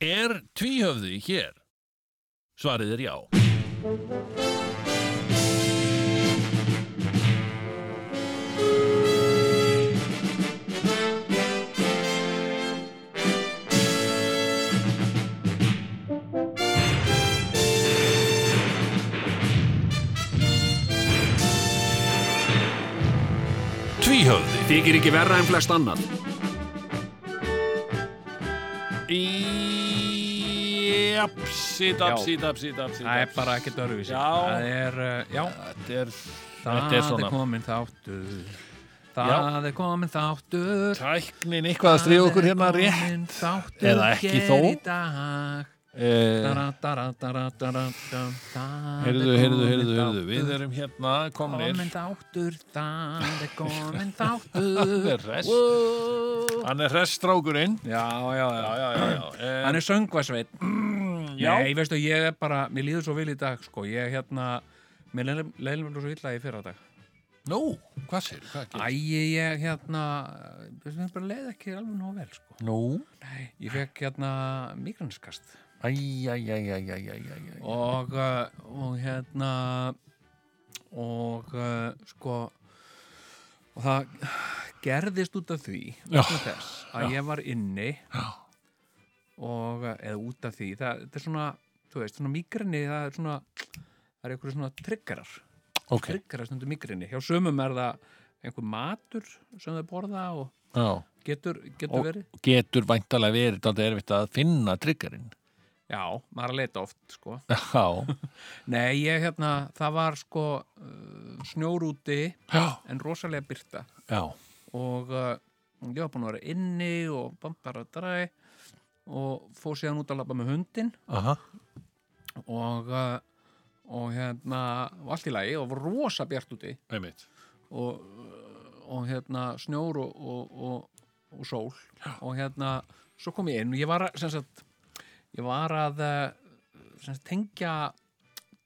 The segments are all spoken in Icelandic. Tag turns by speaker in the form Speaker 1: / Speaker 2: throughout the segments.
Speaker 1: Er tvíhöfði hér? Svarið er já. Tvíhöfði
Speaker 2: Þykir ekki verra en flest annan.
Speaker 1: í... Japsi, dapsi, dapsi, dapsi,
Speaker 3: Það er
Speaker 1: dapsi.
Speaker 3: bara ekkert öruvísi.
Speaker 1: Já.
Speaker 3: Það er, uh, já,
Speaker 1: Þetta er,
Speaker 3: það
Speaker 1: þetta er
Speaker 3: er,
Speaker 1: svona.
Speaker 3: komin þáttur. Það er komin þáttur.
Speaker 1: Tæknin eitthvað að stríða okkur hérna
Speaker 3: Það er
Speaker 1: rétt.
Speaker 3: kominn þáttur
Speaker 1: Eða ekki
Speaker 3: hér
Speaker 1: þó.
Speaker 3: í dag.
Speaker 1: Eh,
Speaker 3: Dara, dara, dara, dara, dara. Það er
Speaker 1: Heyrðu, heyrðu, heyrðu,
Speaker 3: kominn
Speaker 1: heyrðu,
Speaker 3: þáttur.
Speaker 1: við erum hérna komnir.
Speaker 3: Komin þáttur, það er komin
Speaker 1: Hann er
Speaker 3: þáttur.
Speaker 1: hress.
Speaker 3: Wow.
Speaker 1: Hann er hress strákurinn.
Speaker 3: Já, já, já.
Speaker 1: Já, já, já, já. Eh,
Speaker 3: Hann er söngvasveit.
Speaker 1: já.
Speaker 3: Nei, veistu, ég er bara, mér líður svo vil í dag, sko. Ég er hérna, mér leilum leilum svo illa í fyrra dag.
Speaker 1: Nú, hvað sér, hvað gerir?
Speaker 3: Æ, ég hérna, þess vegna bara leið ekki alveg nóg vel, sko.
Speaker 1: Nú.
Speaker 3: Nei, ég fekk hérna migranskast
Speaker 1: Æ, æ, æ, æ, æ, æ, æ, æ.
Speaker 3: og, uh, og hérna, og uh, sko, og það gerðist út af því,
Speaker 1: Já.
Speaker 3: út af þess, að ég var inni
Speaker 1: Já.
Speaker 3: og, uh, eða út af því, það, þetta er svona, þú veist, svona migrini, það er svona, það er einhverju svona triggerar.
Speaker 1: Ok.
Speaker 3: tryggra stundum migrini. Hjá sömum er það einhver matur sem þau borða og
Speaker 1: Já.
Speaker 3: getur, getur
Speaker 1: Og
Speaker 3: verið.
Speaker 1: getur væntalega verið þetta erfitt að finna triggerinn.
Speaker 3: Já, maður er að leita oft, sko.
Speaker 1: Já.
Speaker 3: Nei, ég hérna, það var sko uh, snjór úti
Speaker 1: Já.
Speaker 3: en rosalega byrta
Speaker 1: Já.
Speaker 3: og uh, ég var búin að vera inni og bambara dræ og fór síðan út að labba með hundin
Speaker 1: Aha.
Speaker 3: og, uh, og hérna, og allt í lagi og var rosa bjart úti
Speaker 1: Einmitt.
Speaker 3: og, og hérna snjór og, og, og, og sól og hérna, svo kom ég inn og ég var að, sem sagt, ég var að eh, sem sagt, tengja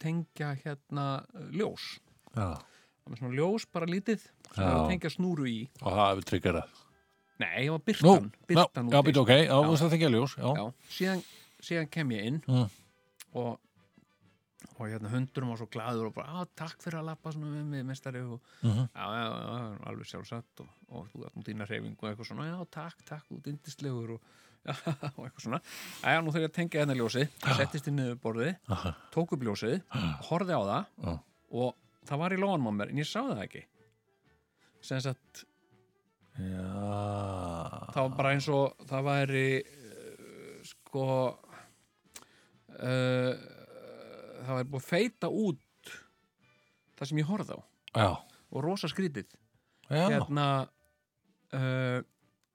Speaker 3: tengja hérna eh, ljós,
Speaker 1: Já.
Speaker 3: það var svona ljós bara lítið, sem
Speaker 1: Já.
Speaker 3: ég var að tengja snúru í
Speaker 1: Og það hefur triggerað.
Speaker 3: nei, ég var byrtan,
Speaker 1: Nú,
Speaker 3: byrtan
Speaker 1: já, já, býttu, ok. Já,
Speaker 3: Já.
Speaker 1: þú veist að þengja ljós. Já.
Speaker 3: já, síðan, síðan kem ég inn
Speaker 1: Mm.
Speaker 3: og og hérna hundurum var svo glaður og bara, á, takk fyrir að lappa svona með mig, mestari og
Speaker 1: Mhm.
Speaker 3: já, já, já, alveg sjálfsagt og, og þú ert nú dýna reyfingu og eitthvað svona, já, takk, takk, þú ert indislegur og, já, og eitthvað svona já, nú þarf ég að tengja hérna ljósið, settist inn niður borðið,
Speaker 1: Aha.
Speaker 3: tók upp ljósið horfði á það
Speaker 1: Já.
Speaker 3: og það var í lóanum á mér, en ég sá það ekki sem sagt,
Speaker 1: Já.
Speaker 3: það var bara eins og það væri uh, sko uh, það væri búið að feita út það sem ég horfði á
Speaker 1: Já.
Speaker 3: og rosa skrítið
Speaker 1: Já.
Speaker 3: hérna uh,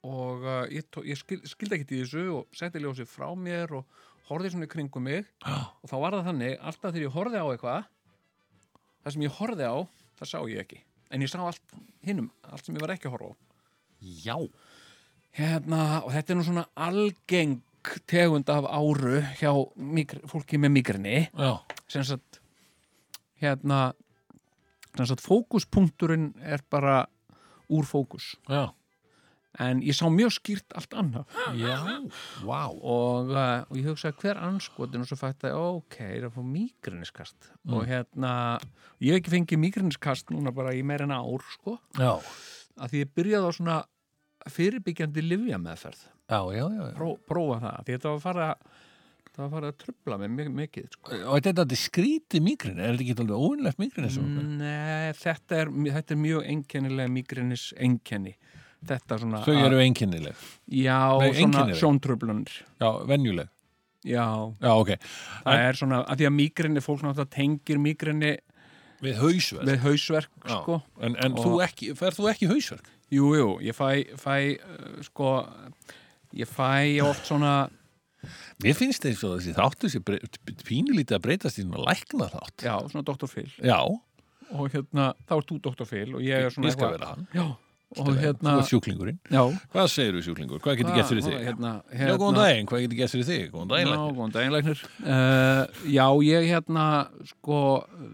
Speaker 3: og uh, ég, tó, ég skil, skildi ekkert í þessu og setti ljósið frá mér og horfði svona í kringum mig
Speaker 1: Já.
Speaker 3: og þá var það þannig, alltaf þegar ég horfði á eitthvað það sem ég horfði á það sá ég ekki, en ég sá allt hinnum, allt sem ég var ekki að horfa á
Speaker 1: Já.
Speaker 3: hérna, og þetta er nú svona algeng tegund af áru hjá migr, fólki með migrini
Speaker 1: Já.
Speaker 3: sem sagt hérna sem sagt fókuspunkturinn er bara úr fókus
Speaker 1: Já.
Speaker 3: en ég sá mjög skýrt allt annað
Speaker 1: Já. Vá.
Speaker 3: og, uh, og ég hugsaði hver anskotin og svo fætti að ok, ég er að fá mígriniskast og hérna, ég hef ekki fengið mígriniskast núna bara í meira en ár sko,
Speaker 1: Já.
Speaker 3: að því ég byrjaði á svona fyrirbyggjandi livja meðferð
Speaker 1: Já, já, já. já.
Speaker 3: pró, prófa það því þetta var að fara það var að fara að trubla mig mjög mikið sko.
Speaker 1: Og þetta er þetta skrítið migrin, er þetta ekki alveg óvinnlegt migrin eins og?
Speaker 3: Mm. Nei, þetta er, þetta er mjög einkennilega migrinis einkenni þetta svona
Speaker 1: Þau eru einkennileg.
Speaker 3: já,
Speaker 1: Nei,
Speaker 3: svona
Speaker 1: einkennileg.
Speaker 3: sjóntrublanir
Speaker 1: Já, venjuleg.
Speaker 3: já,
Speaker 1: Já, ok.
Speaker 3: það er svona að því að migrini, fólk náttúrulega tengir migrini
Speaker 1: Við hausverk.
Speaker 3: með hausverk
Speaker 1: Já.
Speaker 3: sko
Speaker 1: En, en
Speaker 3: Og-
Speaker 1: þú ekki, fer þú ekki í hausverk?
Speaker 3: Jú, jú, ég fæ, fæ uh, sko, ég fæ oft svona,
Speaker 1: Mér finnst eins og þessi þáttu sér pínulítið að breytast í svona lækna þátt.
Speaker 3: já, svona Dr. Phil
Speaker 1: Já,
Speaker 3: og hérna, þá er þú Dr. Phil og ég er svona
Speaker 1: ég skal vera hann.
Speaker 3: Já, og
Speaker 1: Þú
Speaker 3: hérna
Speaker 1: er sjúklingurinn.
Speaker 3: Já,
Speaker 1: Hvað segir þú sjúklingur? Hvað getur gert fyrir
Speaker 3: Ah,
Speaker 1: þig?
Speaker 3: Hérna,
Speaker 1: Já,
Speaker 3: hérna,
Speaker 1: góðan daginn, hvað getur gert fyrir þig? Góðan daginn,
Speaker 3: Já,
Speaker 1: læknir.
Speaker 3: góðan daginn, læknir. Uh, já, ég hérna, sko,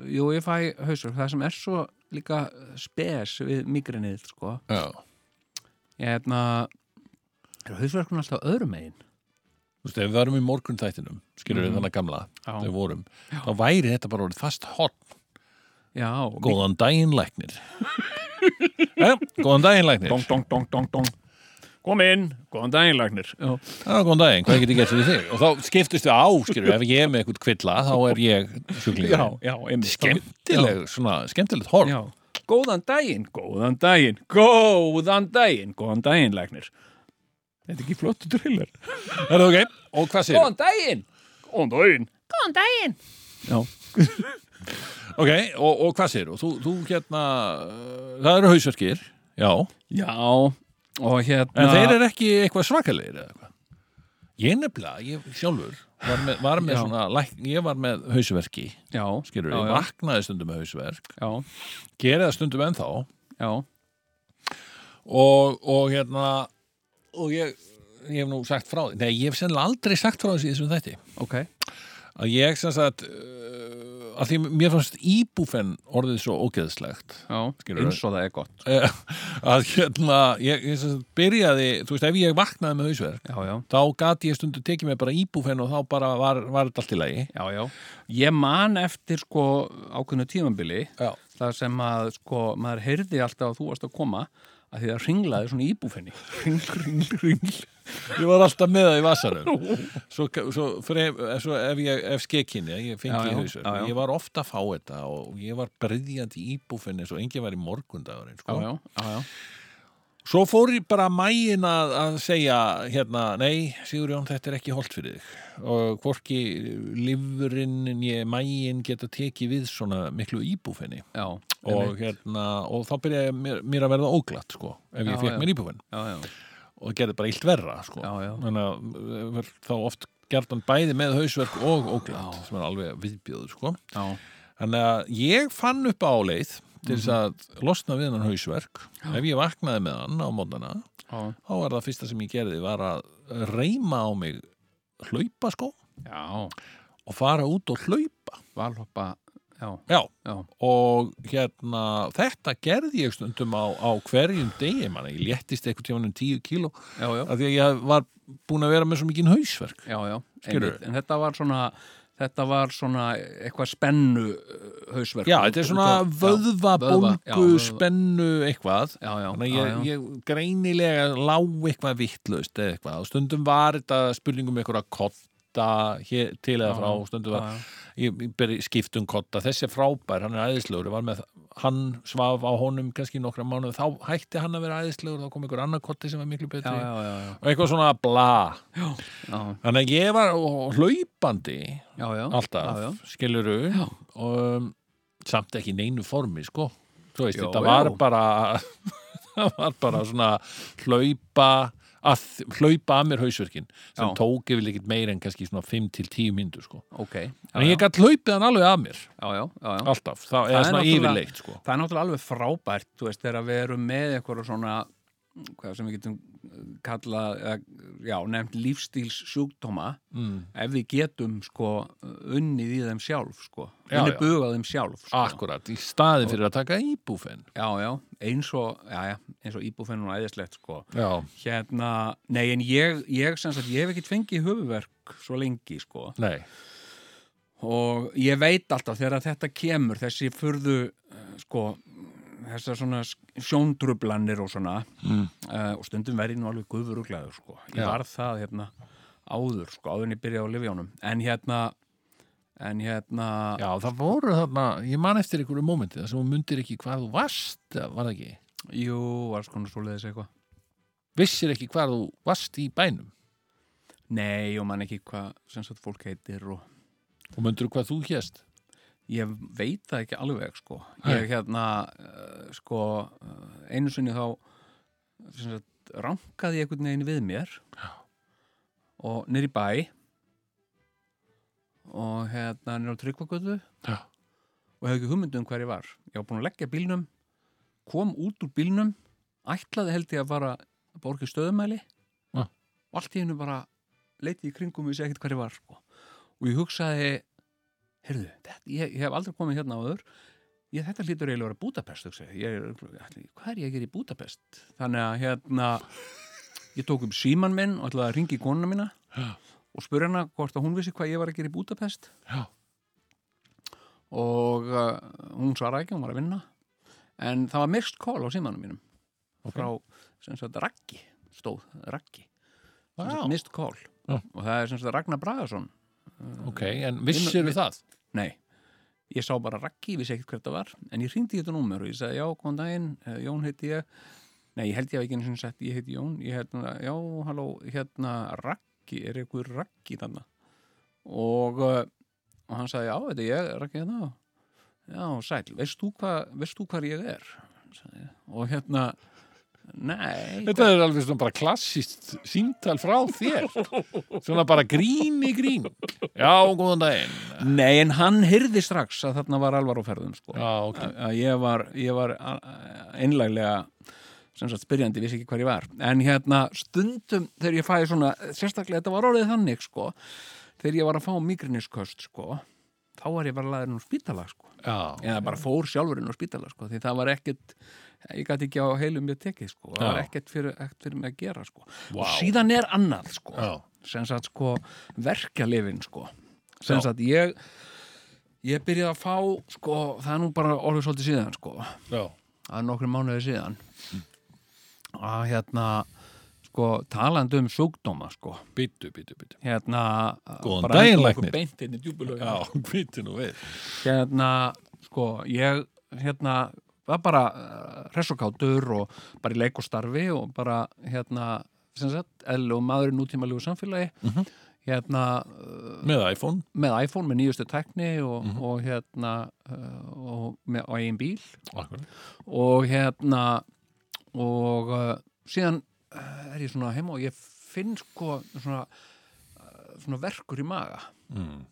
Speaker 3: jú, ég fæ hausverk. Það sem er svo líka spes við migrinið, sko.
Speaker 1: Já.
Speaker 3: Ég hérna, er hausverkun alltaf öðrum megin?
Speaker 1: þú veist, ef við varum í morgun þættinum, skilur við
Speaker 3: Mhm.
Speaker 1: þannig gamla,
Speaker 3: Já.
Speaker 1: þau vorum, þá væri þetta bara orðið fast hot,
Speaker 3: já
Speaker 1: góðan daginn læknir. ja, góðan daginn læknir.
Speaker 3: dong, dong, dong, dong, dong kom inn, góðan daginn lagnir já,
Speaker 1: Já, góðan daginn, hvað get ég gert fyrir þig? Og þá skiptist við á, skilur við, ef ég er með eitthvað kvilla, þá er ég sjúklingur.
Speaker 3: já, einmitt
Speaker 1: Skemmtileg, svona, skemmtilegt horf.
Speaker 3: já. góðan daginn, góðan daginn góðan daginn, góðan daginn lagnir þetta er ekki flottu trillir
Speaker 1: Er það ok? Og hvað sér?
Speaker 3: góðan daginn, góðan daginn góðan daginn já,
Speaker 1: Ok, og, og hvað sér? Og þú, þú hérna, uh, það eru hausverkir, já, en
Speaker 3: já og hérna
Speaker 1: þeir eru ekki eitthvað svakalegir eða eitthvað. Ég nefnilega, ég sjálfur, var með, var með
Speaker 3: Já.
Speaker 1: svona, læk, ég var með hausverki,
Speaker 3: já,
Speaker 1: skilur
Speaker 3: já,
Speaker 1: ég,
Speaker 3: já,
Speaker 1: vaknaði stundum með hausverk,
Speaker 3: já,
Speaker 1: gerði það stundum ennþá
Speaker 3: já,
Speaker 1: og, og hérna, og ég, ég hef nú sagt frá því, nei, ég hef sennilega aldrei sagt frá þessi þessum þætti.
Speaker 3: ok
Speaker 1: Að ég sem sagt, uh, að því mér fannst íbúfen orðið svo ógeðslegt.
Speaker 3: já,
Speaker 1: Skilurðu?
Speaker 3: eins og það er gott
Speaker 1: Eh, að hérna ég, ég sem sagt byrjaði, þú veist ef ég vaknaði með hausverk
Speaker 3: já, já,
Speaker 1: þá gat ég stundu tekið mig bara íbúfen og þá bara var, var þetta allt í lagi
Speaker 3: já, já ég man eftir sko ákveðnu tímambili
Speaker 1: já,
Speaker 3: það sem að sko maður heyrði alltaf að þú varst að koma að því það ringlaði svona í íbúfinni ring, ring, ring
Speaker 1: ég var alltaf með það í vasarum svo, svo, frem, svo ef ég ef skekinni, ég fengi
Speaker 3: Já,
Speaker 1: í
Speaker 3: já,
Speaker 1: hausverk
Speaker 3: já, já.
Speaker 1: ég var ofta að fá þetta og ég var bryðjandi íbúfen eins og engin var í morgundagurinn
Speaker 3: já,
Speaker 1: sko.
Speaker 3: já, já, já,
Speaker 1: svo fór ég bara mægin að, að segja hérna, nei Sigurjón þetta er ekki holdt fyrir þig og hvorki lifurinn ég mægin geta tekið við svona miklu íbúfinni
Speaker 3: já,
Speaker 1: og,
Speaker 3: einmitt.
Speaker 1: hérna, og þá byrjaði mér, mér að verða óglatt sko, ef
Speaker 3: Já,
Speaker 1: ég fekk
Speaker 3: já.
Speaker 1: mér íbúfinn
Speaker 3: já, já,
Speaker 1: og gerði bara illt verra sko.
Speaker 3: Já, já.
Speaker 1: þannig að eh, var þá oft gert hann bæði með hausverk og óglatt sem er alveg viðbjöður sko.
Speaker 3: já,
Speaker 1: þannig að ég fann upp á leið til þess
Speaker 3: Mhm.
Speaker 1: að losna við hann hausverk ef ég vaknaði með hann á mótana
Speaker 3: já,
Speaker 1: þá var það fyrsta sem ég gerði var að reyma á mig hlaupa sko
Speaker 3: já
Speaker 1: og fara út og hlaupa
Speaker 3: valhoppa, já,
Speaker 1: já,
Speaker 3: já,
Speaker 1: og hérna þetta gerði ég stundum á, á hverjum degi, manna, ég léttist eitthvað tímanum 10 kíló,
Speaker 3: já, já,
Speaker 1: af því að ég var búin að vera með svo mikið hausverk
Speaker 3: já, já
Speaker 1: Skilurðu?
Speaker 3: einmitt. en þetta var svona þetta var svona eitthvað spennu uh, hausverk
Speaker 1: já, þetta er svona vöðva,
Speaker 3: vöðva, já,
Speaker 1: bólgu,
Speaker 3: vöðva.
Speaker 1: spennu eitthvað,
Speaker 3: já, já,
Speaker 1: þannig
Speaker 3: já,
Speaker 1: að ég, ég greinilega lá eitthvað vittlaust eða eitthvað, og stundum var þetta spurningum eitthvað kotta hér, til eða
Speaker 3: Já,
Speaker 1: frá, stundum
Speaker 3: já,
Speaker 1: var
Speaker 3: já,
Speaker 1: ég, ég ber skiptum kotta, þessi er frábær hann er æðislegur, ég var með hann svaf á honum kannski í nokkra mánuð þá hætti hann að vera æðislegur, þá kom einhver annar kotti sem var miklu betri,
Speaker 3: já, já, já, já,
Speaker 1: og eitthvað svona bla,
Speaker 3: já,
Speaker 1: þannig að ég var ó, hlaupandi
Speaker 3: já, já,
Speaker 1: alltaf,
Speaker 3: já, já.
Speaker 1: skiluru
Speaker 3: Já.
Speaker 1: og um, samt ekki í neinu formi sko, þú veist,
Speaker 3: Já,
Speaker 1: þetta var
Speaker 3: já.
Speaker 1: bara það var bara svona hlaupa að hlaupa að mér hausverkin sem
Speaker 3: Já.
Speaker 1: tók yfir ekkert meira en kannski svona 5-10 myndur sko,
Speaker 3: ok já,
Speaker 1: en
Speaker 3: já,
Speaker 1: ég gætt hlaupið hann alveg að mér
Speaker 3: já, já, já, já.
Speaker 1: alltaf, þá
Speaker 3: Það
Speaker 1: eða
Speaker 3: er
Speaker 1: svona
Speaker 3: náttúrulega-
Speaker 1: yfirleitt sko.
Speaker 3: Það er náttúrulega alveg frábært, þú veist, þegar við erum með eitthvað svona, hvað sem við getum kallað, eða, já, nefnt lífstíls sjúkdóma,
Speaker 1: mm.
Speaker 3: ef við getum sko unnið í þeim sjálf, sko,
Speaker 1: Já, já.
Speaker 3: unnið
Speaker 1: Ah,
Speaker 3: bugað þeim sjálf, sko.
Speaker 1: akkurat, í staði fyrir að taka íbúfen
Speaker 3: Já, já, eins og, já, já, eins og íbúfennun og æðislegt, sko.
Speaker 1: já,
Speaker 3: Hérna, nei, en ég, ég sem sagt, ég hef ekkert fengið höfuverk svo lengi, sko.
Speaker 1: nei
Speaker 3: og ég veit alltaf þegar þetta kemur þessi furðu eh, sko, þessar svona sjóndrublanir og svona
Speaker 1: Mm.
Speaker 3: eh, og stundum verið nú alveg guður og glæður sko. ég
Speaker 1: Já.
Speaker 3: var það hérna áður sko, áður en ég byrjaði á lifjánum en hérna en hérna
Speaker 1: já, það voru þarna, ég man eftir einhverju mómenti þar sem hún mundir ekki hvar þú varst eða var það ekki,
Speaker 3: jú, var sko svoleiðis eitthvað
Speaker 1: vissir ekki hvar þú varst í bænum
Speaker 3: nei, og man ekki hvað sem sagt fólk heitir og
Speaker 1: og mundur hvað þú hérst
Speaker 3: ég veit það ekki alveg sko
Speaker 1: Nei.
Speaker 3: ég hérna uh, sko eh, einu sinni þá sem sagt, rankaði ég einhvern veginn við mér
Speaker 1: Já.
Speaker 3: og nýr í bæ og hérna nýr á tryggvagötu
Speaker 1: Já.
Speaker 3: og hefði ekki hugmyndu um hver ég var ég var búin að leggja bílnum kom út úr bílnum ætlaði held ég að fara að borga í stöðumæli
Speaker 1: Já.
Speaker 3: og allt í hennu bara leiti í kringum og ég sé ekkert hver ég var sko. og ég hugsaði heyrðu, þetta, ég, ég hef aldrei komið hérna áður ég, þetta hlýtur eiginlega að vera Budapest hugsaði ég. ég, er- ætli- hvað er ég að gera í Budapest þannig að hérna ég tók upp síman minn og ætlaði að ringi konuna mína
Speaker 1: Já.
Speaker 3: og spurði hana hvort að hún vissi hvað ég var að gera í Budapest
Speaker 1: Já.
Speaker 3: og uh, hún svaraði ekki, hún var að vinna en það var mist call á símanum mínum
Speaker 1: Ok.
Speaker 3: frá, sem sagt, Raggi stóð, Raggi sem
Speaker 1: Já,
Speaker 3: sagt, mist call
Speaker 1: Já.
Speaker 3: og það er sem sagt Ragnar Bragason
Speaker 1: ok, en vissir við það?
Speaker 3: Nei, ég sá bara Raggi, vissi ekkert hvert það var, en ég hringdi í þetta númer og ég sagði, já, góðan daginn, eh, Jón heiti ég. Nei, ég held ég hafi ekki einu sinni sagt, ég heiti Jón, ég hérna, já, halló, hérna, Raggi, er einhver Raggi þarna? Og, eh, og hann sagði, já, þetta er ég, Raggi hérna, já, sæl, veist þú, hva, veist þú hvar ég er? Sagði ég. Og hérna, nei,
Speaker 1: Þetta er alveg svona bara klassist síntal frá þér. Svona bara grín í grín. Já, góðan daginn.
Speaker 3: nei, en hann hyrði strax að þarna var alvar á ferðum, sko.
Speaker 1: Já, ok.
Speaker 3: að að ég var, ég var a- a- einlæglega sem sagt spyrjandi, vissi ekki hvar ég var en hérna stundum þegar ég fæði svona sérstaklega þetta var orðið þannig sko þegar ég var að fá migrinisköst sko þá var ég bara laður inn á spítala sko
Speaker 1: Já,
Speaker 3: eða bara fór sjálfur inn á spítala sko því það var ekkert, ég gæti ekki á heilum ég tekið sko, það
Speaker 1: Já.
Speaker 3: var ekkert fyrir, ekkert fyrir mig að gera sko
Speaker 1: Vá.
Speaker 3: og síðan er annað sko
Speaker 1: Já.
Speaker 3: sem sagt sko verkjalifin sko sem sagt ég ég byrjaði að fá sko það er nú bara orðið svolítið síðan sko
Speaker 1: já,
Speaker 3: það er nokkrum mánuði síðan að hérna sko talandi um sjúkdóma sko
Speaker 1: býttu, býttu, býttu.
Speaker 3: hérna
Speaker 1: Góðan
Speaker 3: bara
Speaker 1: daginn,
Speaker 3: hendum okkur
Speaker 1: læknir.
Speaker 3: beint inn í djúpulögin
Speaker 1: Já, býttu nú við.
Speaker 3: hérna, sko, ég hérna, var bara eh, hress og kátur og bara í leik og starfi og bara, hérna, sem sagt eðlilegu maður í nútímalegu samfélagi
Speaker 1: Mhm.
Speaker 3: hérna, eh,
Speaker 1: Með iPhone.
Speaker 3: með iPhone, með nýjustu tækni og, og hérna eh, og, með, og eigin bíl
Speaker 1: Akkur.
Speaker 3: og hérna og uh, síðan uh, er ég svona heima og ég finn sko svona, uh, svona verkur í maga
Speaker 1: Mm.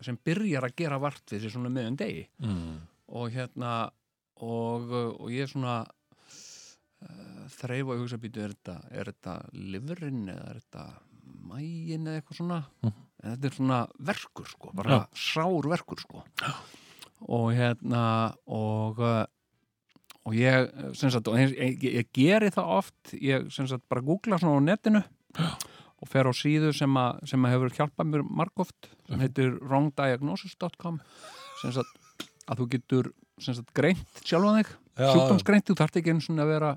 Speaker 3: sem byrjar að gera vart við sér svona meðan degi
Speaker 1: Mm.
Speaker 3: og hérna og, og ég svona uh, þreif og ég hugsa býtu er þetta, er þetta livurinn eða er þetta mægin eða eitthvað svona en þetta er svona verkur sko bara
Speaker 1: Já.
Speaker 3: sár verkur sko og hérna og uh, og ég eh, sem sagt, og ég, ég, ég geri það oft ég sem sagt bara googla svona á netinu og fer á síðu sem að, sem að hefur hjálpað mér margóft sem heitir wrongdiagnosis.com sem sagt að þú getur sem sagt, greint sjálfan þig
Speaker 1: Já,
Speaker 3: sjúkdómsgreint, þú þarft ekki einu svona að vera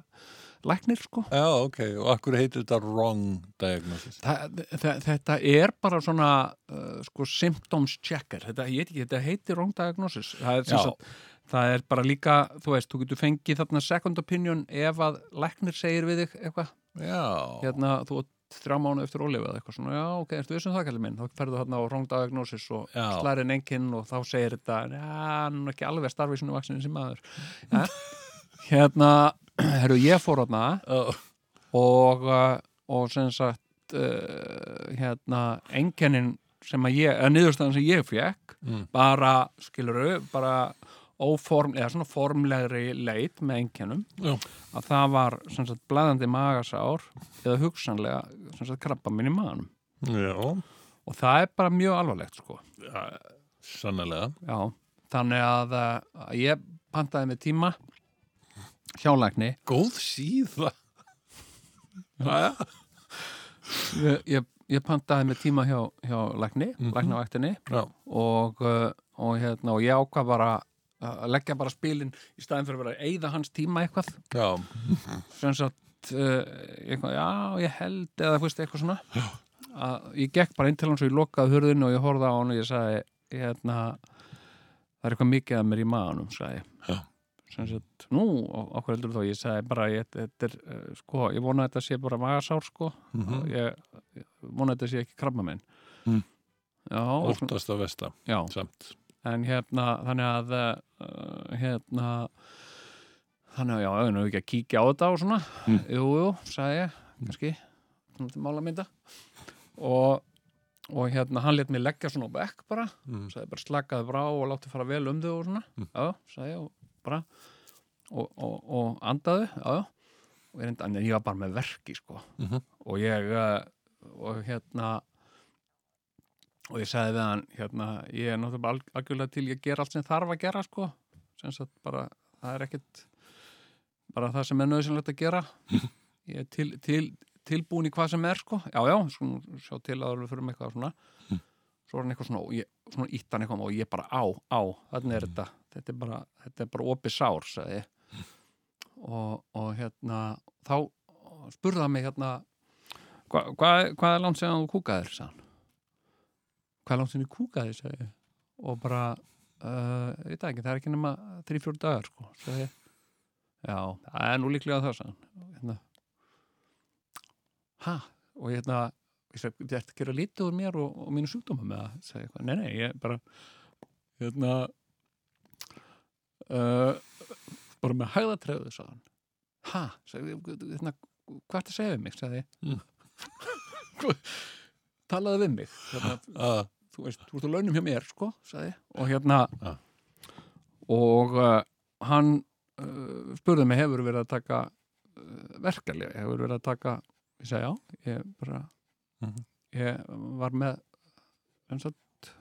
Speaker 3: læknir sko
Speaker 1: Já, ok. Og akkur heitir þetta wrong diagnosis?
Speaker 3: Þa, þe- þetta er bara svona uh, sko, symptoms checker þetta, ég veit ekki, þetta heitir wrong diagnosis það er, sem
Speaker 1: Já.
Speaker 3: sagt, það er bara líka þú veist, þú getur fengið þarna second opinion ef að læknir segir við þig eitthvað
Speaker 1: Já.
Speaker 3: hérna, þú átt þrjá mánu eftir ólefið eða eitthvað svona, já, ok, ertu vissum það kallið minn þá ferðu þarna á wrong diagnosis og
Speaker 1: Já.
Speaker 3: slærið en enginn og þá segir þetta já, hann er ekki alveg starfið sinni vaksinni sem maður ja. hérna, herru, ég fór þarna
Speaker 1: Já.
Speaker 3: og, uh, og sem sagt uh, hérna, enginnin sem að ég, eða niðurstaðan sem ég fekk
Speaker 1: Mm.
Speaker 3: bara, skiluru, bara óform, eða svona formlegri leit með enginnum
Speaker 1: Já.
Speaker 3: að það var sem sagt blæðandi magasár eða hugsanlega sem sagt krabba minn í maganum
Speaker 1: Já.
Speaker 3: og það er bara mjög alvarlegt sko
Speaker 1: Sannlega.
Speaker 3: já, þannig að, eh, að ég pantaði með tíma hjálækni
Speaker 1: Góð síða.
Speaker 3: ég, ég, ég pantaði með tíma hjá, hjá lækni, mm
Speaker 1: Mhm.
Speaker 3: læknavæktinni
Speaker 1: Já.
Speaker 3: og, eh, og hérna og ég ákvað bara að leggja bara spilin í staðin fyrir að vera að eyða hans tíma eitthvað
Speaker 1: Já.
Speaker 3: sem sagt uh, eitthvað, já, ég held eða þú veist, eitthvað svona að, ég gekk bara inn til hans og ég lokaði hurðinu og ég horfði á hann og ég sagði hérna, það er eitthvað mikið að mér í maðanum sagði
Speaker 1: Já.
Speaker 3: ég sem sagt, nú, okkur heldur þá ég sagði bara, ég, þetta er, uh, sko ég vona að þetta sé bara magasár, sko
Speaker 1: Mhm.
Speaker 3: ég, ég vona að þetta sé ekki krabba minn
Speaker 1: Mm.
Speaker 3: já, svona-
Speaker 1: Óttast að vesta.
Speaker 3: já
Speaker 1: Samt.
Speaker 3: en hérna, þannig að uh, hérna þannig að já, auðvitað ekki að kíkja á þetta og svona,
Speaker 1: Mm.
Speaker 3: jú, jú, sagði ég kannski, þannig til málamynda og, og hérna hann let mér leggja svona á bekk bara
Speaker 1: Mm.
Speaker 3: sagði bara slakaði brá og láttu fara vel um þau og svona,
Speaker 1: Mm.
Speaker 3: já, sagði ég og bara, og, og, og andaðu já, já, og ég, reyndi, en ég var bara með verki, sko
Speaker 1: Mhm.
Speaker 3: og ég eh, og hérna og ég sagði við hann hérna, ég er náttúrulega alg- algjörlega til ég ger allt sem þarf að gera sko sem sagt bara, það er ekkit bara það sem er nöðsynlegt að gera ég er til, til, tilbúin í hvað sem er sko, já já, sko nú sjá til að við fyrir með eitthvað svona svo er hann eitthvað svona og ég, svona ítt hann eitthvað og ég bara á, á, þannig er þetta þetta er bara, þetta er bara opið sár sagði ég og, og hérna, þá spurði hann mig hérna hva, hva, hvað er langt sem þú kúkaðir sagði hann hvað er langt sem þú kúkaðir sagði ég og bara uh, ég veit það ekki, það er ekki nema 3-4 dagar sko, sagði ég já, það er nú líklega það sagði hann og hérna hæ, og ég hérna ég sagði, þið ert að gera lítið úr mér og, og mínu sjúkdóma með það, sagði ég eitthvað, nei, nei, ég bara hérna uh, bara með hæðatreðu, sagði hann hæ, sagði ég, hérna hvað ertu að segja við mig, sagði ég
Speaker 1: Mm.
Speaker 3: talaði við mig hérna,
Speaker 1: Uh,
Speaker 3: þú veist, þú ert á launum hjá mér, sko, sagði ég. og hérna
Speaker 1: Ja.
Speaker 3: og uh, hann uh, spurði mig, hefur verið að taka uh, verkefli, hefur verið að taka ég sagði já, ég bara
Speaker 1: Mhm.
Speaker 3: ég var með sem sagt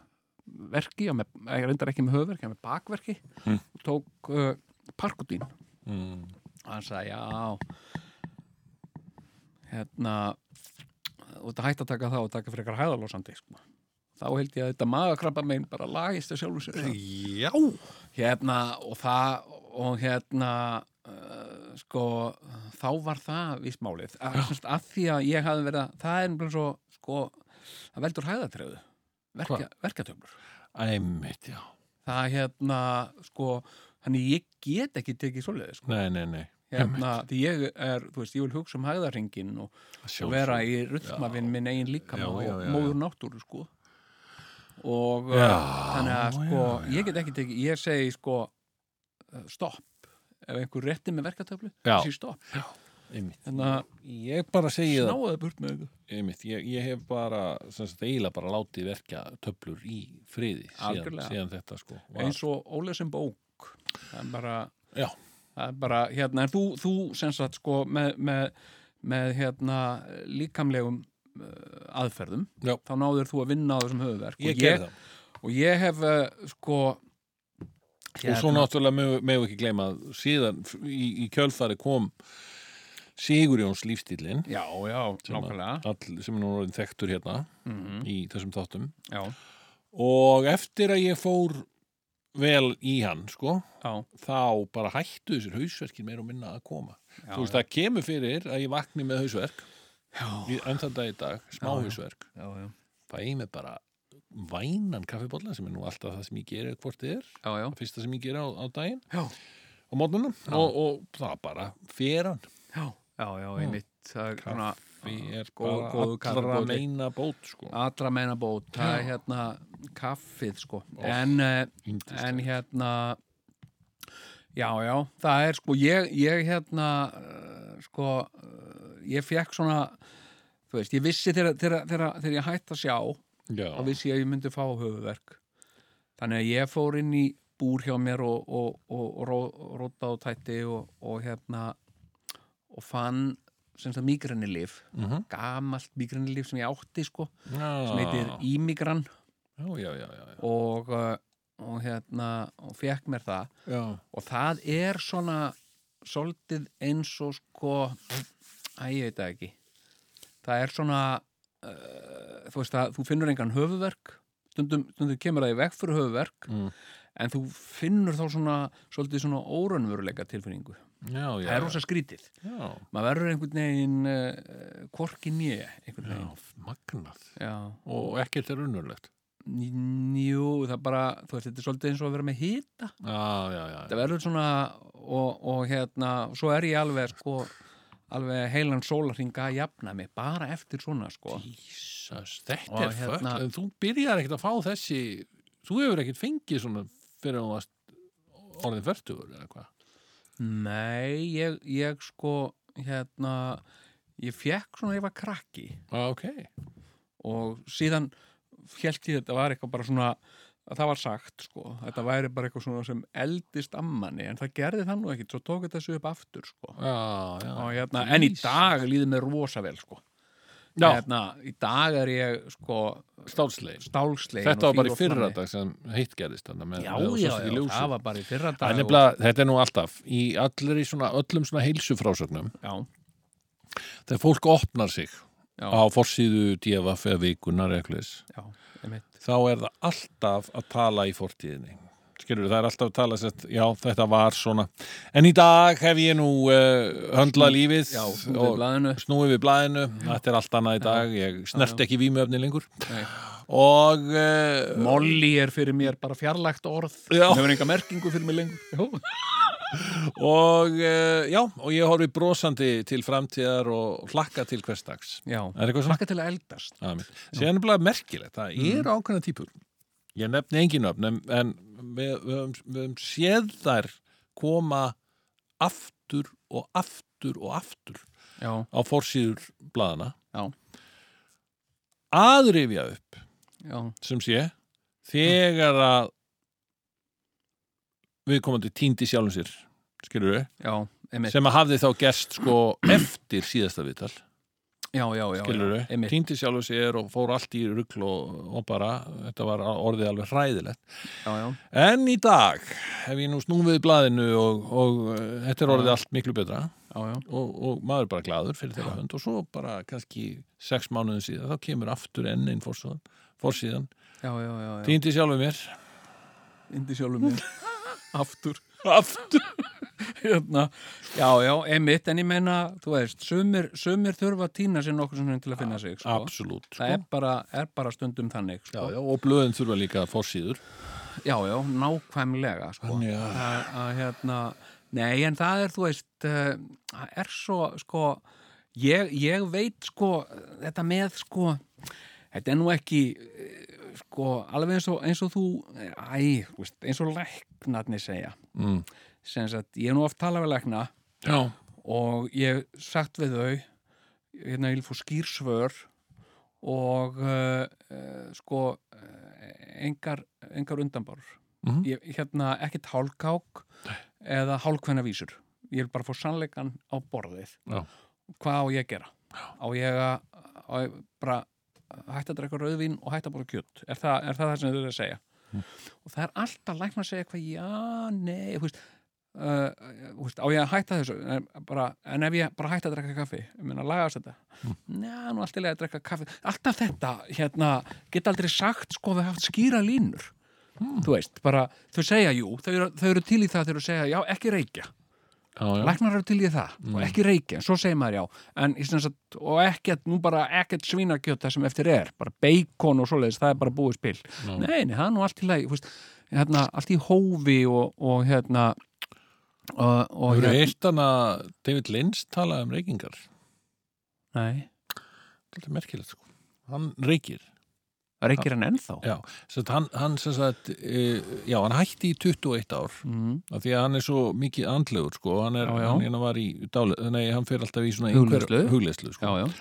Speaker 3: verki, og með, ég reyndar ekki með höfverki, ég með bakverki
Speaker 1: Mm.
Speaker 3: tók uh, parkudín
Speaker 1: mm,
Speaker 3: og hann sagði já hérna þú ert að hætta að taka það og taka fyrir eitthvað hæðalósandi sko. þá held ég að þetta magakrabba megin bara lagist að sjálfu sér sko.
Speaker 1: já
Speaker 3: hérna og það og hérna uh, sko þá var það vísmálið að, semst, að því að ég hafði verið að það er bara svo sko það veldur hæðatröðu verkja, verkjatöflur
Speaker 1: Æmitt, já
Speaker 3: það hérna sko þannig ég get ekki tekið svoleiði sko
Speaker 1: Nei, nei, nei
Speaker 3: hérna, því ég er, þú veist, ég vil hugsa um hæðarringin og, og vera í rullmafinn minn eigin
Speaker 1: Já,
Speaker 3: líkama
Speaker 1: já,
Speaker 3: og
Speaker 1: já,
Speaker 3: móður náttúru, sko og
Speaker 1: Já,
Speaker 3: uh, þannig að, sko,
Speaker 1: já, já.
Speaker 3: ég get ekki tekið ég segi, sko, uh, stopp ef einhver rétti með verkatöflu
Speaker 1: Já.
Speaker 3: segi stopp,
Speaker 1: Einmitt.
Speaker 3: þannig að
Speaker 1: Hérna, Ég bara segi það
Speaker 3: snáðu burt með þetta
Speaker 1: Einmitt, ég, ég hef bara, sem sagt, eiginlega bara látið verkja töflur í friði síðan,
Speaker 3: Algjörlega.
Speaker 1: síðan þetta sko var,
Speaker 3: eins og ólesin bók það er bara,
Speaker 1: Já,
Speaker 3: það er bara hérna, en þú, þú sem sagt, sko með, með, með hérna, líkamlegum uh, aðferðum
Speaker 1: já,
Speaker 3: þá náður þú að vinna á þessum höfuverk
Speaker 1: ég,
Speaker 3: og
Speaker 1: gerði það
Speaker 3: og ég hef uh, sko
Speaker 1: og svo náttúrulega megu, megu ekki gleyma að síðan f- í, í kjölfari kom Sigurjóns lífstílinn
Speaker 3: já, já,
Speaker 1: að-
Speaker 3: nákvæmlega
Speaker 1: all, sem er nú orðin þekktur hérna
Speaker 3: mm
Speaker 1: í þessum þáttum
Speaker 3: já,
Speaker 1: og eftir að ég fór vel í hann sko
Speaker 3: já,
Speaker 1: þá bara hættu þessir hausverkir meir og minna að koma
Speaker 3: já,
Speaker 1: þú veist það kemur fyrir að ég vakni með hausverk
Speaker 3: já,
Speaker 1: í- enn þann dag í dag, smá
Speaker 3: Já, já.
Speaker 1: hausverk
Speaker 3: já, já,
Speaker 1: fæ ég mig bara vænan kaffibólla sem er nú alltaf það sem ég geri hvort þið er,
Speaker 3: já, já,
Speaker 1: það fyrsta sem ég geri á, á daginn
Speaker 3: já,
Speaker 1: á mótnuna og, og það bara feran,
Speaker 3: já, já, já, einmitt það er svona
Speaker 1: við er
Speaker 3: Góð-
Speaker 1: bara
Speaker 3: góðu
Speaker 1: allra
Speaker 3: kaffibólli.
Speaker 1: meina bót sko
Speaker 3: allra meina bót, það er
Speaker 1: Já.
Speaker 3: hérna kaffið sko, en uh,
Speaker 1: Yndislegt.
Speaker 3: en hérna já, já, það er sko ég, ég hérna uh, sko, uh, ég fekk svona þú veist, ég vissi þegar, þegar, þegar, þegar ég hætti að sjá
Speaker 1: já,
Speaker 3: þá vissi ég að ég myndi fá höfuverk þannig að ég fór inn í búr hjá mér og, og, og, og ró- róta og tætti og, og hérna og fann sem sagt migranilif
Speaker 1: mm -hmm.
Speaker 3: gamalt migranilif sem ég átti sko
Speaker 1: já.
Speaker 3: sem heitir Ímigran
Speaker 1: já, já, já, já, já.
Speaker 3: og, uh, og hérna og fekk mér það
Speaker 1: já.
Speaker 3: og það er svona soldið eins og sko að ég veit það ekki það er svona uh, þú veist að þú finnur engan höfuverk stundum, stundum kemur það í veg fyrir höfuverk
Speaker 1: Mm.
Speaker 3: en þú finnur þá svona svolítið svona óraunveruleika tilfinningu
Speaker 1: já, já,
Speaker 3: það er
Speaker 1: já.
Speaker 3: rosa skrítið
Speaker 1: já.
Speaker 3: maður verður einhvern veginn uh, korki nýja
Speaker 1: já,
Speaker 3: einhvern veginn
Speaker 1: magnað
Speaker 3: Já.
Speaker 1: og ekkert er unnurlegt
Speaker 3: Jú, það bara, þú veist, þetta er svolítið eins og að vera með hýta
Speaker 1: já, já, já, já.
Speaker 3: þetta verður svona og, og hérna, svo er ég alveg sko, alveg heilan sólarringa að jafna mig, bara eftir svona sko.
Speaker 1: Jesus, þetta
Speaker 3: Og
Speaker 1: er
Speaker 3: hérna-
Speaker 1: hérna, en þú byrjar ekkert að fá þessi þú hefur ekkert fengið svona fyrir að þú varst orðin fyrstugur eða hvað
Speaker 3: Nei, ég, ég sko hérna, ég fekk svona ég var krakki
Speaker 1: ah, ok,
Speaker 3: og síðan held ég þetta var eitthvað bara svona að það var sagt sko, þetta væri bara eitthvað svona sem eldist ammanni, en það gerði það nú ekkit svo tók þetta þessu upp aftur sko
Speaker 1: já, Ah, já
Speaker 3: og, hérna, en í
Speaker 1: Jesus.
Speaker 3: dag líður mér rosa vel sko
Speaker 1: já,
Speaker 3: hérna, í dag er ég sko
Speaker 1: stálslegin
Speaker 3: stálslegin
Speaker 1: þetta
Speaker 3: og
Speaker 1: var bara í
Speaker 3: fín og
Speaker 1: fyrra
Speaker 3: flammi.
Speaker 1: dag sem hitt gerðist þarna með,
Speaker 3: já,
Speaker 1: með
Speaker 3: já, já, það var bara í fyrra dag
Speaker 1: En nefnilega, þetta er nú alltaf, í allir í svona, öllum svona heilsufrásögnum,
Speaker 3: og, já,
Speaker 1: þegar fólk opnar sig
Speaker 3: Já.
Speaker 1: á forsýðu DFF eða vikunar eða eitthvað leis,
Speaker 3: já, einmitt
Speaker 1: þá er það alltaf að tala í fortíðinni skilur, það er alltaf að tala sett, já, þetta var svona en í dag hef ég nú uh, höndlað lífið
Speaker 3: já, snúðu
Speaker 1: og
Speaker 3: blæðinu
Speaker 1: snúið við blæðinu þetta er allt annað í dag, ég snert
Speaker 3: Mhm. Já,
Speaker 1: ekki vímöfni lengur
Speaker 3: Nei.
Speaker 1: og uh,
Speaker 3: Molly er fyrir mér bara fjarlægt orð
Speaker 1: Já.
Speaker 3: það hefur enga merkingu fyrir mig lengur
Speaker 1: og uh, já, og ég horfi brosandi til framtíðar og hlakka til hverstags
Speaker 3: já,
Speaker 1: er eitthvað svona?
Speaker 3: hlakka Mhm. til að eldast
Speaker 1: Sér er bara merkilegt, það eru
Speaker 3: Mm.
Speaker 1: ákveðna típur ég nefni engin öfn en, en við, við, höfum- við höfum séð þær koma aftur og aftur og aftur
Speaker 3: já,
Speaker 1: á forsýður blaðana
Speaker 3: Já.
Speaker 1: aðrifja upp
Speaker 3: já,
Speaker 1: sem sé þegar að við komandi týndi sjálfum sér skilur við,
Speaker 3: já, einmitt
Speaker 1: sem að hafði þá gerst sko eftir síðasta viðtal
Speaker 3: já, já, já,
Speaker 1: skilur
Speaker 3: já,
Speaker 1: við,
Speaker 3: einmitt
Speaker 1: týndi sjálfum sér og fór allt í rugl og, og bara þetta var orðið alveg hræðilegt
Speaker 3: já, já,
Speaker 1: en í dag hef ég nú snúfið blaðinu og, og eh, þetta er orðið allt miklu betra
Speaker 3: já, já,
Speaker 1: og, og maður er bara gladur fyrir þeirra hönd og svo bara kannski sex mánuðin síðan þá kemur aftur enn einn forsíðan, forsíðan.
Speaker 3: já, já, já, já.
Speaker 1: týndi sjálfum mér
Speaker 3: indi sjálfum mér aftur
Speaker 1: aftur
Speaker 3: hérna. já, já, einmitt, en ég meina þú veist, sumir, sumir þurfa að týna sér nokkur svona til að finna sig sko.
Speaker 1: Absolutt
Speaker 3: það er bara, er bara stundum þannig
Speaker 1: já,
Speaker 3: sko.
Speaker 1: já, og blöðin þurfa líka forsýður
Speaker 3: já, já, nákvæmlega sko.
Speaker 1: Já.
Speaker 3: að, að hérna nei, en það er, þú veist eh, það er svo, sko ég, ég veit, sko þetta með, sko þetta er nú ekki, eh, sko alveg eins og, eins og þú eh, æ, þú veist, eins og læknarnir segja
Speaker 1: mm.
Speaker 3: sem sagt, ég er nú oft talað við lækna
Speaker 1: Já,
Speaker 3: og ég hef sagt við þau hérna ég vil fór skýrsvör og uh, uh, sko uh, engar, engar undanbár
Speaker 1: Mhm.
Speaker 3: ég, hérna ekkert hálkák eða hálkvenna vísur ég vil bara fór sannleikan á borðið
Speaker 1: Já.
Speaker 3: hvað á ég að gera á ég að á ég bara hætta að drekka rauðvín og hætta að borða kjött er það, er það það sem þau eru að segja
Speaker 1: Mhm.
Speaker 3: og það er alltaf lækna að segja eitthvað já, nei, þú veist uh, veist, á ég að hætta þessu en, bara, en ef ég bara hætta að drekka kaffi ég meina, lagast þetta
Speaker 1: Mm.
Speaker 3: njá, nú allt í leið að drekka kaffi alltaf þetta, hérna, geta aldrei sagt sko, þau haft skýra línur
Speaker 1: Mm.
Speaker 3: þú veist, bara, þau segja jú þau eru, þau eru til í það þegar þau segja, já, ekki reykja
Speaker 1: já, já, Mm.
Speaker 3: læknar eru til í það, og ekki reykja svo segir maður já, en í sem sagt, og ekkert, nú bara ekkert svínakjöt það sem eftir er, bara beikon og svoleiðis það er bara búið spil,
Speaker 1: Já.
Speaker 3: nei, nei, það er nú allt í leið, veist, hérna, allt í hófi og, og hérna og, og hérna-
Speaker 1: Þú eru heilt hana David Lynch talaði um reykingar
Speaker 3: nei
Speaker 1: Þetta er merkilegt sko Hann reykir
Speaker 3: Reykir hann ennþá?
Speaker 1: Já, Sett, hann, hann, sem sagt, e, já, hann hætti í 21 ár
Speaker 3: Mm.
Speaker 1: af því að hann er svo mikið andlegur sko. hann, er,
Speaker 3: Já, já.
Speaker 1: hann hérna var í dále, nei, hann fer alltaf í svona
Speaker 3: Hugleiðslu.
Speaker 1: einhver- hugleiðslu sko.
Speaker 3: já.
Speaker 1: og,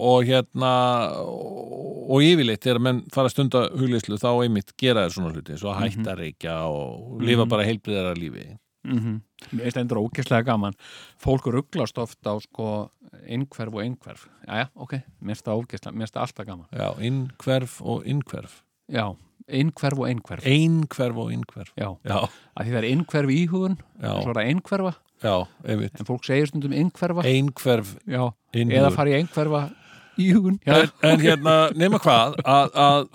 Speaker 1: og hérna og, og yfirleitt þegar menn fara að stunda hugleyslu þá einmitt gera þér svona hluti svo
Speaker 3: Mhm.
Speaker 1: hætta að reykja og lifa bara heilbriðara lífi
Speaker 3: Mm Mér finnst það endur ókesslega gaman. Fólk rugglast oft á sko einhverf og einhverf. Jæja, ok, mér finnst það ókesslega, mér finnst það alltaf gaman.
Speaker 1: já, innhverf og innhverf
Speaker 3: Já, einhverf og einhverf.
Speaker 1: einhverf og innhverf
Speaker 3: já,
Speaker 1: já,
Speaker 3: að því það er einhverf í íhugun,
Speaker 1: já,
Speaker 3: svo er það einhverfa,
Speaker 1: já, einmitt
Speaker 3: en fólk segir stundum einhverfa,
Speaker 1: einhverf
Speaker 3: já, eða
Speaker 1: innhverf
Speaker 3: fara í einhverfa íhugun. Já,
Speaker 1: en, en hérna, nema hvað að, að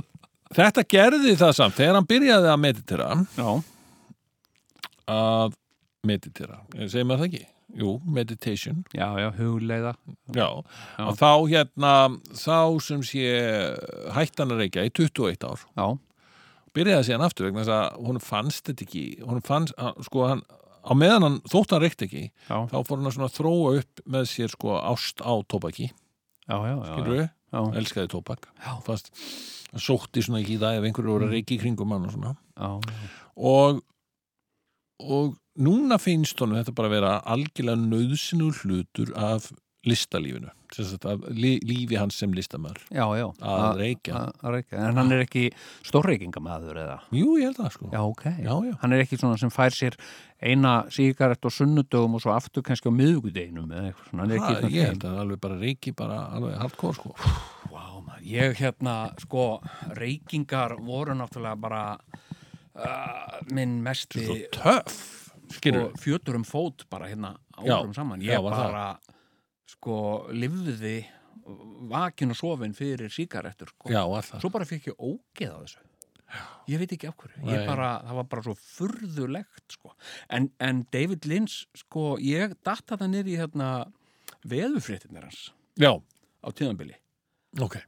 Speaker 1: þetta gerði það samt þegar hann byrjaði að meditera
Speaker 3: já,
Speaker 1: að meditera, segir maður það ekki? Jú, meditation
Speaker 3: já, já hugleiða.
Speaker 1: Já,
Speaker 3: Já.
Speaker 1: að þá hérna, þá sem sé hættan að reykja í 21 ár,
Speaker 3: Já,
Speaker 1: byrjaði síðan aftur vegna þess að hún fannst þetta ekki, hún fannst, að, sko hann, á meðan hann, þótt hann reykt ekki,
Speaker 3: já,
Speaker 1: þá fór hann að svona þróa upp með sér sko ást á tóbaki,
Speaker 3: já, já, já,
Speaker 1: skilur við,
Speaker 3: já,
Speaker 1: elskaði tóbak,
Speaker 3: Já.
Speaker 1: fast hann sótti svona ekki í það ef einhverju voru að reyki í kringum hann og svona.
Speaker 3: já,
Speaker 1: Og, og núna finnst honum þetta bara að vera algjörlega nöðsynur hlutur af listalífinu, sem sagt af li, lífi hans sem listamæður
Speaker 3: já, já,
Speaker 1: að reykja
Speaker 3: að að reykja. En hann er ekki stórreykingamæður eða?
Speaker 1: Jú, ég held það sko
Speaker 3: Já, ok.
Speaker 1: já, já.
Speaker 3: hann er ekki svona sem fær sér eina síkarett og sunnudögum og svo aftur kannski á miðugudeginum eða eitthvað svona, hann er ekki
Speaker 1: Ha,
Speaker 3: svona
Speaker 1: ég held að alveg bara reiki bara alveg hardcore sko
Speaker 3: Vá, maður, ég hérna, sko, reykingar voru náttúrulega bara uh, minn mesti
Speaker 1: Svo töff skilur
Speaker 3: og fjötur um fót bara hérna
Speaker 1: Já,
Speaker 3: árum saman
Speaker 1: já,
Speaker 3: ég
Speaker 1: var
Speaker 3: bara sko lifði vakin og sofin fyrir síkarettur sko.
Speaker 1: já, alltaf
Speaker 3: svo bara fikk ég ógeð á þessu ég veit ekki af hverju
Speaker 1: Nei.
Speaker 3: ég bara, það var bara svo furðulegt sko. en, en David Lynch sko, ég datta það nýr í hérna, veðufréttinir hans
Speaker 1: Já,
Speaker 3: á tíðanbili
Speaker 1: ok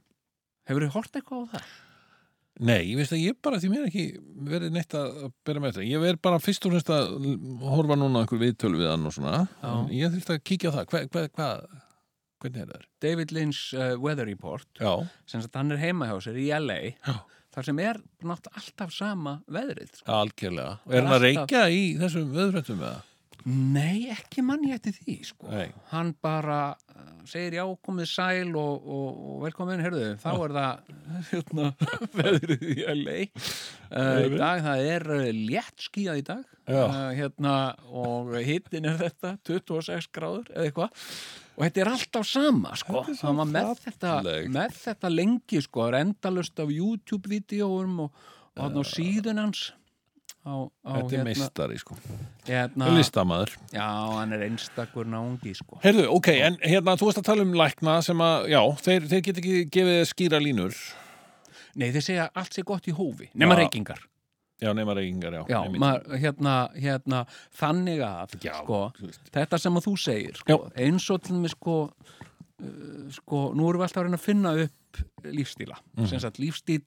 Speaker 3: hefur þið hort eitthvað á það?
Speaker 1: Nei, ég veist að ég bara því mér ekki verið neitt að að bera með þetta. Ég verð bara fyrst og fremst að l- horfa núna á einhver viðtölu við hann og svona.
Speaker 3: Já.
Speaker 1: En Ég þurft að kíkja á það. Hva, hva, hva, hvernig er það? er?
Speaker 3: David Lynch uh, Weather Report
Speaker 1: Já,
Speaker 3: sem sagt hann er heima hjá sér í LA
Speaker 1: Já.
Speaker 3: þar sem er nátt alltaf sama veðrið sko.
Speaker 1: algjörlega. Og
Speaker 3: Það er
Speaker 1: Er hann að
Speaker 3: alltaf-
Speaker 1: reykja í þessum vöðrættum með það?
Speaker 3: Nei, ekki mann ég eftir því sko.
Speaker 1: Nei.
Speaker 3: Hann bara uh, segir já, komið sæl og, og, og velkomin, herðu, þá er það hérna, veðrið í LA uh, í dag, það er uh, létt skíðað í dag
Speaker 1: Já.
Speaker 3: hérna, og hittin er þetta 26 gráður eða eitthvað og þetta er alltaf sama sko.
Speaker 1: Þetta er svo
Speaker 3: hann var með þetta,
Speaker 1: fallegt.
Speaker 3: með þetta lengi sko, það er endalust af YouTube-vídeóum og, og hann á síðun hans á, á
Speaker 1: Þetta er meistari, sko.
Speaker 3: hérna,
Speaker 1: Ah. Listamæður.
Speaker 3: Já, hann er einstakur náungi, sko.
Speaker 1: Herðu, ok, en hérna, þú veist að tala um lækna sem að, já, þeir, þeir get ekki gefið þér skýra línur.
Speaker 3: Nei, þeir segja allt sé gott í hófi, nema
Speaker 1: Já.
Speaker 3: reykingar.
Speaker 1: Já, nema reykingar, já.
Speaker 3: Já,
Speaker 1: Einmitt.
Speaker 3: maður, hérna, hérna, þannig að,
Speaker 1: Já,
Speaker 3: sko,
Speaker 1: þú veist.
Speaker 3: þetta sem að þú segir, sko, eins og til mig, sko, uh, sko, nú erum við alltaf að reyna að finna upp lífstíla. Sem sagt, lífstíl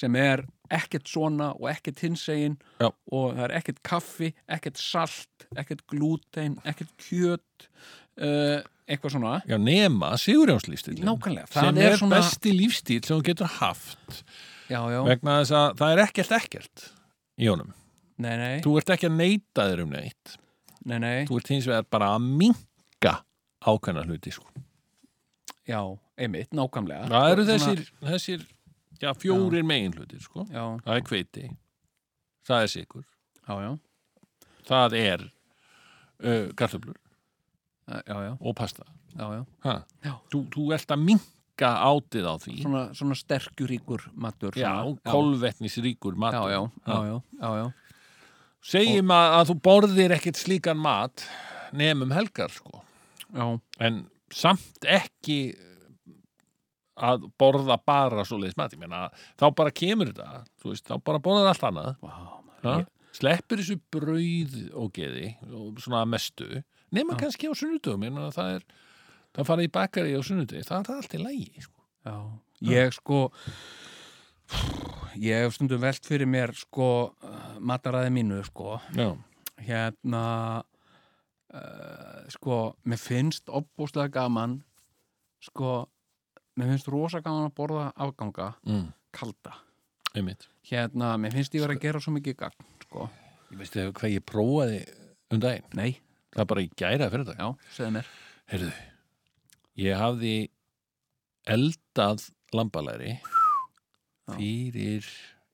Speaker 3: sem er ekkert svona og ekkert hinsegin
Speaker 1: Já.
Speaker 3: og það er ekkert kaffi, ekkert salt, ekkert glútein, ekkert kjöt, uh, eitthvað svona.
Speaker 1: Já, nema sigurjónslífstíl.
Speaker 3: Nákvæmlega,
Speaker 1: Sem
Speaker 3: það
Speaker 1: er,
Speaker 3: er svona-
Speaker 1: besti lífstíl sem þú getur haft.
Speaker 3: Já, já,
Speaker 1: vegna þess að það er ekkert ekkert í honum.
Speaker 3: nei, nei,
Speaker 1: Þú ert ekki að neyta þér um neitt.
Speaker 3: nei, nei,
Speaker 1: Þú ert hins vegar bara að minka ákveðna hluti. Sko.
Speaker 3: já, einmitt, nákvæmlega.
Speaker 1: Það eru
Speaker 3: Svona-
Speaker 1: þessir, þessir já, fjórir megin hluti. Sko.
Speaker 3: Já,
Speaker 1: Það er kveiti, það er sikur,
Speaker 3: já, já,
Speaker 1: það er uh, garðöflur
Speaker 3: Eh, já, já,
Speaker 1: og pasta.
Speaker 3: já, já.
Speaker 1: Ha.
Speaker 3: Já.
Speaker 1: Þú, þú ert að minka átið á því.
Speaker 3: Svona, svona sterkjuríkur matur.
Speaker 1: Já,
Speaker 3: svona.
Speaker 1: kolvetnisríkur mat.
Speaker 3: Já, já, já, já, já, já.
Speaker 1: Segjum að, að þú borðir ekkert slíkan mat nefnum helgar, sko.
Speaker 3: Já,
Speaker 1: en samt ekki að borða bara svo leiðis mat, ég meina þá bara kemur þetta, þú veist, þá bara borðar allt annað,
Speaker 3: vá, maður.
Speaker 1: ha? sleppir þessu brauð og geði og svona að mestu, nema kannski á sunnudögum, ég meina það er það fara í bakari á sunnudegi, það er allt í lægi sko.
Speaker 3: Já, ég sko, ég hef stundum velt fyrir mér, sko, uh, mataræði mínu, sko,
Speaker 1: Já,
Speaker 3: hérna, uh, sko, mér finnst opbúslega gaman, sko, mér finnst rosa gaman að borða afganga,
Speaker 1: mm,
Speaker 3: kalda.
Speaker 1: einmitt
Speaker 3: Hérna, mér finnst ég vera að gera svo mikið gagn, sko.
Speaker 1: Ég veist þið hvað ég prófaði um daginn,
Speaker 3: Nei,
Speaker 1: það er bara í gæra fyrir dag
Speaker 3: já, segðu mér.
Speaker 1: Heyrðu, ég hafði eldað lambalæri
Speaker 3: Já.
Speaker 1: fyrir,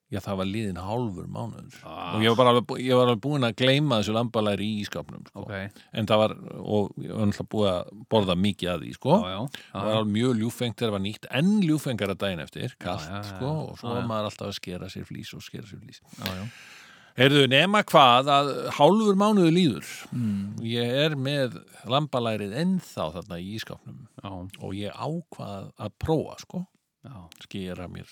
Speaker 1: já það var liðin hálfur mánuður
Speaker 3: Ah.
Speaker 1: og ég var, bara, alveg bú- ég var alveg búin að gleyma þessu lambalæri í ískapnum sko.
Speaker 3: Ok, já,
Speaker 1: en það var, og ég var náttúrulega búið að borða mikið að því sko.
Speaker 3: já, já,
Speaker 1: það var alveg mjög ljúfengt þegar það var nýtt en ljúfengara daginn eftir, kallt
Speaker 3: já, já.
Speaker 1: sko, og svo
Speaker 3: Já,
Speaker 1: var
Speaker 3: já.
Speaker 1: maður alltaf að skera sér flís og skera sér flís
Speaker 3: já, já.
Speaker 1: Heyrðu, nema hvað að hálfur mánuður líður
Speaker 3: Mm,
Speaker 1: ég er með lambalærið ennþá þarna í ískapnum
Speaker 3: já,
Speaker 1: og ég ákvað að prófa sko,
Speaker 3: já,
Speaker 1: skera mér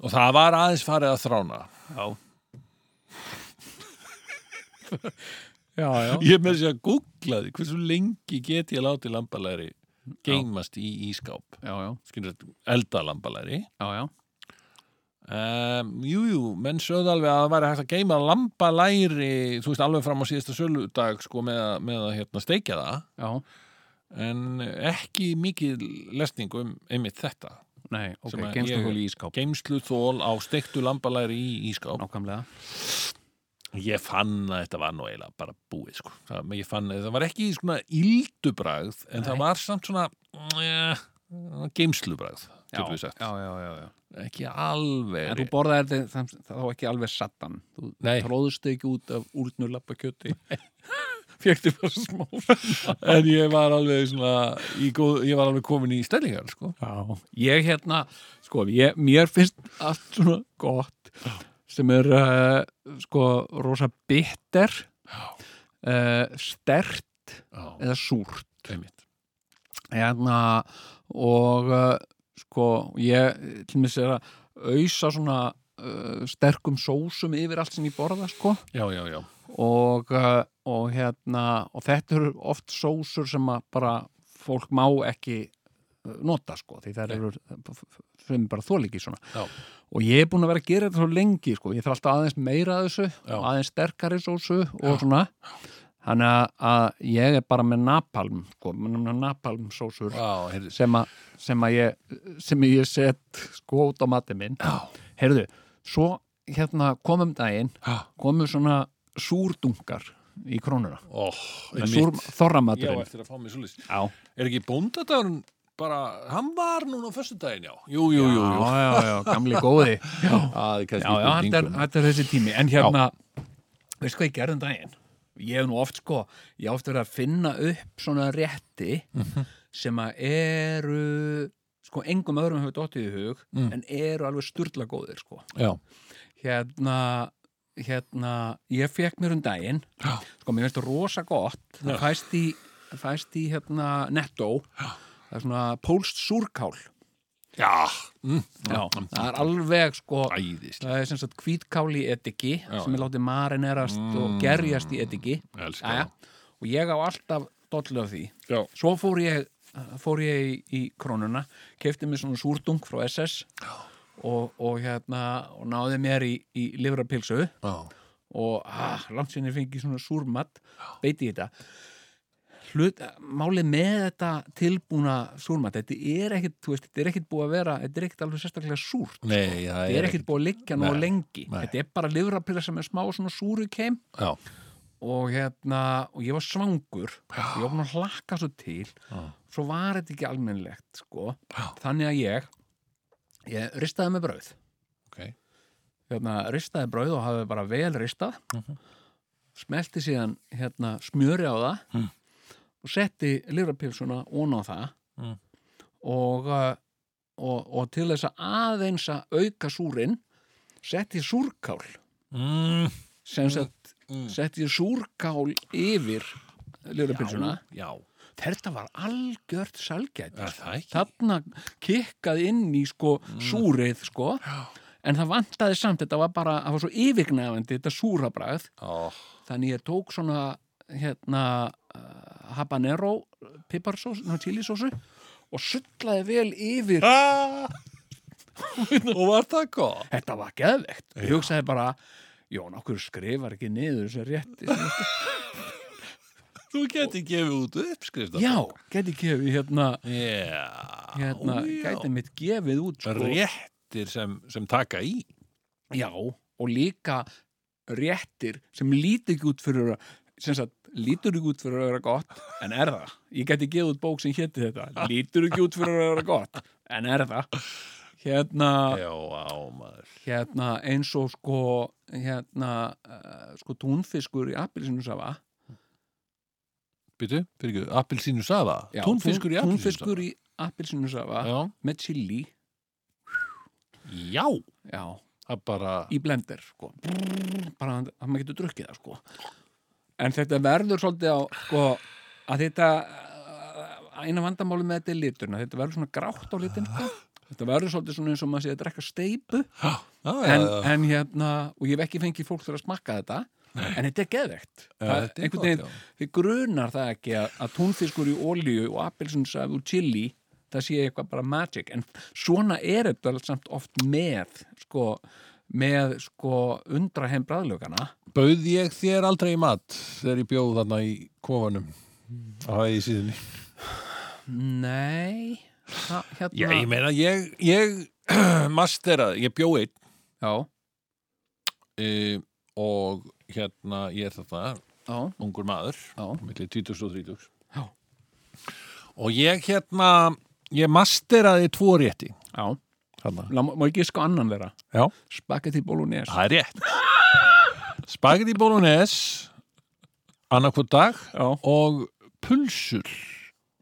Speaker 1: og það var aðeins farið að þrána
Speaker 3: já. já, já.
Speaker 1: ég með þess að googlaði hversu lengi get ég látið lambalæri geimast í ískáp
Speaker 3: Já, já,
Speaker 1: skilur elda lambalæri
Speaker 3: já, já.
Speaker 1: um, jú, jú, menn sögðu alveg að það væri hægt að geima lambalæri þú veist alveg fram á síðasta söludag sko með, að- með að hérna steikja það
Speaker 3: Já,
Speaker 1: en ekki mikið lesning um einmitt þetta
Speaker 3: nei, ok,
Speaker 1: Sem að
Speaker 3: geimstu
Speaker 1: ég-
Speaker 3: hól í ískáp
Speaker 1: geimslu þól á steiktu lambalæri í ískáp
Speaker 3: Nákvæmlega
Speaker 1: Ég fann að þetta var nú eiginlega bara búið sko. það, ég fann að það var ekki svona yldubragð en
Speaker 3: Nei.
Speaker 1: það var samt svona eh, geimslubragð getum við sagt,
Speaker 3: já, já, já, já.
Speaker 1: ekki alveg
Speaker 3: En þú borðaði þetta sem- þá ekki alveg sattan Þú
Speaker 1: Nei.
Speaker 3: tróðust ekki út af úlnur lappakjöti Fjökti bara smá
Speaker 1: en ég var alveg svona í góð, ég var alveg komin í stellingar sko.
Speaker 3: Já, ég hérna Sko, ég, mér finnst allt svona gott sem er uh, sko rosa bitter uh, stert
Speaker 1: já,
Speaker 3: eða súrt einmitt
Speaker 1: einmitt.
Speaker 3: hérna og uh, sko ég til mér sér að ausa svona uh, sterkum sósum yfir allt sem ég borða sko
Speaker 1: Já, já, já.
Speaker 3: og, uh, og hérna og þetta eru oft sósur sem að bara fólk má ekki uh, nota sko því það
Speaker 1: Nei.
Speaker 3: eru sem bara þóliki svona
Speaker 1: Já.
Speaker 3: og ég er búin að vera að gera þetta svo lengi sko ég þarf alltaf aðeins meira að þessu
Speaker 1: Já.
Speaker 3: og aðeins sterkari sósu og
Speaker 1: Já.
Speaker 3: svona þannig að- að ég er bara með napalm sko, með napalm sósur
Speaker 1: Vá, heyrðu.
Speaker 3: sem, að- sem að ég sem ég set sko út á matið minn
Speaker 1: Já.
Speaker 3: heyrðu, svo hérna komum daginn
Speaker 1: Já.
Speaker 3: komum svona súrdungar í krónuna
Speaker 1: Ó, Oh,
Speaker 3: Súr,
Speaker 1: einmitt. Ég á
Speaker 3: þorramaturinn
Speaker 1: eftir að fá mér svolítið.
Speaker 3: já,
Speaker 1: Er ekki bóndadagurinn bara, hann var núna á föstudaginn, já. Jú, jú, jú, jú.
Speaker 3: já, já, já, gamli góði já,
Speaker 1: Það er
Speaker 3: já,
Speaker 1: kannski
Speaker 3: já þetta, er,
Speaker 1: spurningum.
Speaker 3: þetta er þessi tími en hérna, veistu hvað ég gerði um daginn ég hef nú oft sko ég hef oft verið að finna upp svona rétti
Speaker 1: Mhm.
Speaker 3: sem að eru sko engum öðrum hefur dottið í hug
Speaker 1: Mm.
Speaker 3: en eru alveg sturla góðir sko
Speaker 1: Já.
Speaker 3: hérna hérna, ég fekk mér um daginn
Speaker 1: Já.
Speaker 3: sko, mér finnst rosa gott
Speaker 1: Já.
Speaker 3: það fæst í, það fæst í hérna, netto Já. það er svona pólst súrkál
Speaker 1: Já. Mm.
Speaker 3: Já. það er alveg sko
Speaker 1: Æðislega.
Speaker 3: það er sem sagt kvítkál í etiki
Speaker 1: Já,
Speaker 3: sem er látið marinerast og
Speaker 1: Mm.
Speaker 3: gerjast í etiki
Speaker 1: Elskar
Speaker 3: Aja.
Speaker 1: það.
Speaker 3: og ég á alltaf dollu af því
Speaker 1: Já.
Speaker 3: svo fór ég, fór ég í, í krónuna kefti mér svona súrdung frá SS og, og hérna og náði mér í, í livrapilsu
Speaker 1: Já.
Speaker 3: og ah, langt sinni fengi svona súrmat beiti í þetta Hlut, málið með þetta tilbúna súrmat þetta er ekkit, þú veist, þetta er ekkit búið að vera þetta er ekkit alveg sérstaklega súrt
Speaker 1: Nei, það
Speaker 3: þetta er ekkit búið að liggja nú
Speaker 1: Nei,
Speaker 3: lengi
Speaker 1: nei.
Speaker 3: þetta er bara livrapilla sem er smá svona súru keim
Speaker 1: Já.
Speaker 3: og hérna, og ég var svangur og ég var búin að hlakka svo til
Speaker 1: Já.
Speaker 3: svo var þetta ekki almennlegt sko.
Speaker 1: Já.
Speaker 3: þannig að ég ég ristaði með brauð
Speaker 1: Ok.
Speaker 3: hérna, ristaði brauð og hafði bara vel ristað
Speaker 1: Mhm.
Speaker 3: smelti síðan hérna, smjöri á það
Speaker 1: Mm.
Speaker 3: og setti lirapilsuna ón á það
Speaker 1: Mm.
Speaker 3: og, uh, og, og til þess að aðeins að auka súrin setti ég súrkál
Speaker 1: Mm.
Speaker 3: sem sett,
Speaker 1: Mm.
Speaker 3: setti ég súrkál yfir lirapilsuna
Speaker 1: Já.
Speaker 3: þetta var algjört salgæti
Speaker 1: Er það ekki?
Speaker 3: þarna kikkað inn í sko
Speaker 1: Mm.
Speaker 3: súrið sko
Speaker 1: Já.
Speaker 3: en það vantaði samt, þetta var bara það var svo yfirgnæfandi, þetta súrabræð
Speaker 1: Ó,
Speaker 3: þannig ég tók svona hérna uh, habanero piparsós, ná chilisósu og sullaði vel yfir
Speaker 1: Ah! og var það gott
Speaker 3: þetta var geðvegt ég
Speaker 1: Já.
Speaker 3: hugsaði bara, jón, okkur skrifar ekki niður þessu rétti
Speaker 1: þú geti gefið út uppskrift
Speaker 3: já, gæti gefið hérna,
Speaker 1: yeah.
Speaker 3: hérna gæti mitt gefið út sko.
Speaker 1: réttir sem, sem taka í
Speaker 3: Já, og líka réttir sem lítur ekki út fyrir að sem sagt, lítur ekki út fyrir að vera gott en er það. Ég gæti gefið út bók sem héti þetta. Lítur ekki út fyrir að vera gott en er það. Hérna,
Speaker 1: já, á maður
Speaker 3: hérna eins og sko hérna, uh, sko túnfiskur í appelsinusafa.
Speaker 1: Býtu, fyrir ekki, appelsínu safa túnfiskur í appelsínu
Speaker 3: Túnfiskur í appelsinusafa
Speaker 1: já.
Speaker 3: með chili,
Speaker 1: já,
Speaker 3: já,
Speaker 1: það bara
Speaker 3: í blender, sko. Bara að að maður getur drukkið það, sko. En þetta verður svolítið á, sko, að þetta, uh, eina vandamáli með þetta er liturna, þetta verður svona grátt á litin, sko. Þetta verður svolítið svona eins og maður sé að drekka steipu,
Speaker 1: ah,
Speaker 3: en, en hérna, og ég hef ekki fengið fólk til að smakka þetta, en þetta er geðvegt. Það- einhvern veginn, þið grunar það ekki að, að túnfiskur í olíu og appelsinsaf úr chili, það sé eitthvað bara magic, en svona er þetta samt oft með, sko, með, sko, undraheim bræðlögana.
Speaker 1: bauð ég þér aldrei í mat þegar ég bjóð þarna í kofanum á hæði síðinni
Speaker 3: Nei, ha, hérna,
Speaker 1: Já, ég meina, ég, ég masteraði, ég bjóð einn
Speaker 3: já,
Speaker 1: e, og hérna ég er þetta
Speaker 3: já,
Speaker 1: ungur maður
Speaker 3: já,
Speaker 1: millir 20 og 30
Speaker 3: Já.
Speaker 1: og ég hérna ég masteraði tvo rétti
Speaker 3: já,
Speaker 1: þarna.
Speaker 3: Lá, má ég giska á annan þeirra?
Speaker 1: Já.
Speaker 3: Spagetti bolognese.
Speaker 1: það er rétt spagetti bolognese annarkvot dag
Speaker 3: Já,
Speaker 1: og pulsur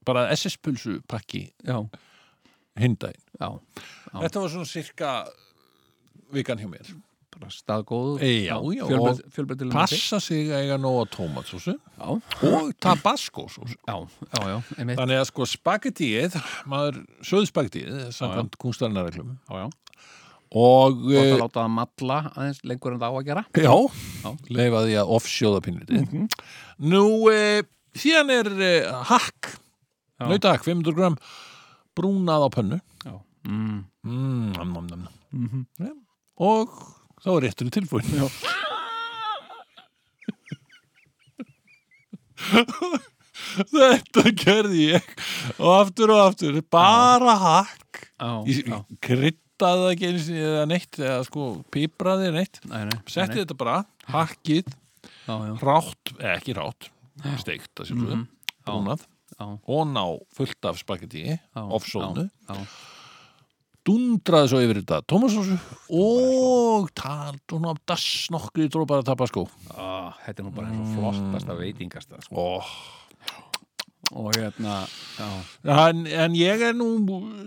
Speaker 1: bara SS pulsu pakki
Speaker 3: já,
Speaker 1: hindaginn
Speaker 3: já, Já.
Speaker 1: þetta var svona cirka vikan hjá mér
Speaker 3: staðgóð
Speaker 1: E, já, já,
Speaker 3: fjölbreyt, fjölbreytileg mati.
Speaker 1: Passa sig að eiga nóga tómatsósu
Speaker 3: já,
Speaker 1: og tabascosósu.
Speaker 3: já, já, já, einmitt
Speaker 1: Þannig að sko spagettíið, maður söðu spagettíið, samkvæmt kúnstarinnarreglum
Speaker 3: já, já.
Speaker 1: og
Speaker 3: gott
Speaker 1: eh,
Speaker 3: að láta það malla aðeins lengur en það á að gera
Speaker 1: já,
Speaker 3: Já. Mhm.
Speaker 1: leifa því að offsjóða pínliti. Nú, e, síðan er e, hakk,
Speaker 3: Já.
Speaker 1: nautahakk, 500 gram, brúnað á pönnu
Speaker 3: já, mm.
Speaker 1: mm, nam, nam, nam.
Speaker 3: Mm -hmm.
Speaker 1: og þá er rétturinn tilbúin.
Speaker 3: já.
Speaker 1: Þetta gerði ég og aftur og aftur, bara hakk.
Speaker 3: Já,
Speaker 1: Ég
Speaker 3: já,
Speaker 1: kryddaði það ekki einu sinni eða neitt eða sko pipraði neitt
Speaker 3: nei, nei,
Speaker 1: setti
Speaker 3: nei,
Speaker 1: þetta bara, hakkið,
Speaker 3: já, já,
Speaker 1: rátt eða ekki rátt, steikt að sjálfsögðu,
Speaker 3: Mhm. Já.
Speaker 1: brúnað
Speaker 3: já,
Speaker 1: og ná fullt af spagetti
Speaker 3: já,
Speaker 1: offsóðnu,
Speaker 3: já, já,
Speaker 1: dundraði svo yfir þetta tómasósu og talt og ná dass nokkri drópar að tapa sko
Speaker 3: Ah, þetta er nú bara eins og flottasta veitingasta sko.
Speaker 1: Oh.
Speaker 3: og hérna já,
Speaker 1: en, en ég er nú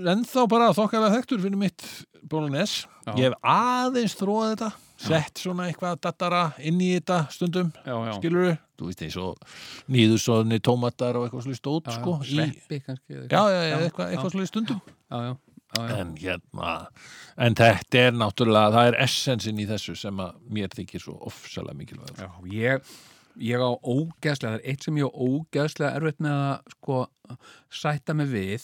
Speaker 1: ennþá bara þokkalega þekktur fyrir mitt bólunes,
Speaker 3: Já.
Speaker 1: ég hef aðeins þróað þetta, sett svona eitthvað dattara inn í þetta stundum
Speaker 3: já, já,
Speaker 1: skilur við, þú veist eins og nýðursóðni tómatar og eitthvað slúið stótt
Speaker 3: já,
Speaker 1: sko, í,
Speaker 3: sveppi kannski eða
Speaker 1: já,
Speaker 3: eitthvað.
Speaker 1: já, já, eitthvað, eitthvað slúið stundum
Speaker 3: já, já, já, já,
Speaker 1: en hérna, en þetta er náttúrulega, það er essensin í þessu sem að mér þykir svo ofsalega mikilvægur
Speaker 3: já, ég ég á ógeðslega, það er eitt sem ég á ógeðslega erfitt með að sko sætta mig við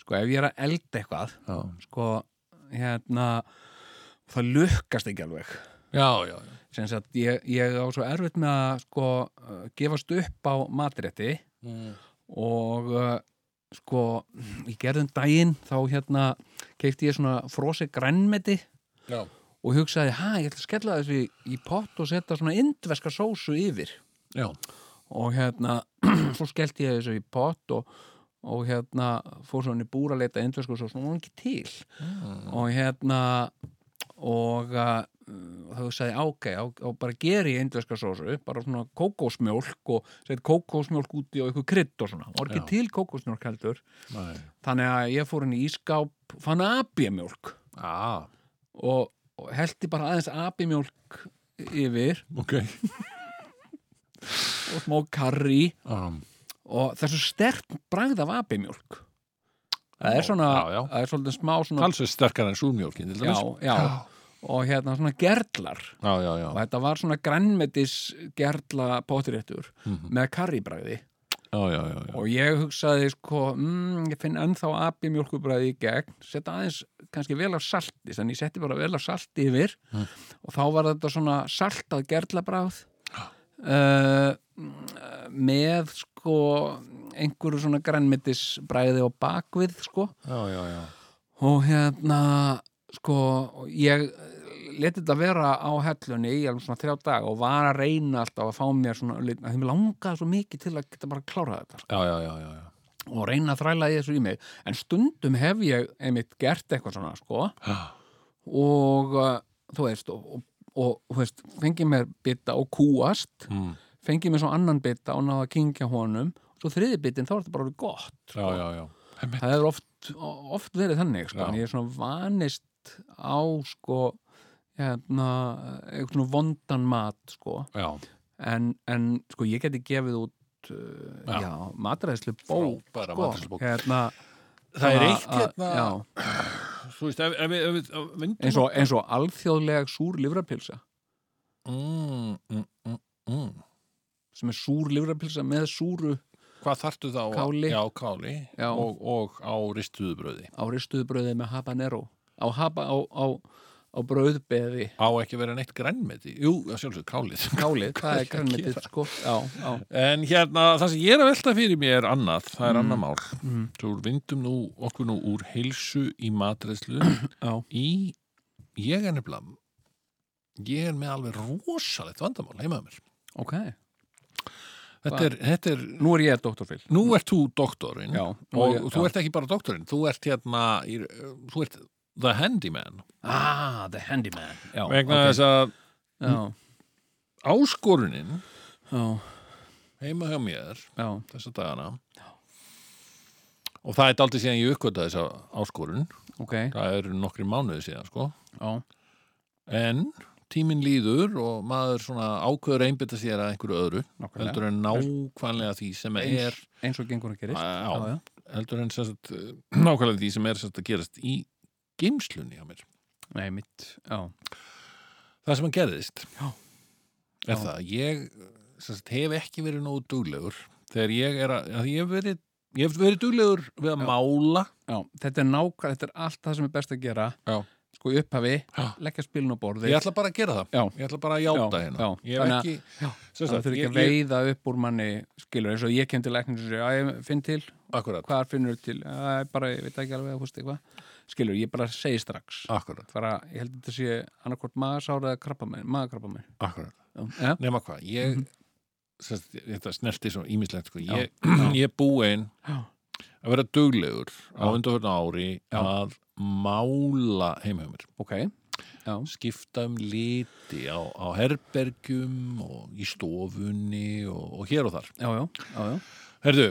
Speaker 3: sko ef ég er að elda eitthvað
Speaker 1: já,
Speaker 3: sko hérna það lukkast ekki alveg
Speaker 1: já, já, já.
Speaker 3: sem sagt ég, ég á svo erfitt með að sko uh, gefast upp á matrétti
Speaker 1: Mm.
Speaker 3: og uh, sko í gerðum daginn þá hérna keipti ég svona frosi grænmeti
Speaker 1: Já.
Speaker 3: og hugsaði, hæ, ég ætla að skella þessu í, í pott og setja svona indveska sósu yfir
Speaker 1: Já,
Speaker 3: og hérna svo skellti ég þessu í pott og, og hérna fór svo hann í búr að leita indversku svo svona hún var ekki til og hérna og uh, þá sagði ég, ok, og, og bara geri ég indverska sósu, bara svona kókósmjólk og seti kókósmjólk úti og eitthvað krydd og svona, og var
Speaker 1: Já.
Speaker 3: ekki til kókósmjólk heldur
Speaker 1: næ,
Speaker 3: þannig að ég fór henni í skáp fann abjamjólk
Speaker 1: á,
Speaker 3: og, og heldi bara aðeins abjamjólk yfir
Speaker 1: ok
Speaker 3: og smá karri
Speaker 1: um,
Speaker 3: og þessu stert bragð af abimjólk það er
Speaker 1: Já,
Speaker 3: svona,
Speaker 1: já, já.
Speaker 3: það er svolítið smá svona,
Speaker 1: talsveg sterkar en súrmjólkin til
Speaker 3: já,
Speaker 1: dæmis.
Speaker 3: já, og hérna svona gerlar
Speaker 1: já, já, já,
Speaker 3: og þetta var svona grænmetis gerla potréttur
Speaker 1: Mhm.
Speaker 3: með karribræði
Speaker 1: já, já, já, já.
Speaker 3: og ég hugsaði sko, mm, ég finn ennþá abimjólkubræði í gegn, setja aðeins kannski vel af salti, þannig ég setti bara vel af salti yfir og þá var þetta svona saltað gerlabráð uh, með sko einhverju svona grænmetisbræði og bakvið sko
Speaker 1: já, já, já.
Speaker 3: og hérna sko ég leti þetta vera á hellunni í alveg svona þrjá dag og var að reyna alltaf að fá mér svona að því mér langaði svo mikið til að geta bara að klára þetta
Speaker 1: Já, já, já, já, já.
Speaker 3: og reyna að þræla í þessu í mig en stundum hef ég einmitt gert eitthvað svona sko
Speaker 1: Já.
Speaker 3: og uh, þú veist og, og, og þú veist, fengið mér bita og kúast
Speaker 1: Mm.
Speaker 3: fengið mér svo annan bita og náða að kingja honum svo þriði bitin þá er þetta bara orðið gott
Speaker 1: já, já, já. Einmitt.
Speaker 3: það er oft, oft verið þannig sko.
Speaker 1: Já.
Speaker 3: en ég er svona vanist á sko hérna, eitthvað svona vondan mat sko
Speaker 1: Já,
Speaker 3: en, en sko ég geti gefið út uh,
Speaker 1: Já.
Speaker 3: já, já matræðslu bók
Speaker 1: frábæra
Speaker 3: sko,
Speaker 1: matreiðslubók.
Speaker 3: hérna
Speaker 1: Það er
Speaker 3: að-
Speaker 1: eitt
Speaker 3: að-
Speaker 1: hérna-
Speaker 3: já,
Speaker 1: Þú veist, ef, ef, við- ef, við- ef, myndum
Speaker 3: eins, og, eins og alþjóðlega súr livrapilsa
Speaker 1: mm, mm, mm, mm.
Speaker 3: sem er súr livrapilsa með súru
Speaker 1: Hvað þartu þá? á-
Speaker 3: Káli.
Speaker 1: Já, káli
Speaker 3: Já.
Speaker 1: Og, og á ristuðubröði.
Speaker 3: á ristuðbröði með habanero á, haba, á, á, á bröðbeði
Speaker 1: Á ekki að vera neitt grænmeti. Jú, að sjálfsög, kálið.
Speaker 3: kálið, það er
Speaker 1: Hvað er að
Speaker 3: grænmetið sko já, já,
Speaker 1: En hérna, það sem ég er að velta fyrir mér er annað, það er annað mál. Mm. Þú vindum nú okkur nú úr heilsu í matreislu
Speaker 3: já,
Speaker 1: í, ég er nefnilega, ég er með alveg rosalegt vandamál heimaða mér.
Speaker 3: ok
Speaker 1: Þetta
Speaker 3: Hvað?
Speaker 1: er, þetta er,
Speaker 3: nú er ég doktorfil
Speaker 1: nú ert þú doktorinn
Speaker 3: já,
Speaker 1: og
Speaker 3: ég,
Speaker 1: þú
Speaker 3: já.
Speaker 1: ert ekki bara doktorinn, þú ert hérna, í, þú ert the handyman.
Speaker 3: ah, the handyman já,
Speaker 1: Vegna
Speaker 3: ok.
Speaker 1: þess að
Speaker 3: já,
Speaker 1: áskorunin
Speaker 3: já,
Speaker 1: heima hjá mér
Speaker 3: já,
Speaker 1: þessa dagana og það er daldið síðan ég uppkvöta þessa áskorun
Speaker 3: ok já,
Speaker 1: það eru nokkri mánuði síðan sko en tíminn líður og maður svona ákveður að einbytta sér að einhverju öðru heldur en nákvæmlega því sem er
Speaker 3: eins, eins og gengur að gerist
Speaker 1: á,
Speaker 3: já, já.
Speaker 1: heldur en sem sagt, eh, nákvæmlega því sem er sem sagt, að gerast í geimslunni á mér
Speaker 3: Nei, mitt, já
Speaker 1: það sem að gerðist
Speaker 3: Já.
Speaker 1: er
Speaker 3: Já.
Speaker 1: það að ég sem sagt, hef ekki verið nógu duglegur þegar ég er að, að ég hef verið ég hef verið duglegur við að
Speaker 3: Já.
Speaker 1: mála
Speaker 3: Já, þetta er nákvæm, þetta er allt það sem er best að gera
Speaker 1: Já.
Speaker 3: sko í upphafi,
Speaker 1: Já.
Speaker 3: leggja spilin á borði
Speaker 1: ég ætla bara að gera það
Speaker 3: Já.
Speaker 1: ég ætla bara að játa
Speaker 3: Já,
Speaker 1: hérna
Speaker 3: já.
Speaker 1: ég hef
Speaker 3: Þannig að-
Speaker 1: ekki
Speaker 3: Já.
Speaker 1: sem
Speaker 3: það
Speaker 1: sagt,
Speaker 3: þurfi ekki
Speaker 1: ég,
Speaker 3: að
Speaker 1: ég,
Speaker 3: veiða upp úr manni skilur eins og ég kem til læknir og segja, að ég finn til,
Speaker 1: akkurat,
Speaker 3: hvað finnur til að, bara, ég veit ekki alveg að húst eitthvað skilur, ég bara segi strax
Speaker 1: akkurat,
Speaker 3: bara, ég held að þetta sé annarkvort magasára eða krabba minn, magakrabba minn
Speaker 1: akkurat.
Speaker 3: Já,
Speaker 1: nema hvað, ég sem sagt, þetta snerti svo ímislegt sko.
Speaker 3: Mhm. Já.
Speaker 1: ég, ég er búinn
Speaker 3: Já.
Speaker 1: að vera duglegur á
Speaker 3: Já.
Speaker 1: undanförna ári
Speaker 3: Já.
Speaker 1: að mála heimhjumir
Speaker 3: ok Já,
Speaker 1: skipta um liti á, á herbergjum og í stofunni og, og hér og þar
Speaker 3: já, já, já, já.
Speaker 1: Herðu,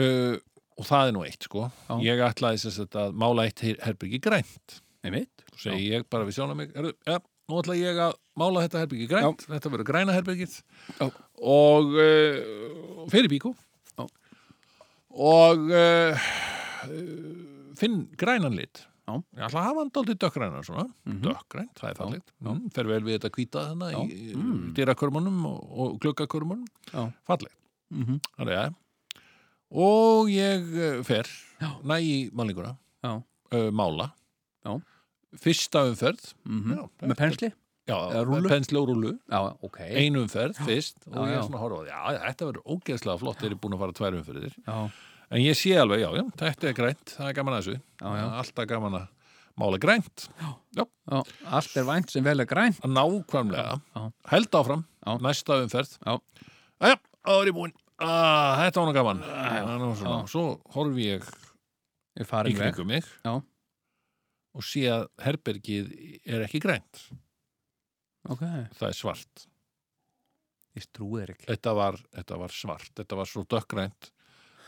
Speaker 1: uh, og það er nú eitt sko
Speaker 3: Já.
Speaker 1: ég ætlaði sem sagt, að mála eitt her- herbergi grænt
Speaker 3: Nei, mitt
Speaker 1: og segi ég bara við sjónum mig herðu, ja, nú ætla ég að mála þetta herbergi grænt þetta verður græna herbergið
Speaker 3: Já.
Speaker 1: og uh, fyrir bíku
Speaker 3: Já.
Speaker 1: og uh, finn grænan lit
Speaker 3: Já.
Speaker 1: ég ætla að hafa hann daldið dökkgrænan svona
Speaker 3: Mhm.
Speaker 1: dökkgrænt, það er
Speaker 3: Já.
Speaker 1: fallegt
Speaker 3: Já.
Speaker 1: mm, fer vel við þetta hvíta þarna
Speaker 3: Já.
Speaker 1: í mm.
Speaker 3: Mm.
Speaker 1: dyrakörmunum og, og gluggakörmunum
Speaker 3: Já.
Speaker 1: fallegt,
Speaker 3: mm -hmm.
Speaker 1: það er ég og ég eh, fer
Speaker 3: Já.
Speaker 1: næ í málinguna
Speaker 3: Já.
Speaker 1: uh, mála
Speaker 3: Já.
Speaker 1: fyrsta umferð Já,
Speaker 3: mhm. Með pensli?
Speaker 1: Já,
Speaker 3: Eða rúllu?
Speaker 1: pensli og rúlu,
Speaker 3: Já, ok
Speaker 1: einu umferð fyrst og
Speaker 3: Já,
Speaker 1: ég
Speaker 3: já.
Speaker 1: er svona að horfa á því, já, þetta verður ógeðslega flott þeir eru búin að fara tvær umferðir
Speaker 3: Já,
Speaker 1: en ég sé alveg, já, já, þetta er grænt, það er gaman að þessu
Speaker 3: já, já,
Speaker 1: alltaf gaman að mála grænt
Speaker 3: já Allt er vænt sem vel er græn
Speaker 1: að nákvæmlega,
Speaker 3: Já, já.
Speaker 1: held áfram
Speaker 3: Já.
Speaker 1: næsta umferð
Speaker 3: Já.
Speaker 1: Jæja, þá er ég búin, ah, þetta var nú gaman ah, nú, svona.
Speaker 3: Já.
Speaker 1: svo horfi ég
Speaker 3: Ég
Speaker 1: í
Speaker 3: farin veg
Speaker 1: kringum mig
Speaker 3: Já.
Speaker 1: og sé að herbergið er ekki grænt
Speaker 3: Ok,
Speaker 1: það er svart,
Speaker 3: ég strúið er ekki
Speaker 1: þetta var, þetta var svart þetta var svo dökkgrænt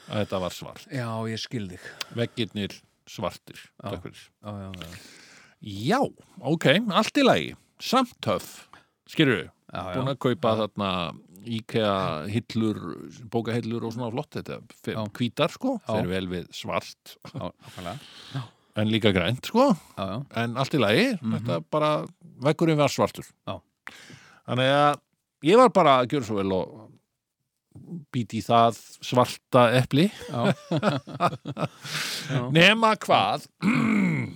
Speaker 1: að þetta var svart
Speaker 3: Já, ég skil þig
Speaker 1: veggirnir svartir
Speaker 3: Já.
Speaker 1: dökkir.
Speaker 3: Já, já, já,
Speaker 1: já, ok, allt í lagi samt töff, skilur
Speaker 3: já, já.
Speaker 1: búin að kaupa þarna IKEA hillur, bókahillur og svona flott þetta, fe-
Speaker 3: Já.
Speaker 1: hvítar sko
Speaker 3: Já.
Speaker 1: þeir vel við svart
Speaker 3: já, nákvæmlega.
Speaker 1: en líka grænt sko
Speaker 3: já, já,
Speaker 1: en allt í lagi,
Speaker 3: Mhm.
Speaker 1: þetta bara vekkurinn var svartur
Speaker 3: Já.
Speaker 1: þannig að ég var bara að gjöra svo vel og býti í það svarta epli
Speaker 3: já. já.
Speaker 1: nema hvað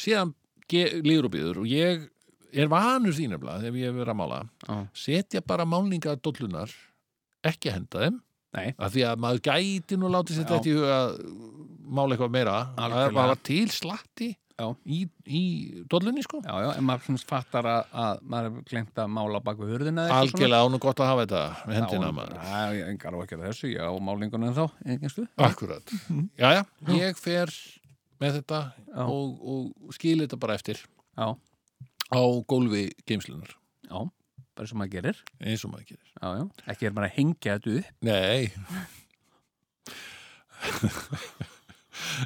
Speaker 1: síðan ge- líður og býður og ég er vanur því nefnilega ef ég hef verið að mála
Speaker 3: Já.
Speaker 1: setja bara málninga dollunar ekki að henda þeim
Speaker 3: Nei.
Speaker 1: af því að maður gæti nú látið sér
Speaker 3: Já.
Speaker 1: þetta í huga að mála eitthvað meira að
Speaker 3: Algjörlega.
Speaker 1: það var til slatti
Speaker 3: Já.
Speaker 1: í, í dollunni sko
Speaker 3: Já, já, en maður svona fattar að, að maður hefur glemt að mála bak við hurðina eða eitthvað svona.
Speaker 1: algjörlega án og gott að hafa þetta með hendina
Speaker 3: Já,
Speaker 1: maður
Speaker 3: Já, ég engar á ekki að þessu, já, málingunum en þá, einhverstu
Speaker 1: akkurat, jæja, ég fer með þetta
Speaker 3: Já.
Speaker 1: og, og skil þetta bara eftir
Speaker 3: Já,
Speaker 1: á gólfi geimslunar
Speaker 3: já, bara sem maður gerir
Speaker 1: eins og maður gerir
Speaker 3: Já, já, ekki er maður að hengja þetta upp
Speaker 1: Nei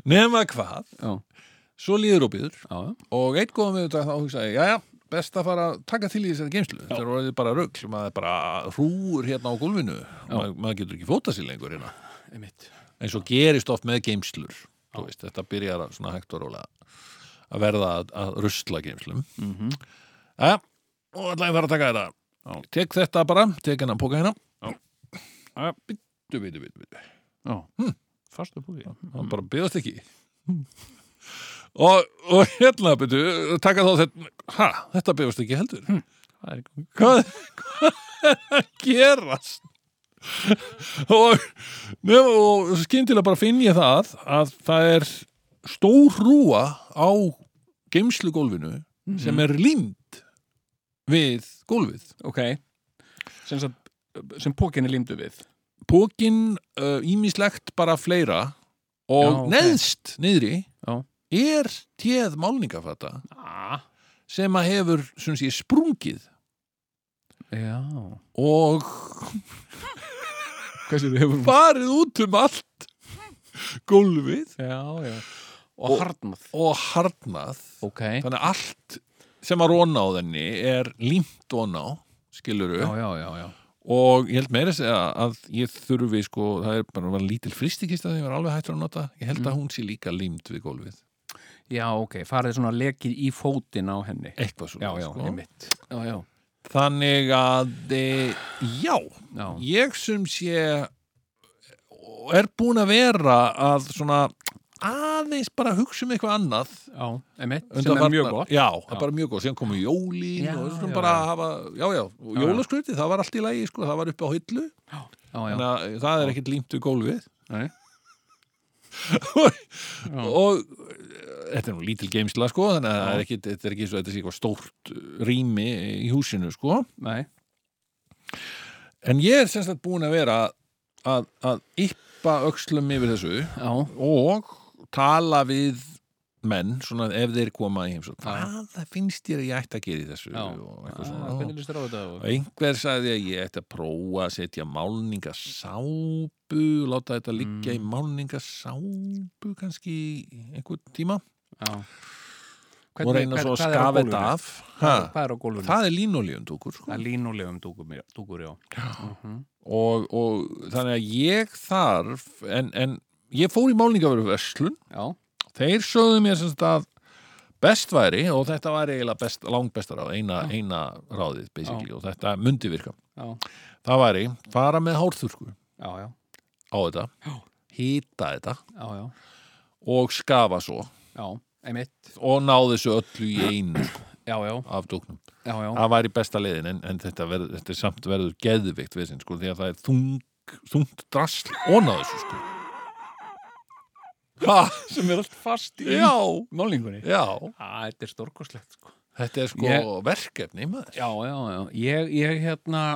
Speaker 1: Nema hvað
Speaker 3: Já,
Speaker 1: Svo líður og býður
Speaker 3: já, já,
Speaker 1: og einn góðum við þetta þá hugsaði ég, jæja, best að fara að taka til í þessari geimslu þetta er orðið bara rugl, maður er bara hrúur hérna á gólfinu maður, maður getur ekki fóta sér lengur hérna
Speaker 3: einmitt
Speaker 1: eins og gerist oft með geimslur þú veist, þetta byrjar að- svona hægt og rólega að verða að, að rusla geimslum
Speaker 3: mm
Speaker 1: jæja, og ætla ég að fara að taka þetta tek þetta bara, tek hennan póka hérna
Speaker 3: Já.
Speaker 1: Bittu, bittu, bittu, bittu
Speaker 3: Já, fastu búið
Speaker 1: hann bara byggðast ekki og, og hérna byrju, taka þá þetta ha, þetta byggðast ekki heldur
Speaker 3: Það er ekki
Speaker 1: hvað, hvað er að gerast og, nefn, og skyndilega bara finn ég það að það er stór rúa á geimslugólfinu sem er límd við gólfið
Speaker 3: Ok, sem, sagt, sem pókinni límdu við
Speaker 1: pókin uh, ímislegt bara fleira og
Speaker 3: Já, ok.
Speaker 1: neðst niðri
Speaker 3: Já.
Speaker 1: er téð málningafata
Speaker 3: ah.
Speaker 1: sem að hefur sem sé, sprungið
Speaker 3: Já
Speaker 1: og
Speaker 3: Hversu þið hefur
Speaker 1: farið út um allt gólfið
Speaker 3: Já, já
Speaker 1: Og-
Speaker 3: harnað
Speaker 1: og harnað
Speaker 3: Ok,
Speaker 1: þannig að allt sem að róna á þenni er límt róna á, skiluru
Speaker 3: já, já, já, já.
Speaker 1: og ég held meira að segja að ég þurfi sko, það er bara var lítil fristikista þegar ég var alveg hættur að nota ég
Speaker 3: Mm.
Speaker 1: held að hún sé líka límt við gólfið
Speaker 3: já, ok, farið svona lekið í fótinn á henni
Speaker 1: eitthvað svona
Speaker 3: já, já,
Speaker 1: sko.
Speaker 3: einmitt já, já,
Speaker 1: þannig að e, já,
Speaker 3: já,
Speaker 1: ég sem sé er búin að vera að svona aðeins bara hugsa um eitthvað annað
Speaker 3: já, einmitt sem
Speaker 1: undanfarnar-
Speaker 3: er mjög gott
Speaker 1: já, það
Speaker 3: Já.
Speaker 1: er bara mjög gott, síðan komu jólin
Speaker 3: Já,
Speaker 1: og svona
Speaker 3: já,
Speaker 1: bara
Speaker 3: já.
Speaker 1: að hafa, já, já, og
Speaker 3: Já, já.
Speaker 1: jólaskruti það var allt í lagi, sko, það var uppi á hillu
Speaker 3: já, já,
Speaker 1: þannig að það er ekkert límt við gólfið
Speaker 3: Nei. Já.
Speaker 1: og eh, þetta er nú lítil geimsla, sko þannig að það er ekkit, þetta er ekki svo, þetta sé eitthvað stórt eh, rými í húsinu, sko
Speaker 3: nei,
Speaker 1: en ég er semst að búin að vera að, að yppa öxlum yfir þessu
Speaker 3: já,
Speaker 1: og tala við menn, svona ef þeir koma í heimsókn,
Speaker 3: Já.
Speaker 1: hvað finnst þér að ég ætti að gera í þessu
Speaker 3: já
Speaker 1: og eitthvað
Speaker 3: Ah,
Speaker 1: svona
Speaker 3: hvernig líst þér á þetta
Speaker 1: og einhver sagði að ég ætti að prófa að setja málningasápu láta þetta liggja
Speaker 3: Mm.
Speaker 1: í málningasápu kannski í einhvern tíma
Speaker 3: já
Speaker 1: og reyna svo að
Speaker 3: hvað er á
Speaker 1: skafa
Speaker 3: gólfinu?
Speaker 1: þetta af ha,
Speaker 3: hvað er á gólfinu?
Speaker 1: það er línolíundúkur sko.
Speaker 3: það er línulegum dúkur, dúkur já Mhm.
Speaker 1: og, og þannig að ég þarf en, en ég fór í málningaveru verslun
Speaker 3: já,
Speaker 1: þeir sögðu mér sem sagt að best væri og þetta var eiginlega best, langt besta ráð, eina,
Speaker 3: Já.
Speaker 1: eina ráðið basically og þetta mundi virka
Speaker 3: já,
Speaker 1: það væri fara með hárþurku
Speaker 3: já, já,
Speaker 1: á þetta,
Speaker 3: Já.
Speaker 1: hýta þetta
Speaker 3: já, já,
Speaker 1: og skafa svo
Speaker 3: já einmitt,
Speaker 1: og ná þessu öllu í einu sko,
Speaker 3: já, já,
Speaker 1: af dóknum.
Speaker 3: já, já
Speaker 1: Það væri besta leiðin en, en þetta, verð, þetta er samt verður geðvikt við sinn sko því að það er þung, þungt drasl og ná þessu sko. Ha,
Speaker 3: sem er allt fast
Speaker 1: já,
Speaker 3: málingunni
Speaker 1: já,
Speaker 3: þetta er stórkoslegt sko.
Speaker 1: þetta er sko
Speaker 3: Ég-
Speaker 1: verkefni maður.
Speaker 3: já, já, já, ég, ég hérna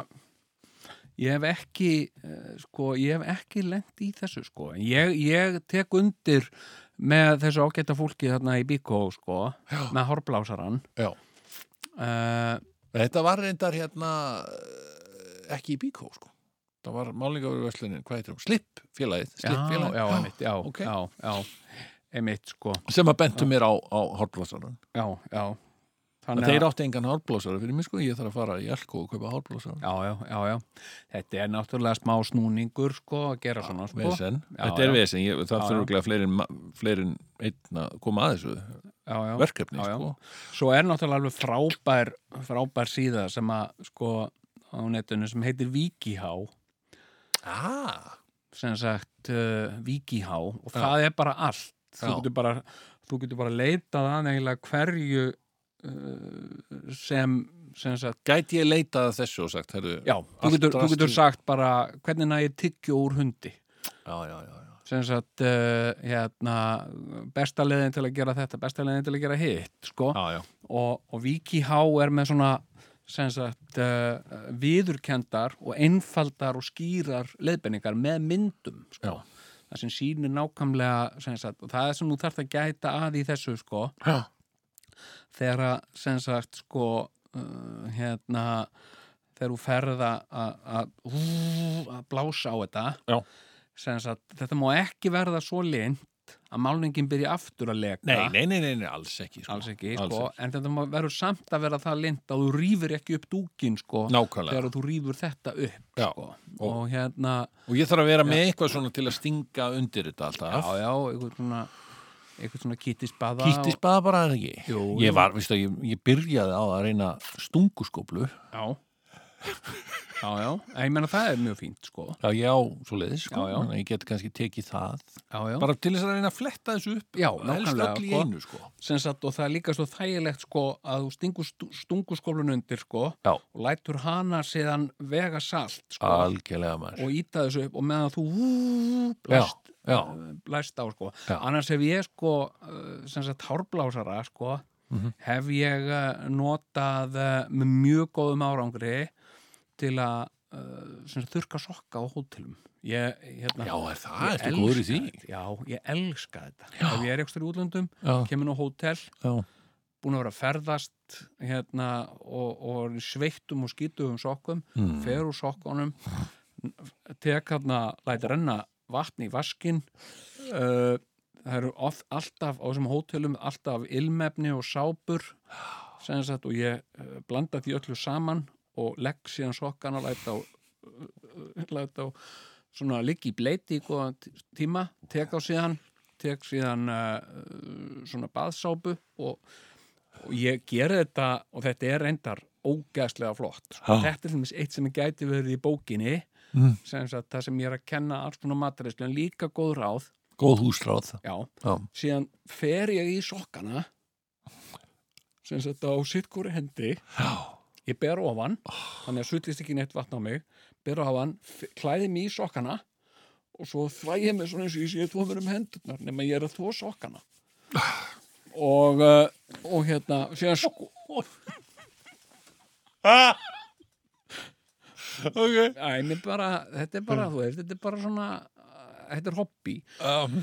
Speaker 3: ég hef ekki eh, sko, ég hef ekki lent í þessu sko, en ég, ég tek undir með þessu ágæta fólki þarna í Bíkó sko,
Speaker 1: Já.
Speaker 3: með horblásaran
Speaker 1: Já.
Speaker 3: uh,
Speaker 1: Þetta var reyndar hérna eh, ekki í bíkó sko. Það var málingaveru verslunin, hvað heitir hún? Slipp félagið,
Speaker 3: já,
Speaker 1: Slipp félagið.
Speaker 3: já, einmitt, já,
Speaker 1: ok.
Speaker 3: já, já einmitt, sko,
Speaker 1: Sem að bentu mér á, á hárblósaran.
Speaker 3: já, já
Speaker 1: En þeir áttu engan hárblósara fyrir mig sko, ég þarf að fara í Elko og kaupa hárblósara.
Speaker 3: Já, já, já, já. Þetta er náttúrulega smá snúningur, sko, að gera svona, sko.
Speaker 1: Vesen,
Speaker 3: Já,
Speaker 1: þetta er
Speaker 3: já.
Speaker 1: vesen, ég, það
Speaker 3: Já, já.
Speaker 1: þurfa ekki fleiri, en ma- fleiri en einn að koma að þessu
Speaker 3: Já, já.
Speaker 1: verkefni
Speaker 3: já, já.
Speaker 1: sko.
Speaker 3: Svo er náttúrulega alveg frábær, frábær síða sem að, sko, á netinu sem heitir Vikihá,
Speaker 1: Ah,
Speaker 3: sem sagt uh, Vikihá, og það er bara allt. Þú
Speaker 1: Já.
Speaker 3: getur bara, þú getur bara leitað að eiginlega hverju uh, sem, sem sagt,
Speaker 1: gæti ég leitað að þessu og sagt, herru,
Speaker 3: já, þú
Speaker 1: Allt
Speaker 3: getur, þú
Speaker 1: drasl-
Speaker 3: getur sagt bara hvernig nægir tyggju úr hundi.
Speaker 1: já, já, já, já.
Speaker 3: sem sagt uh, hérna, besta leiðin til að gera þetta besta leiðin til að gera hitt sko.
Speaker 1: Já, já.
Speaker 3: og, og Viki H er með svona sem sagt uh, viðurkendar og einfaldar og skýrar leiðbenningar með myndum sko. það sem sýnir nákvæmlega sem sagt, og það er sem þú þarft að gæta að í þessu sko,
Speaker 1: Já.
Speaker 3: þegar að sem sagt sko uh, hérna þegar þú ferð að- að að- að blása á þetta
Speaker 1: Já.
Speaker 3: sem sagt, þetta má ekki verða svo lind að málningin byrja aftur að leka
Speaker 1: Nei, nei, nei, nei, nei, alls ekki sko.
Speaker 3: alls ekki,
Speaker 1: Alls
Speaker 3: sko, en þetta má verður samt að vera það lind að þú rýfur ekki upp dúkin sko,
Speaker 1: Nákvæmlega
Speaker 3: þegar þú rýfur þetta upp
Speaker 1: Já.
Speaker 3: sko. og, hérna
Speaker 1: Og ég þarf að vera með eitthvað svona til að stinga undir þetta alltaf.
Speaker 3: já, já, einhvern svona einhvern svona kittisbaða
Speaker 1: Kýttis bara bara er ekki.
Speaker 3: Jú, jú.
Speaker 1: ég var, veistu, ég, ég byrjaði á að reyna stunguskóplu.
Speaker 3: já. já, já, en ég menna það er mjög fínt sko.
Speaker 1: Já, já, svo leiðis, sko.
Speaker 3: Já, já.
Speaker 1: Þannig að ég geti kannski tekið það.
Speaker 3: já, já.
Speaker 1: Bara til þess að reyna að fletta þessu upp.
Speaker 3: Já,
Speaker 1: Helst
Speaker 3: nákvæmlega,
Speaker 1: öll í
Speaker 3: sko.
Speaker 1: einu, sko.
Speaker 3: sem sagt og það er líka svo þægilegt sko að þú stingur stu- stunguskólun undir sko
Speaker 1: Já.
Speaker 3: og lætur hana síðan vega salt sko
Speaker 1: Algjörlega maður.
Speaker 3: og íta þessu upp og meðan þú vú,
Speaker 1: Já,
Speaker 3: blæst,
Speaker 1: já,
Speaker 3: blæst á sko
Speaker 1: Já.
Speaker 3: annars hef ég sko uh, sem sagt hárblásara sko
Speaker 1: Mhm.
Speaker 3: hef ég uh, notað uh, með mjög góðum árangri til að uh, sem sagt, þurka sokka á hótelum ég, hérna,
Speaker 1: já, er það,
Speaker 3: ég
Speaker 1: ertu góður í því?
Speaker 3: elska þetta. Já, ég elska þetta
Speaker 1: Já.
Speaker 3: ef ég er ekstra í útlöndum
Speaker 1: Já,
Speaker 3: kemur nú hótel
Speaker 1: já,
Speaker 3: búin að vera að ferðast hérna, og, og er í sveittum og skítugum sokkum,
Speaker 1: Mm.
Speaker 3: fer úr sokkunum tek hérna læti renna vatn í vaskin Eh, uh, það eru oft, alltaf á þessum hótelum alltaf ilmefni og sápur sem sagt, og ég eh, blanda því öllu saman og legg síðan sokkan og læt á, eh, læt á svona liggi í bleiti í góðan tí- tíma, tek á síðan tek síðan uh, svona baðsápu og, og ég gera þetta og þetta er reyndar ógæðslega flott sko.
Speaker 1: Já.
Speaker 3: þetta er til dæmis eitt sem gæti verið í bókinni
Speaker 1: Mm.
Speaker 3: sem sagt, það sem ég er að kenna alls konar mataræslu en líka góð ráð
Speaker 1: Góð húsráð.
Speaker 3: já,
Speaker 1: Já.
Speaker 3: síðan fer ég í sokkana sem sagt á sittkúri hendi
Speaker 1: Já.
Speaker 3: ég ber ofan þannig að sullist ekki neitt vatn á mig ber ofan, f- klæði mig í sokkana og svo þvæ ég mig svona eins og ég sé þvó mér um hendurnar nema ég er að þvó sokkana og, uh, og hérna síðan sko
Speaker 1: Ok.
Speaker 3: Æ, mér bara, þetta er bara, þú veist, þetta er bara svona uh, þetta er hobby
Speaker 1: Um,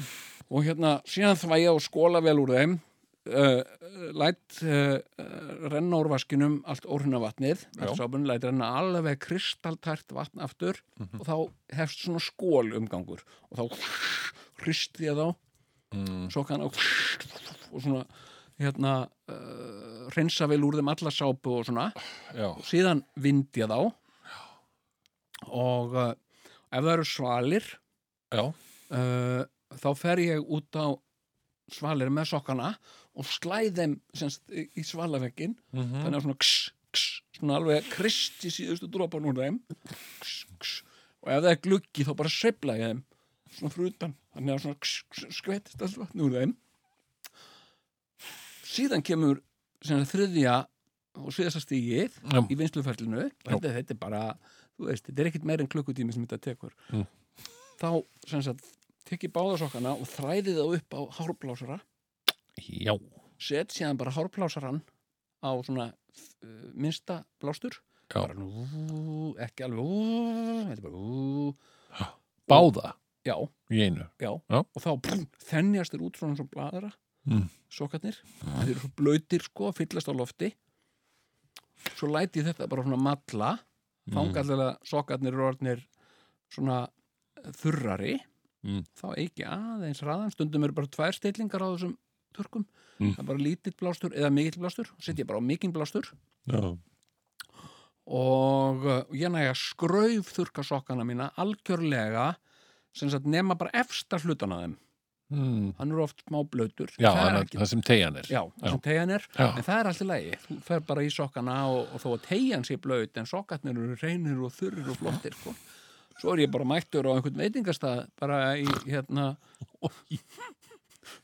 Speaker 3: og hérna síðan þvæ ég og skóla vel úr þeim uh, læt uh, uh, renna úr vaskinum allt óhruna vatnið
Speaker 1: Já.
Speaker 3: sábun, læt renna alveg kristaltært vatn aftur og þá hefst svona skól umgangur og þá hristi ég þá
Speaker 1: mm,
Speaker 3: svo kann og svona hérna uh, reynsa vel úr þeim alla sápu og svona
Speaker 1: já.
Speaker 3: og síðan vind ég þá og uh, ef það eru svalir
Speaker 1: Já.
Speaker 3: uh, þá fer ég út á svalir með sokkana og slæð þeim semst, í í svalavekkin
Speaker 1: Mm
Speaker 3: þannig að svona kss, kss, svona alveg kristi síðustu dropan úr þeim kss, kss, og ef það er gluggi þá bara sveifla ég þeim svona frutan, þannig að svona kss, kss, skvettist alls vatn úr þeim síðan kemur sem sagt, þriðja og síðasta stígið
Speaker 1: Já.
Speaker 3: í vinsluferlinu þetta, þetta er bara, þú veist, þetta er ekkit meir en klukkutími sem þetta tekur
Speaker 1: Mm.
Speaker 3: þá, sem sagt, tek ég báðasokkana og þræði þá upp á hárblásara
Speaker 1: Já.
Speaker 3: set síðan bara hárplásarann á svona uh, minnsta blástur
Speaker 1: Já.
Speaker 3: bara nú, ekki alveg ú, þetta er bara ú,
Speaker 1: Báða
Speaker 3: já,
Speaker 1: í einu.
Speaker 3: já,
Speaker 1: Já.
Speaker 3: og þá brr, þennjast þér út svona svona bladra
Speaker 1: Mm.
Speaker 3: sokkarnir, þeir eru svo blöytir sko, fyllast á lofti svo læti ég þetta bara svona matla Mm. þangallega sokkarnir eru orðnir svona eh, þurrari
Speaker 1: Mm.
Speaker 3: þá ekki aðeins raðan stundum eru bara tvær stillingar á þessum turkum
Speaker 1: Mm.
Speaker 3: það er bara lítill blástur eða mikill blástur setja ég bara á mikinn blástur
Speaker 1: Mm. Já.
Speaker 3: og uh, ég nægja skrauf þurka sokkana mína algjörlega sem sagt nema bara efsta hlutan að þeim
Speaker 1: Mm.
Speaker 3: hann eru oft má blöytur
Speaker 1: Já,
Speaker 3: það er
Speaker 1: annað-
Speaker 3: ekki
Speaker 1: það sem tegjan er.
Speaker 3: Já, það sem tegjan er,
Speaker 1: Já.
Speaker 3: en það er alltaf lægi þú fer bara í sokkana og, og þó að tegjan sé blöyt en sokkarnir eru reynir og þurrir og flottir sko. svo er ég bara mættur á einhvern veitingastað bara í hérna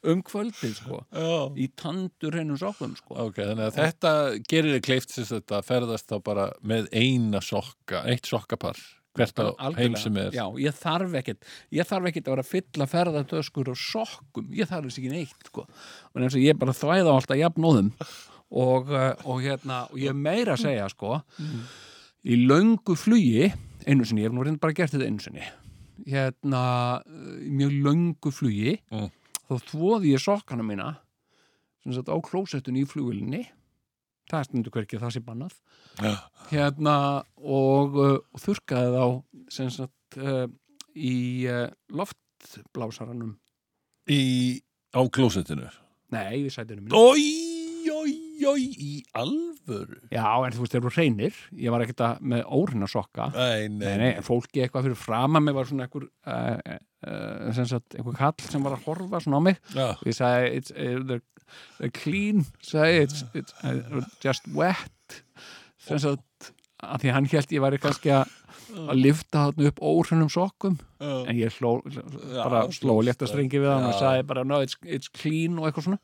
Speaker 3: um kvöldið sko.
Speaker 1: Já.
Speaker 3: í tandur reynum sokkum sko.
Speaker 1: Ok, þannig að þetta gerir þið kleift sem þetta ferðast þá bara með eina sokka, eitt sokkapar hvert á heim
Speaker 3: Algjörlega.
Speaker 1: sem er.
Speaker 3: Já, ég þarf ekkit ég þarf ekkit að vera að fylla ferðardöskur og sokkum, ég þarf þess ekki neitt sko. og eins og ég bara þvæða á alltaf jafnóðum og, eh, og hérna og ég er meira að segja sko í löngu flugi einu sinni, ég hef nú reynd bara gert þetta einu sinni hérna eh, í mjög löngu flugi
Speaker 1: Mm.
Speaker 3: þá þvoði ég sokkana mína sem sagt á klósettun í flugilni það er stundu hverki það sé bannað
Speaker 1: Já.
Speaker 3: hérna og, uh, og þurrkaði þá sem sagt uh, í uh, loftblásaranum
Speaker 1: Í, á klósettinu.
Speaker 3: nei, við sætunum mínu
Speaker 1: Ói, ói, ói, í alvöru.
Speaker 3: já, en þú veist, þeir eru hreinir ég var ekkert að með órinna sokka
Speaker 1: Nei,
Speaker 3: nei, nei, fólki eitthvað fyrir frama mig var svona einhver uh, uh, sem sagt, einhver kall sem var að horfa svona á mig
Speaker 1: Já,
Speaker 3: og ég sagði, it's, uh, they're, they're clean sagði, it's, it's uh, just wet sem sagt að því hann held ég væri kannski að að lifta þarna upp óhrunum sokkum
Speaker 1: já.
Speaker 3: en ég hló, bara
Speaker 1: þú
Speaker 3: sló
Speaker 1: veist
Speaker 3: létta
Speaker 1: það.
Speaker 3: strengi við hann og
Speaker 1: Já.
Speaker 3: sagði bara no, it's, it's clean og eitthvað svona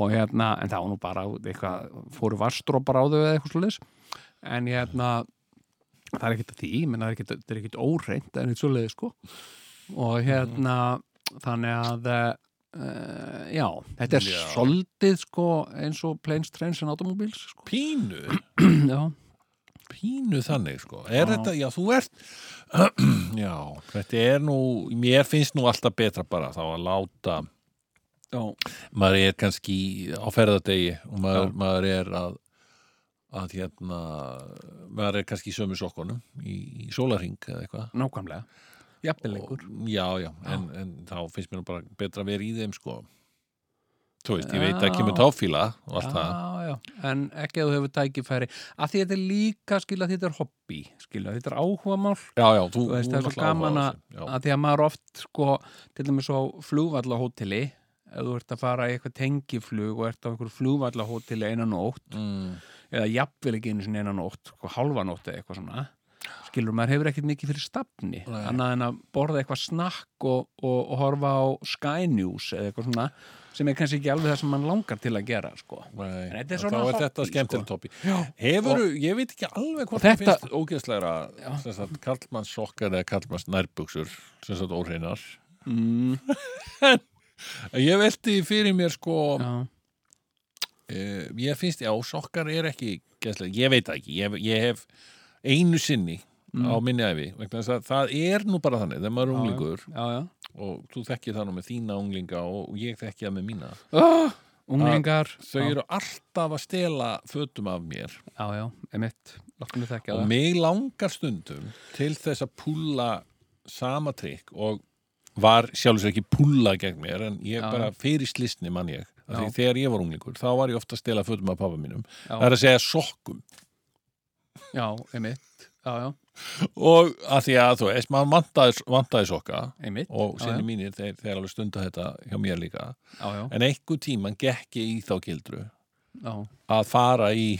Speaker 3: og hérna, en það var nú bara eitthvað, fóru varstrópar á þau eða eitthvað slúleis en hérna það er ekkert að því, menn það er ekkert, það er ekkert óreint en eitt svoleiði sko og hérna, þannig að uh, já, þetta er
Speaker 1: Já.
Speaker 3: soldið sko eins og planes, trains and automobiles sko.
Speaker 1: Pínu,
Speaker 3: já,
Speaker 1: pínu þannig sko. Er
Speaker 3: Já.
Speaker 1: þetta, já, þú ert, já, þetta er nú, mér finnst nú alltaf betra bara þá að láta
Speaker 3: já,
Speaker 1: maður er kannski á ferðardegi og maður,
Speaker 3: Já.
Speaker 1: maður er að að hérna maður er kannski í sömu sokkunum í, í sólarring eða eitthvað
Speaker 3: nákvæmlega jafnilegur
Speaker 1: Og- já, já, en, en þá finnst mér nú bara betra að vera í þeim sko þú veist, ég veit
Speaker 3: Já.
Speaker 1: ekki með táfíla og allt það.
Speaker 3: já, já. en ekki að þú hefur tækifæri að því þetta er líka skilja þetta er hobby skilja þetta er áhugamál
Speaker 1: Já, já, þú,
Speaker 3: Þú
Speaker 1: þú
Speaker 3: veist, það er svo
Speaker 1: náttúrulega
Speaker 3: gaman
Speaker 1: áhuga á þessu. Já.
Speaker 3: að því að maður oft sko, til dæmis á flugvallahóteli ef þú ert að fara í eitthvað tengiflug og ert á einhverju flugvallahóteli einan nótt
Speaker 1: Mm.
Speaker 3: eða jafnvel ekki einu sinni einan nótt sko, hálfanótt eða eitthvað svona skilur, maður hefur ekkert mikið fyrir stafni
Speaker 1: Nei.
Speaker 3: annað en að borða eitthvað snakk og, og, og horfa á Sky News eða eitthvað svona sem er kannski ekki alveg það sem mann langar til að gera sko.
Speaker 1: Nei,
Speaker 3: En þetta er
Speaker 1: þá
Speaker 3: svona
Speaker 1: er
Speaker 3: hobby,
Speaker 1: þetta
Speaker 3: sko.
Speaker 1: skemmtilegt hobby
Speaker 3: Já.
Speaker 1: Hefur, ég veit ekki alveg hvort
Speaker 3: Þetta-
Speaker 1: þetta finnst ógeðslegra sem sagt, kallmanns sokkar eða kallmanns nærbuxur sem sagt óhreinar
Speaker 3: mm,
Speaker 1: Ég velti fyrir mér sko
Speaker 3: já,
Speaker 1: uh, ég finnst, já, sokkar er ekki geðslega, ég veit það ekki, ég, ég hef einu sinni á minni æfi vegna þess að það er nú bara þannig þegar maður er
Speaker 3: Mm. Já, já.
Speaker 1: unglingur
Speaker 3: já, já.
Speaker 1: og þú þekkir það nú með þína unglinga og og ég þekki það með mína
Speaker 3: Oh, unglingar
Speaker 1: þau eru alltaf að stela fötum af mér
Speaker 3: Já, já, emitt, láttum við þekkja
Speaker 1: og
Speaker 3: það
Speaker 1: mig langar stundum til þess að púlla sama trikk og var sjálfur sér ekki púlla gegn mér en ég
Speaker 3: Já.
Speaker 1: bara fyrir slisni mann ég Af því
Speaker 3: Já.
Speaker 1: þegar ég var unglingur þá var ég ofta að stela fötum af pappa mínum það
Speaker 3: Já,
Speaker 1: er að segja sokkum
Speaker 3: já emitt, já, já,
Speaker 1: og að því að þú veist, maður vantaði, vantaði sokka
Speaker 3: emitt
Speaker 1: og
Speaker 3: já,
Speaker 1: sinni mínir þeir, þeir alveg stunda þetta hjá mér líka
Speaker 3: já, já,
Speaker 1: en einhver tíman gekk ég í þá gildru
Speaker 3: já,
Speaker 1: að fara í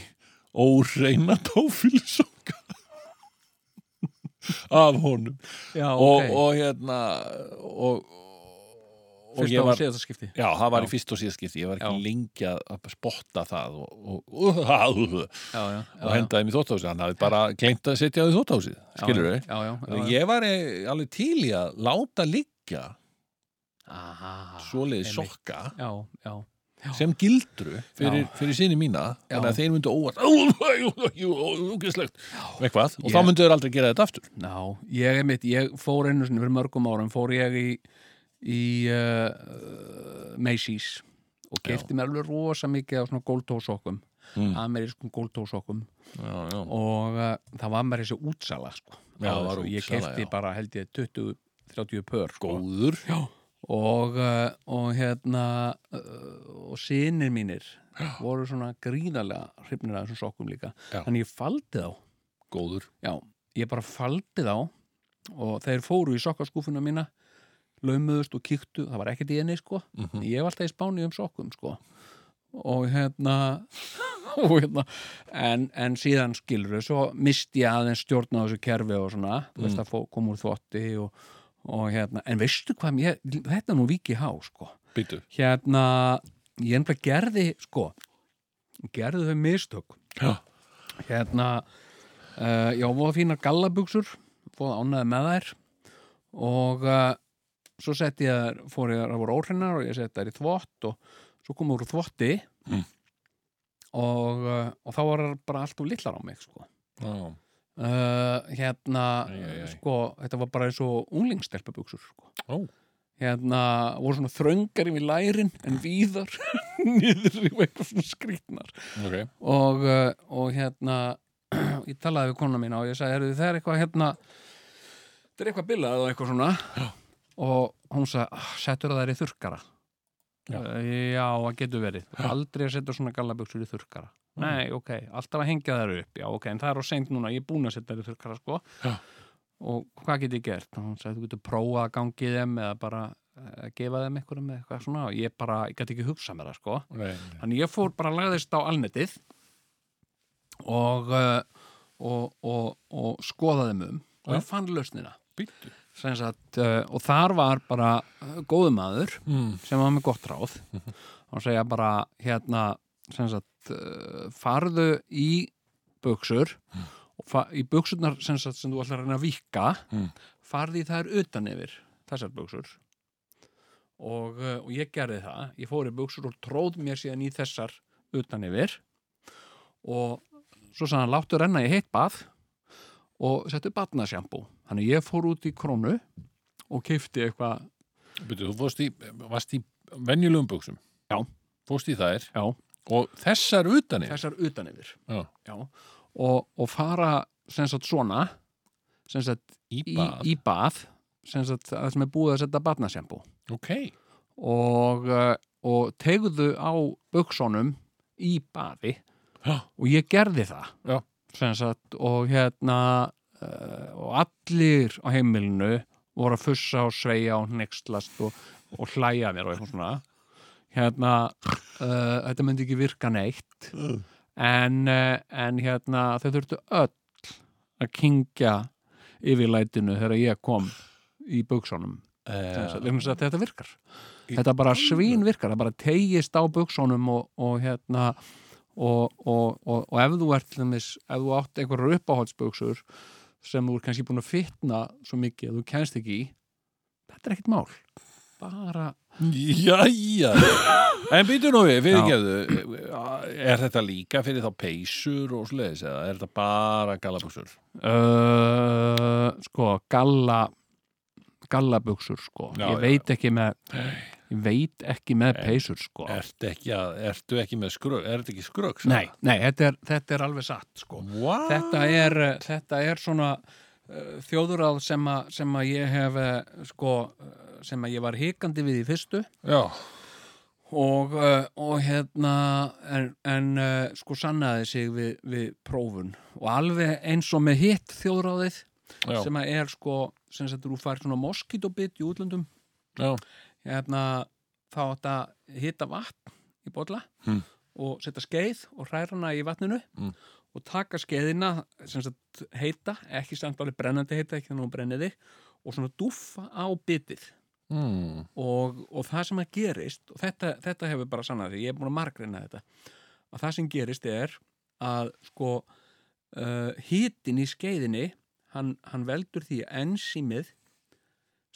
Speaker 1: óreina tófílisokka af honum
Speaker 3: já
Speaker 1: og,
Speaker 3: ok.
Speaker 1: og hérna og, og
Speaker 3: Fyrst
Speaker 1: ég
Speaker 3: á
Speaker 1: var
Speaker 3: síðasta skipti
Speaker 1: já, það var
Speaker 3: Já.
Speaker 1: í fyrst og síðskipti ég var ekki
Speaker 3: Já.
Speaker 1: lengi að- að spotta það og, og, og, og,
Speaker 3: Já, já, já, já.
Speaker 1: hendaði mér í þóttáhúsið hann hafði bara gleymt að setja á því þóttáhúsið
Speaker 3: Já,
Speaker 1: skilur
Speaker 3: Já, já, já, já.
Speaker 1: ég var eh, alveg til í að láta liggja
Speaker 3: Aha,
Speaker 1: svoleiði
Speaker 3: einmitt.
Speaker 1: sokka
Speaker 3: Já, já,
Speaker 1: sem gildru fyrir, fyrir sinni mína
Speaker 3: Já.
Speaker 1: þannig að þeir myndu óvart ógæslegt eitthvað og þá
Speaker 3: Ég-
Speaker 1: myndu þeir aldrei gera þetta aftur
Speaker 3: já, ég emitt, ég fór einu sinni fyrir mörgum árum, fór ég í, í uh, Macy's og
Speaker 1: Já.
Speaker 3: kefti mér alveg rosa mikið af svona góltósokkum,
Speaker 1: Mm.
Speaker 3: amerískum góltósokkum
Speaker 1: já, já.
Speaker 3: og uh, það var mér þessi útsala sko.
Speaker 1: Já,
Speaker 3: Á
Speaker 1: það var
Speaker 3: þessu. ég
Speaker 1: útsala,
Speaker 3: kefti
Speaker 1: já.
Speaker 3: bara held ég 20-30 pör sko.
Speaker 1: góður já.
Speaker 3: og, uh, og hérna uh, og sinir mínir voru svona gríðarlega hrifnir að þessum sokkum líka
Speaker 1: Já.
Speaker 3: þannig ég faldi þá
Speaker 1: góður
Speaker 3: já, ég bara faldi þá og þeir fóru í sokkaskúfuna mína laumuðust og kíktu, það var ekkert í enni sko
Speaker 1: Mhm.
Speaker 3: ég hef alltaf í spáni um sokkum sko og hérna og hérna en, en síðan skilur þau, svo misti ég aðeins stjórn á þessu kerfi og svona þú veist að fó, kom úr þvotti og, og hérna, en veistu hvað mér, þetta er nú vikið há sko,
Speaker 1: býtu
Speaker 3: hérna ég ennbla gerði, sko gerði þau mistök
Speaker 1: Já.
Speaker 3: hérna uh, já, voða fínar gallabuxur voða ánæði með þær og uh, svo sett ég þær fór ég þær að voru óhrinnar og ég sett þær í þvott og svo kom úr þvotti
Speaker 1: Mm.
Speaker 3: og, uh, og þá var þær bara allt úr litlar á mig sko
Speaker 1: já.
Speaker 3: uh, hérna
Speaker 1: Æ, æ, æ.
Speaker 3: sko, þetta var bara eins og unglingstelpabuxur sko.
Speaker 1: Ó.
Speaker 3: hérna, voru svona þröngar yfir lærin en víðar niður í eitthvað svona skrýtnar
Speaker 1: ok
Speaker 3: og, uh, og hérna ég talaði við kona mína og ég sagði "Heyrðu, það er eitthvað hérna það er eitthvað bilað og eitthvað svona og hún sagði, "Ah, settur það er í þurrkara
Speaker 1: Já.
Speaker 3: Eh, já, það getur verið aldrei að setja svona gallabuxur í þurrkara nei, ok, alltaf að hengja þær upp já, ok, en það er á seint núna, ég er búin að setja þær í þurrkara sko
Speaker 1: Já.
Speaker 3: og hvað get ég gert? Og hún sagði, þú getur prófað að gangi þeim eða bara að gefa þeim einhverjum eða eitthvað svona og ég bara, ég gæti ekki hugsað mér það sko
Speaker 1: Nei,
Speaker 3: Þannig ég fór bara að lagðist á alnetið og, eh, og, og, og skoðaði um og ég fann lausnina.
Speaker 1: býtu
Speaker 3: Sem Sagt, eh, og þar var bara eh, góður maður
Speaker 1: mm.
Speaker 3: sem var með gott ráð og segja bara hérna sem sagt, eh, farðu í buksur og fa- í buksurnar sem, sagt, sem þú ætlar að reyna að vika
Speaker 1: Mm.
Speaker 3: farði þær utan yfir þessar buksur og, eh, og ég gerði það ég fór í buksur og tróð mér síðan í þessar utan yfir og svo sagði hann láttu renna í heitt bað og settu batnasjambú þannig ég fór út í krónu og keifti eitthvað
Speaker 1: býtu, þú fórst í, varst í venjulegum buksum
Speaker 3: Já.
Speaker 1: fórst í þær
Speaker 3: já,
Speaker 1: og þessar utanir
Speaker 3: þessar utan yfir
Speaker 1: Já.
Speaker 3: Og, og fara sem sagt svona sem sagt
Speaker 1: í
Speaker 3: í,
Speaker 1: bað,
Speaker 3: í bað sem sagt það sem er búið að setja batnasjambú
Speaker 1: ok
Speaker 3: og, eh, og tegðu á buksonum í baði
Speaker 1: Já.
Speaker 3: og ég gerði það
Speaker 1: Já.
Speaker 3: Sem sagt, og hérna uh, og allir á heimilinu voru að fussa og sveia og hnekstlast og, og hlæja að mér og eitthvað svona hérna uh, þetta myndi ekki virka neitt
Speaker 1: Mm.
Speaker 3: en, uh, en hérna þau þurftu öll að kingja yfirlætinu þegar ég kom í buksonum Sem sagt,
Speaker 1: Eh,
Speaker 3: vegna þess að þetta virkar
Speaker 1: Í
Speaker 3: þetta bara
Speaker 1: alvöru?
Speaker 3: svín virkar, það bara tegist á buksónum og, og hérna og, og, og, og ef þú ert til dæmis, ef þú átt einhverjar uppáhaldsbuksur sem þú er kannski búin að fitna svo mikið að þú kennst ekki í þetta er ekkert mál bara,
Speaker 1: Jæja En býtu nú við, fyrirgefðu eh, Er þetta líka fyrir þá peysur og sliðis eða er þetta bara galabuxur?
Speaker 3: uh, sko, galla gallabuksur, sko
Speaker 1: Já,
Speaker 3: ég
Speaker 1: já,
Speaker 3: veit ekki með ég veit ekki með
Speaker 1: En-
Speaker 3: peysur, sko
Speaker 1: Ertu ekki, að, ertu ekki með skrögg? Er þetta ekki skrögg?
Speaker 3: nei, nei, þetta er, þetta er alveg satt, sko
Speaker 1: What?
Speaker 3: þetta er, eh, þetta er svona uh, þjóðuráð sem að, sem að ég hef eh, sko, eh, sem að ég var hikandi við í fyrstu
Speaker 1: Já,
Speaker 3: og, uh, og hérna en, en uh, sko sannaði sig við, við prófun og alveg eins og með hitt þjóðuráðið
Speaker 1: já,
Speaker 3: sem að er sko sem sagt þú fær svona moskítobit í útlöndum
Speaker 1: já
Speaker 3: hérna þá átt að hita vatn í bolla
Speaker 1: Hmm.
Speaker 3: og setja skeið og hræra hana í vatninu
Speaker 1: Mm.
Speaker 3: og taka skeiðina sem sagt heita, ekki samt alveg brennandi heita, ekki þannig að brenniði og svona dúfa á bitið
Speaker 1: mm.
Speaker 3: og, og það sem að gerist og þetta, þetta hefur bara sannað því, ég er búin að margreina þetta að það sem gerist er að sko uh, hitin í skeiðinni hann, hann veldur því að ensýmið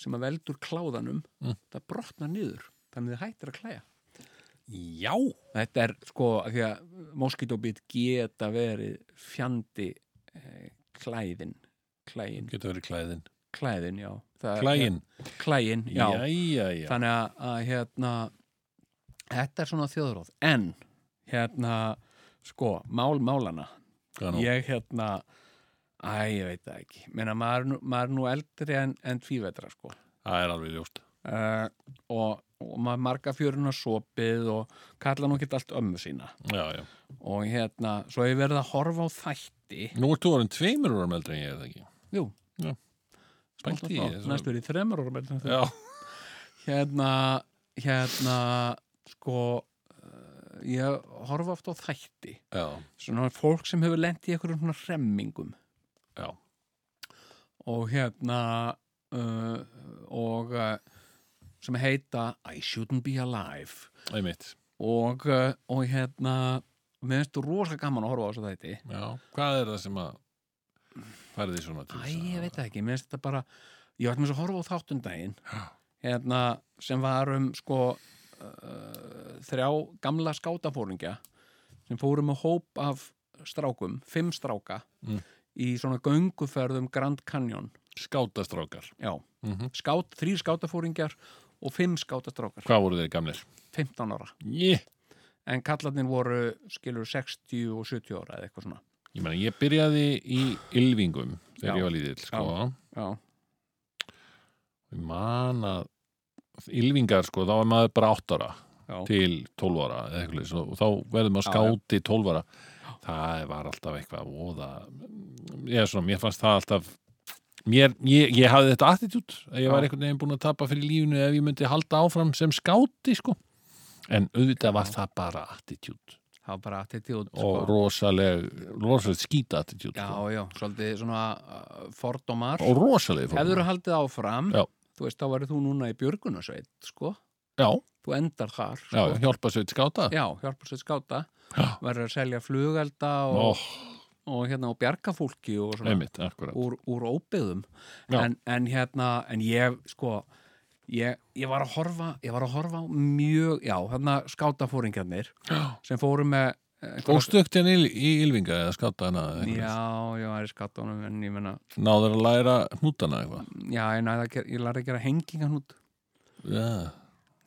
Speaker 3: sem að veldur kláðanum
Speaker 1: Mm.
Speaker 3: það brotnar niður þannig þið hættir að klæja
Speaker 1: Já
Speaker 3: þetta er sko af því að moskítóbít geta verið fjandi eh, klæðin klæðin,
Speaker 1: Getur verið klæðin
Speaker 3: klæðin, já Það-
Speaker 1: Klæðin,
Speaker 3: klæðin, já
Speaker 1: jæja, já
Speaker 3: þannig að, að hérna þetta er svona þjóðróð en hérna sko, mál málana
Speaker 1: Hvað nú?
Speaker 3: ég hérna, æ, ég veit það ekki menna maður, er nú- maður er nú eldri en, en tvívetra sko
Speaker 1: Það er alveg ljóst
Speaker 3: uh, og, og maður marga fjöruna sopið og kalla nú ekki allt ömmu sína
Speaker 1: Já, já
Speaker 3: og hérna, svo ég verið að horfa á þætti
Speaker 1: Nú ert þú orðin tveimur úr eldri en ég er það ekki
Speaker 3: jú,
Speaker 1: Já.
Speaker 3: Smátt og
Speaker 1: Pældi í
Speaker 3: smátt.
Speaker 1: þessu.
Speaker 3: næstu er í þremur orðum heldur en þú.
Speaker 1: Já,
Speaker 3: hérna hérna sko eh, ég horfa oft á þætti
Speaker 1: já,
Speaker 3: svona fólk sem hefur lent í einhverjum svona remmingum
Speaker 1: já
Speaker 3: og hérna uh, og uh, sem heita I shouldn't be alive
Speaker 1: Einmitt
Speaker 3: og, uh, og hérna mér finnst þú rosa gaman að horfa á þessu þætti
Speaker 1: Já, hvað er það sem að færði því svona til
Speaker 3: Æ, ég veit það ekki, mér finnst þetta bara ég var mér að horfa á þáttundaginn
Speaker 1: Já.
Speaker 3: hérna, sem var um sko uh, þrjá gamla skátafóringja sem fórum með hóp af strákum, fimm stráka
Speaker 1: Mm.
Speaker 3: í svona gönguferðum Grand Canyon
Speaker 1: Skátastrákar
Speaker 3: Já,
Speaker 1: mm
Speaker 3: skát, þrýr skátafóringjar og fimm skátastrákar,
Speaker 1: Hvað voru þeir gamlir?
Speaker 3: 15 ára
Speaker 1: Ég,
Speaker 3: en kallarnir voru skilur 60 og 70 ára eða eitthvað svona
Speaker 1: ég meina, ég byrjaði í Ylvingum þegar
Speaker 3: Já.
Speaker 1: ég var lítill, sko
Speaker 3: Já,
Speaker 1: Ég man að Ylvingar, sko, þá var maður bara 8 ára
Speaker 3: já,
Speaker 1: til 12 ára eða eitthvað leys, og þá verður maður
Speaker 3: Já,
Speaker 1: skáti 12 ára það var alltaf eitthvað óða, ég, svona, mér fannst það alltaf mér, ég, ég hafði þetta attitút að ég var
Speaker 3: Já.
Speaker 1: einhvern veginn búin að tapa fyrir lífinu ef ég myndi halda áfram sem skáti sko. en auðvitað var það bara attitút
Speaker 3: það var bara attitút
Speaker 1: og rosaleg rosaleg skýta attitút
Speaker 3: Sko. Já,
Speaker 1: sko.
Speaker 3: já, svolítið svona uh, fordómar.
Speaker 1: og rosaleg
Speaker 3: Hefur þú haldið áfram,
Speaker 1: Já.
Speaker 3: þú veist, þá verður þú núna í björgunarsveit, sko.
Speaker 1: já,
Speaker 3: Þú endar þar,
Speaker 1: já,
Speaker 3: sko.
Speaker 1: hjálpa sveit skáta
Speaker 3: Já, hjálparsveit skáta.
Speaker 1: Já.
Speaker 3: Verður að selja flugelda
Speaker 1: Ó,
Speaker 3: og, og hérna og bjarga fólki og svona
Speaker 1: einmitt, akkurat
Speaker 3: úr, úr óbyggðum.
Speaker 1: Já.
Speaker 3: En, en hérna, en ég, sko, ég, ég var að horfa, ég var að horfa á mjög, já, hérna skátafóringjarnir sem fóru með eh, einhverja-
Speaker 1: Fórstugt en hérna í, í Ylvinga eða skáta hérna, hana eða eitthvað leys?
Speaker 3: Já, já, það er skátunum, en ég menna,
Speaker 1: náður að læra hnútana eitthvað
Speaker 3: já, ég, næði að gera- ég lærði að gera hengingan út.
Speaker 1: Já,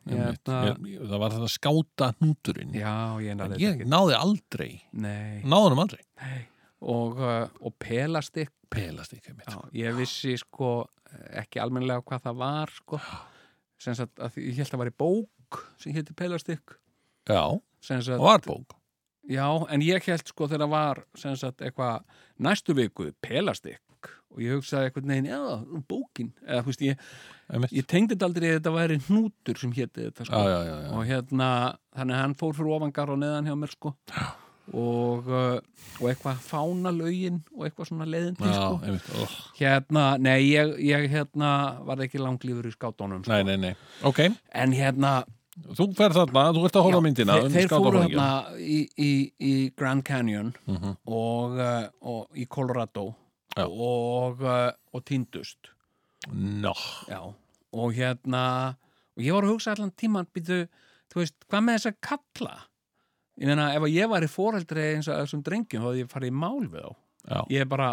Speaker 3: Ég
Speaker 1: einmitt.
Speaker 3: hefna-
Speaker 1: Ég- ég- það var þetta skáta hnúturinn
Speaker 3: Hérna- Já, ég
Speaker 1: En
Speaker 3: náði þetta
Speaker 1: ég Mm.
Speaker 3: ekki.
Speaker 1: náði aldrei,
Speaker 3: Nei.
Speaker 1: náði hann aldrei
Speaker 3: Nei. Og, uh, og pelastikk,
Speaker 1: pelast ekki mitt
Speaker 3: já, ég vissi sko ekki almennilega hvað það var sko. sem sagt að ég held að það var í bók bók sem héti Pelastykk
Speaker 1: já,
Speaker 3: sem sagt,
Speaker 1: það var bók
Speaker 3: já, en ég held sko þegar var sem sagt eitthvað næstu viku Pelastykk og ég hugsaði eitthvað neginn, já, bókin eða þú veist, ég,
Speaker 1: Einmitt.
Speaker 3: ég tengdi þetta aldrei að þetta væri hnútur sem héti þetta sko
Speaker 1: já, já, já, já.
Speaker 3: og hérna, þannig að hann fór fyrir ofangar og neðan hjá mér sko og, uh, og eitthvað fánalögin og eitthvað svona leiðindi
Speaker 1: já
Speaker 3: sko.
Speaker 1: einmitt, oh.
Speaker 3: hérna, nei, ég, ég hérna var ekki langlífur í skátunum sko.
Speaker 1: nei, nei, nei, ok
Speaker 3: en hérna
Speaker 1: þú ferð þarna, þú ert að horfa á
Speaker 3: já,
Speaker 1: myndina
Speaker 3: þeir,
Speaker 1: um
Speaker 3: þeir fóru
Speaker 1: skákafræðinginn.
Speaker 3: hérna í, í, í Grand Canyon og, uh, og í Colorado
Speaker 1: Mhm. Já.
Speaker 3: og, uh, og týndust
Speaker 1: Nó,
Speaker 3: já. og hérna og ég var að hugsa allan tíman býtu, þú veist, hvað með þess að kalla ég meina, ef að ég var í foreldri eins og þessum drengjum, þá hefði ég farið í mál við þá
Speaker 1: já,
Speaker 3: ég er bara,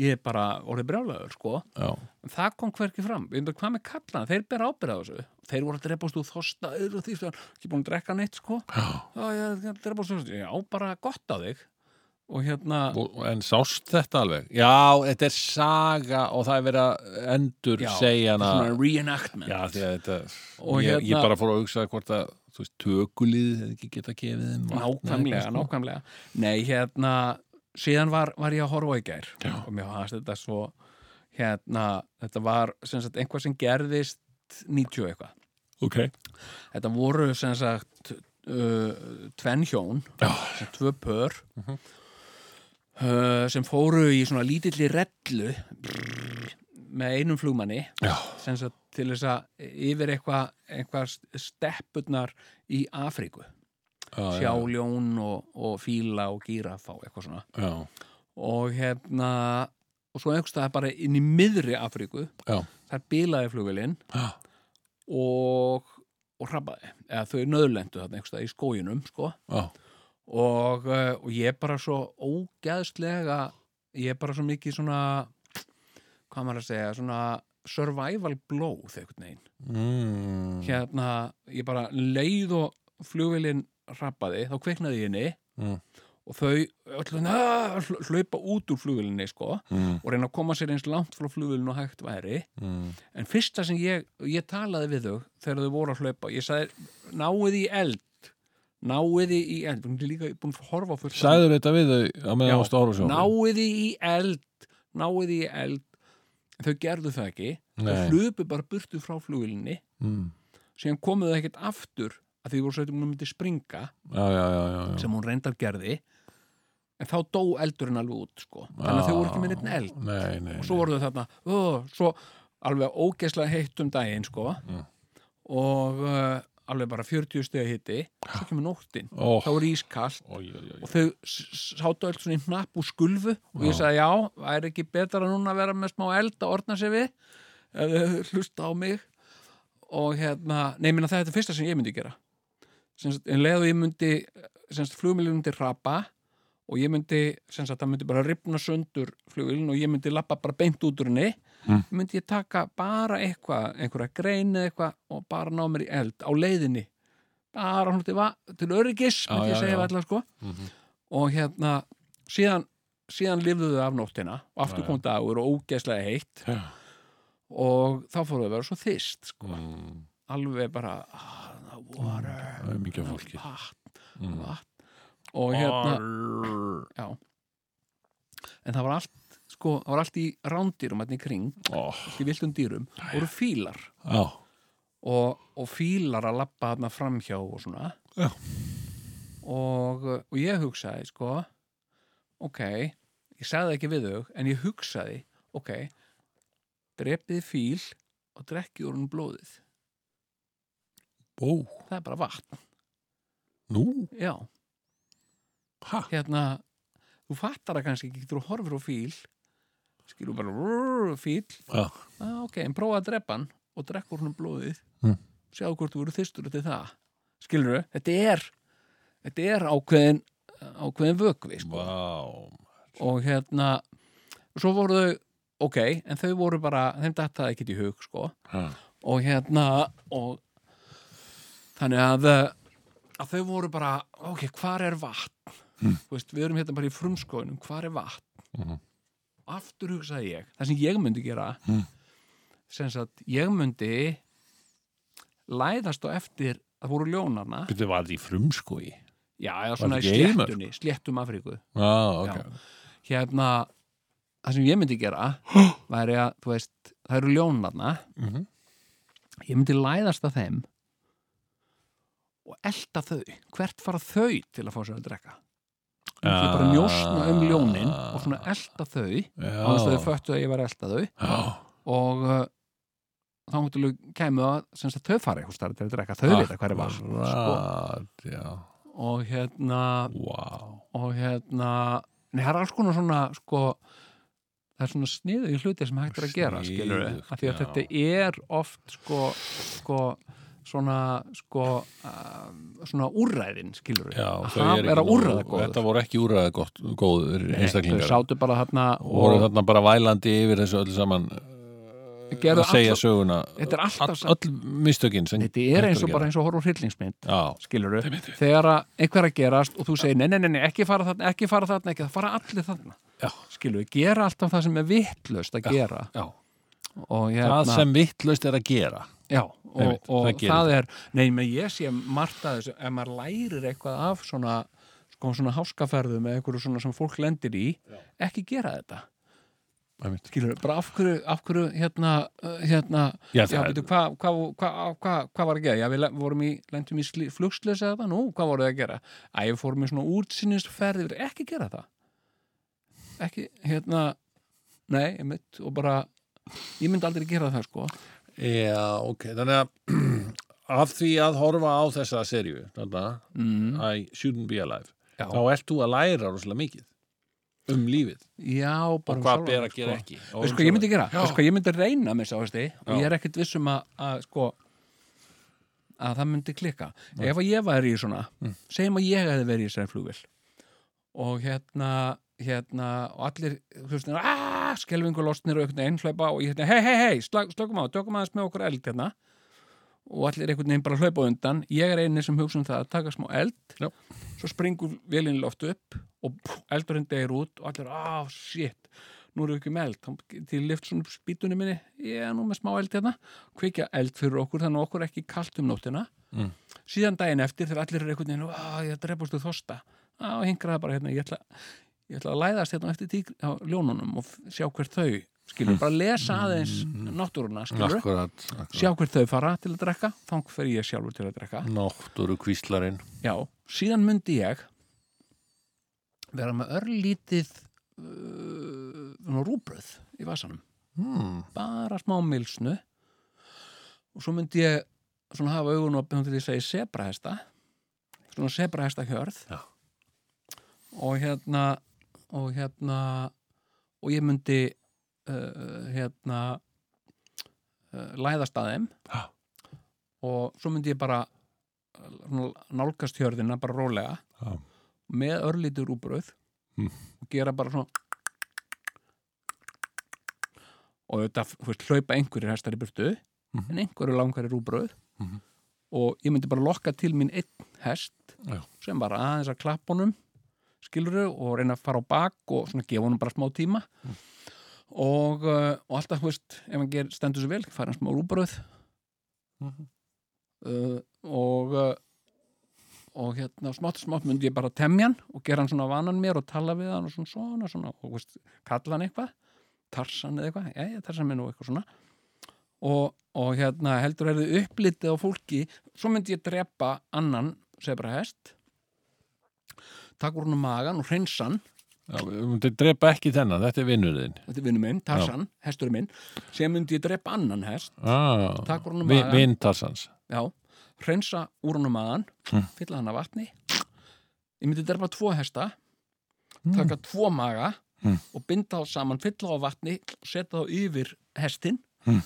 Speaker 3: ég er bara orðið brjálaður, sko
Speaker 1: já
Speaker 3: En það kom hverki fram, við veitum hvað með kallana þeir bera ábyrða á þessu, þeir voru að drepast úr þosta, öðru og því, ekki búin að drekka neitt sko,
Speaker 1: Já.
Speaker 3: já, já, já, drepast úr þosta já, bara gott á þig og hérna,
Speaker 1: Og- en sást þetta alveg já, þetta er saga og það er verið að endur
Speaker 3: já,
Speaker 1: segja hana
Speaker 3: svona reenactment
Speaker 1: já, því að þetta
Speaker 3: Og
Speaker 1: ég, ég
Speaker 3: hérna-
Speaker 1: bara fór að hugsa hvort að þú veist, tökulið hefði ekki geta gefið þeim vatn eða
Speaker 3: nákvæmlega,
Speaker 1: eitthvað, sko.
Speaker 3: nákvæmlega nei, hérna, síðan var, var ég að horfa í gær
Speaker 1: Já.
Speaker 3: og mér hafðast þetta svo hérna, þetta var sem sagt, einhvað sem gerðist 90 og eitthvað,
Speaker 1: ok,
Speaker 3: þetta voru sem sagt, uh, tvenn hjón
Speaker 1: já,
Speaker 3: sem tvö pör
Speaker 1: Mhm.
Speaker 3: uh, sem fóru í svona lítilli rellu brrr, með einum flugmanni
Speaker 1: já,
Speaker 3: sem sagt til þess að yfir eitthvað eitthva steppurnar í Afríku
Speaker 1: já, já,
Speaker 3: sjáljón og, og fíla og gírafá eitthvað svona
Speaker 1: já,
Speaker 3: og hérna og svo einhvers staðar bara inn í miðri Afríku
Speaker 1: já,
Speaker 3: þar bilaði flugvélinn
Speaker 1: já,
Speaker 3: og, og rabbaði eða þau nöðlendu þarna einhvers staðar í skóginum sko
Speaker 1: já,
Speaker 3: og, eh, og ég er bara svo ógeðslega ég er bara svo mikið svona hvað maður að segja, svona survival blow þegar neginn
Speaker 1: mm,
Speaker 3: hérna, ég bara leið og flugvélinn rappaði, þá kviknaði ég henni
Speaker 1: Mm.
Speaker 3: og þau öll, na, hlaupa út úr flugvélinni sko,
Speaker 1: mm,
Speaker 3: og reyna að koma sér eins langt frá flugvélinu og hægt væri
Speaker 1: mm,
Speaker 3: en fyrsta sem ég, ég talaði við þau þegar þau voru að hlaupa, ég sagði náuði í eld náuði í eld, hún er líka búin að horfa á fullt af-
Speaker 1: sagður þetta við þau á meðan
Speaker 3: Já,
Speaker 1: á stóru sjó
Speaker 3: náiði í eld náiði í eld þau gerðu það ekki
Speaker 1: Nei.
Speaker 3: þau hlupu bara burtu frá flugilni
Speaker 1: mm,
Speaker 3: síðan komuðu ekkert aftur að því voru svo að hún myndi springa
Speaker 1: já, já, já, já, já.
Speaker 3: sem hún reyndar gerði en þá dó eldurinn alveg út sko. þannig að þau voru ekki með neitt eld
Speaker 1: nei, nei,
Speaker 3: og svo voru þau þarna ó, svo alveg ógeðslega heitt um daginn sko.
Speaker 1: Mm.
Speaker 3: og uh, alveg bara 40 stegi hitti svo kemur nóttin,
Speaker 1: Ó.
Speaker 3: þá er ískall
Speaker 1: Ó, já, já, já.
Speaker 3: og þau s- s- sátu öll svona í hnapp úr skulfu og ég
Speaker 1: Já.
Speaker 3: sagði já, það er ekki betra núna að vera með smá eld að orna sér við eða hlusta á mig og hérna, neymin að þetta er fyrsta sem ég myndi gera semst, en leðu ég myndi semst, flugmilin myndi rapa og ég myndi, semst að það myndi bara ripna sundur flugilin og ég myndi lappa bara beint út úr henni
Speaker 1: Mm.
Speaker 3: myndi ég taka bara eitthvað, einhverja grein eða eitthvað og bara ná mér í eld á leiðinni bara hún til, va- til öryggis
Speaker 1: Já,
Speaker 3: myndi ég
Speaker 1: já, já.
Speaker 3: segja allar sko
Speaker 1: Mhm.
Speaker 3: og hérna síðan, síðan lifðu þau af nóttina og aftur
Speaker 1: Já,
Speaker 3: kom dagur og ógeðslega heitt
Speaker 1: Já.
Speaker 3: og þá fóruðu að vera svo þyst sko.
Speaker 1: Mm,
Speaker 3: alveg bara ah, the water,
Speaker 1: það er mikið af fólki
Speaker 3: vatn,
Speaker 1: Mm.
Speaker 3: vatn og hérna
Speaker 1: Arr.
Speaker 3: já. en það var allt sko, það var allt í rándýrum hérna í kring,
Speaker 1: Ó,
Speaker 3: allt í viltum dýrum og eru fílar
Speaker 1: já,
Speaker 3: og, og fílar að lappa þarna framhjá og svona
Speaker 1: Já.
Speaker 3: og, og ég hugsaði sko ok, ég sagði ekki við þau en ég hugsaði, ok drepið fíl og drekkið úr hún blóðið
Speaker 1: bó,
Speaker 3: það er bara vatn,
Speaker 1: nú
Speaker 3: já
Speaker 1: ha,
Speaker 3: hérna, þú fattar það kannski ekki þú horfir á fíl skilur bara rrr, fíl
Speaker 1: já,
Speaker 3: ah, ok, en prófa að drepa hann og drekka úr hann blóðið
Speaker 1: Mm.
Speaker 3: sjáðu hvort þú eru þystur til það skilur þau, þetta er þetta er ákveðin ákveðin vökvi sko.
Speaker 1: vá
Speaker 3: og hérna svo voru þau, ok, en þau voru bara þeim dattaði ekkert í hug sko.
Speaker 1: ha.
Speaker 3: og hérna og þannig að, eh, að þau voru bara ok, hvar er vatn
Speaker 1: Mm.
Speaker 3: Þú veist, við erum hérna bara í frumskóinum, hvar er vatn
Speaker 1: Mhm.
Speaker 3: aftur hugsaði ég það sem ég myndi gera
Speaker 1: Mm.
Speaker 3: sem sagt, ég myndi læðast á eftir það voru ljónarna
Speaker 1: Þetta var þetta í frumskói.
Speaker 3: já, eða svona í
Speaker 1: ekki eimörk?
Speaker 3: sléttunni, sléttum Afríku
Speaker 1: Já, ok.
Speaker 3: hérna, það sem ég myndi gera væri að, þú veist, það eru ljónarna
Speaker 1: Mm -hmm.
Speaker 3: ég myndi læðast að þeim og elta þau hvert fara þau til að fá sér að drekka ég myndi bara njósna um ljónin og svona elta þau á þess að þau föttu að ég var að elta þau og uh, þá múttu kemur það sem sagt þau fara eitthvað starf til að drekka
Speaker 1: Ah,
Speaker 3: þau vita hvað er var sko.
Speaker 1: já,
Speaker 3: og hérna
Speaker 1: wow.
Speaker 3: og hérna nei, það er alls konar svona sko, það er svona sniðu í hluti sem hægt er að gera skilur við,
Speaker 1: Sniðugt,
Speaker 3: af því að
Speaker 1: já.
Speaker 3: þetta er oft sko, sko svona sko uh, svona úræðin skilur við
Speaker 1: Já, þau eru
Speaker 3: að hafa- vera
Speaker 1: ekki nógu-
Speaker 3: úræða
Speaker 1: Þetta voru ekki úrraða gott, góður
Speaker 3: þau
Speaker 1: einstaklingar
Speaker 3: sátu bara þarna
Speaker 1: voru
Speaker 3: og
Speaker 1: þarna bara vælandi yfir þessu öll saman
Speaker 3: gerðu
Speaker 1: að segja
Speaker 3: allt
Speaker 1: söguna
Speaker 3: þetta er alltaf
Speaker 1: all, all mistökin sem
Speaker 3: þetta er eins og
Speaker 1: gera.
Speaker 3: bara eins og horf og hryllingsmynd
Speaker 1: já,
Speaker 3: skilur við, þegar að einhver er að gerast og þú segir, nei, nei, nei, nei, ekki fara þarna ekki fara þarna, ekki, það fara allir þarna
Speaker 1: Já.
Speaker 3: skilur við, gera alltaf það sem er vittlust að gera
Speaker 1: já.
Speaker 3: og hérna,
Speaker 1: það sem vittlaust er að gera
Speaker 3: já, og,
Speaker 1: Einmitt,
Speaker 3: og
Speaker 1: það
Speaker 3: það,
Speaker 1: gerir
Speaker 3: er nei, menn ég sé margt að þessu ef maður lærir eitthvað af svona sko, svona háskaferðum eða eitthvað svona sem fólk lendir í, ekki gera þetta
Speaker 1: Einmitt.
Speaker 3: skilur, bara af hverju, af hverju hérna, uh, hérna
Speaker 1: já,
Speaker 3: já,
Speaker 1: það,
Speaker 3: veitu, hvað hva, hva, hva, hva var að gera já, við le- vorum í, lendum í flugslösa eða það, nú, hvað voruð þið að gera að ég fórum í svona útsinnisferð yfir, ekki gera það ekki, hérna nei, ég mynd, og bara ég myndi aldrei gera það, sko
Speaker 1: já, ok þannig að af því að horfa á þessa serju þarna,
Speaker 3: mm.
Speaker 1: I shouldn't be alive
Speaker 3: Já.
Speaker 1: þá ert þú að læra rosalega mikið um lífið
Speaker 3: Já, bara um
Speaker 1: og hvað ber að gera
Speaker 3: sko.
Speaker 1: ekki og
Speaker 3: Veist
Speaker 1: um
Speaker 3: hvað ég myndi
Speaker 1: sjálfan-
Speaker 3: gera? Veist hvað ég myndi reyna með þess að veist og
Speaker 1: Já.
Speaker 3: ég er ekkert vissum að, að sko að það myndi klikka Ef að ég væri í svona,
Speaker 1: Mm.
Speaker 3: segjum að ég hefði verið í þessari flugvél og hérna, hérna og allir, þú veist, aaaah skelfingu losnir og einhvern veginn hlaupa og ég hérna, hei, hei, hei, slag, slökum á, tökum aðeins með okkur eld hérna og allir einhvern veginn bara hlaupa á undan ég er eini sem hugsa um það að taka smá eld
Speaker 1: Já.
Speaker 3: svo springur vélinn loft upp og pff, eldurinn degir út og allir, ah, shit nú erum við ekki með eld, þá get ég lift svona upp spýtunni minni, ég er nú með smá eld hérna kveikja eld fyrir okkur, þannig að okkur er ekki kalt um nóttina
Speaker 1: Mm.
Speaker 3: síðan daginn eftir þegar allir eru einhvern veginn að ég drefast úr þosta, að hingra það bara hérna, ég ætla, ég ætla að læðast hérna eftir tík á ljónunum og f- sjá hvert þau skilur, bara lesa aðeins náttúruna, skilur,
Speaker 1: akkurat, akkurat.
Speaker 3: sjá hvert þau fara til að drekka, þá fer ég sjálfur til að drekka
Speaker 1: náttúru kvíslarinn
Speaker 3: Já, síðan myndi ég vera með örlítið uh, rúbröð í vasanum
Speaker 1: hmm.
Speaker 3: bara smá milsnu og svo myndi ég svona hafa augun og byrjum til ég segi sebrahesta svona sebrahesta hjörð
Speaker 1: Já.
Speaker 3: og hérna og hérna og ég myndi uh, hérna uh, læðast að þeim
Speaker 1: Já.
Speaker 3: og svo myndi ég bara uh, svona nálgast hjörðina bara rólega
Speaker 1: Já.
Speaker 3: með örlítið rúbröð
Speaker 1: Mm.
Speaker 3: og gera bara svona og þetta veist, hlaupa einhverjir hestar í burtu
Speaker 1: Mhm.
Speaker 3: en einhverju langar í rúbröð
Speaker 1: Mhm.
Speaker 3: og ég myndi bara lokka til mín einn hest
Speaker 1: Já.
Speaker 3: sem bara aðeins að klappa honum skiluru og reyna að fara á bak og svona gefa honum bara smá tíma
Speaker 1: Hm.
Speaker 3: og, uh, og alltaf þú veist, ef hann ger, stendur sér vel fara hann smá rúbröð
Speaker 1: Mhm.
Speaker 3: uh, og uh, og hérna smátt og smátt myndi ég bara temja hann og gera hann svona vanan mér og tala við hann og svona svona, svona og þú veist, kalla hann eitthvað tarsan eða eitthvað, já, já, tarsan minn og eitthvað svona og, og hérna heldur er þið upplitið á fólki svo myndi ég drepa annan sebrahest takk úr hann um magan og hreinsa hann
Speaker 1: Já, við myndum drepa ekki þennan, þetta er vinnurðin
Speaker 3: þetta er vinnu minn, tarsan, hesturinn minn sem myndi ég drepa annan hest
Speaker 1: ah,
Speaker 3: Taka úr honum
Speaker 1: Vi-
Speaker 3: magann.
Speaker 1: Vin Tarsans
Speaker 3: já, hreinsa úr hann um magan
Speaker 1: Mm.
Speaker 3: fylla hann af vatni ég myndi drepa tvo hesta
Speaker 1: Hm.
Speaker 3: taka tvo maga
Speaker 1: Mm.
Speaker 3: og binda þá saman, fylla á vatni setja þá yfir hestin
Speaker 1: Mm.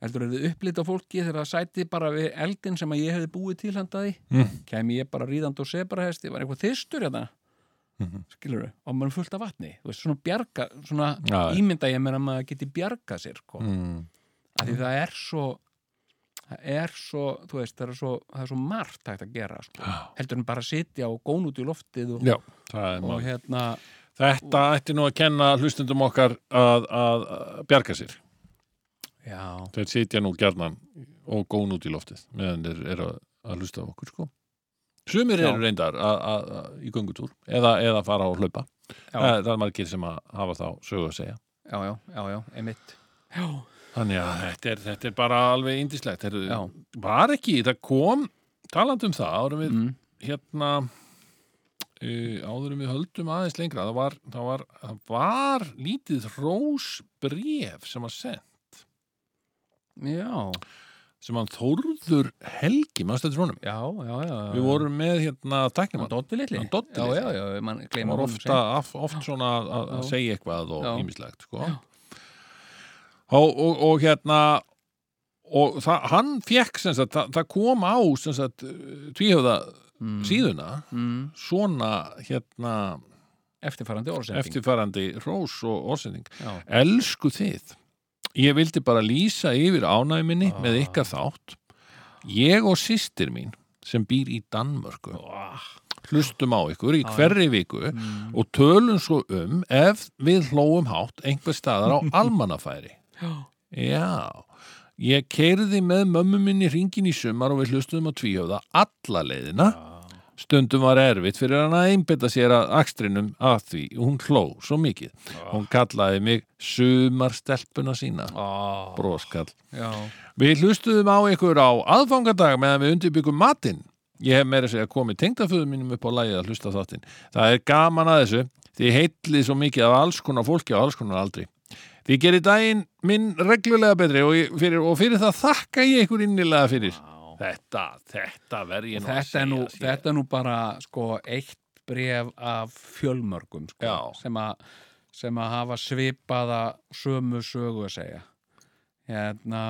Speaker 3: heldur er þið upplita fólki þegar það sæti bara við eldin sem að ég hefði búið til handaði,
Speaker 1: Mm.
Speaker 3: kæmi ég bara ríðandi og sebrahesti, var eitthvað þystur hérna
Speaker 1: Mhm.
Speaker 3: skilur við, og maður er fullt af vatni þú veist, svona bjarga, svona
Speaker 1: Já, já.
Speaker 3: ímynda ég mér að maður geti bjarga sér sko.
Speaker 1: mm.
Speaker 3: af því það er svo það er svo, þú veist, það er svo það er svo margt hægt að gera sko.
Speaker 1: Já.
Speaker 3: heldur en bara að sitja og góna út í loftið og,
Speaker 1: Já, það er
Speaker 3: og
Speaker 1: mál
Speaker 3: hérna
Speaker 1: Þetta ætti nú að kenna hlustundum okkar að, að, að bjarga sér.
Speaker 3: já,
Speaker 1: Þeir sitja nú gjarnan og gón út í loftið meðan þeir eru að að hlusta á okkur sko Sumir
Speaker 3: Já.
Speaker 1: eru reyndar að- að- að- í göngutúr eða, eða fara á hlaupa
Speaker 3: Já.
Speaker 1: Eh, Það er margir sem að hafa þá sögu að segja
Speaker 3: já, já, já, já, emitt já,
Speaker 1: Þannig að þetta er, þetta er bara alveg indislegt
Speaker 3: já,
Speaker 1: Var ekki, það kom talandi um það, árum við
Speaker 3: mm,
Speaker 1: hérna uh, áðurum við höldum aðeins lengra það var, það var, það var lítið rósbref sem að send
Speaker 3: já,
Speaker 1: sem hann Þórður Helgi maður stættur honum
Speaker 3: já, já, já
Speaker 1: við vorum með hérna
Speaker 3: hann
Speaker 1: tæknumann
Speaker 3: Doddi litli
Speaker 1: Hann Doddi
Speaker 3: já,
Speaker 1: litli.
Speaker 3: já, já, mann
Speaker 1: hann
Speaker 3: gleyma
Speaker 1: var
Speaker 3: honum
Speaker 1: ofta, af, oft svona að- að að
Speaker 3: Já.
Speaker 1: segja eitthvað og
Speaker 3: Já.
Speaker 1: ímislegt sko. og, og, og hérna og það, hann fekk sem sagt, það, það kom á sem sagt tvíhöfða
Speaker 3: mm,
Speaker 1: síðuna
Speaker 3: mm,
Speaker 1: svona hérna
Speaker 3: eftirfarandi orðsending
Speaker 1: eftirfarandi hrós og orðsending
Speaker 3: já,
Speaker 1: Elsku þið. Ég vildi bara lýsa yfir ánæminni
Speaker 3: Ah.
Speaker 1: með ykkar þátt. Ég og sýstir mín sem býr í Danmörku hlustum á ykkur í
Speaker 3: Já, já.
Speaker 1: hverri viku
Speaker 3: mm,
Speaker 1: og tölum svo um ef við hlóum hátt einhver staðar á almannafæri.
Speaker 3: já,
Speaker 1: Já, ég keirði með mömmu minni hringin í sumar og við hlustum á tvíhjóða alla leiðina. Stundum var erfitt fyrir hann að einbytta sér að akstrinum að því hún hló svo mikið. Hún kallaði mig sumarstelpuna sína.
Speaker 3: Á,
Speaker 1: Broskall.
Speaker 3: já,
Speaker 1: Við hlustuðum á ykkur á aðfangadag meðan við undirbyggum matinn. Ég hef meira að segja komið tengdaföðum mínum upp á lagið að hlusta á þáttinn. Það er gaman að þessu. Þið heitlið svo mikið af alls konar fólki á alls konar aldri. Þið gerir daginn minn reglulega betri og, ég, fyrir, og fyrir það þakka ég ykkur innilega fyrir.
Speaker 3: já.
Speaker 1: Þetta, þetta verð ég nú að
Speaker 3: þetta er nú,
Speaker 1: segja. sér.
Speaker 3: þetta er nú bara sko eitt bref af fjölmörgum sko,
Speaker 1: Já.
Speaker 3: sem að sem að hafa svipaða sömu sögu að segja hérna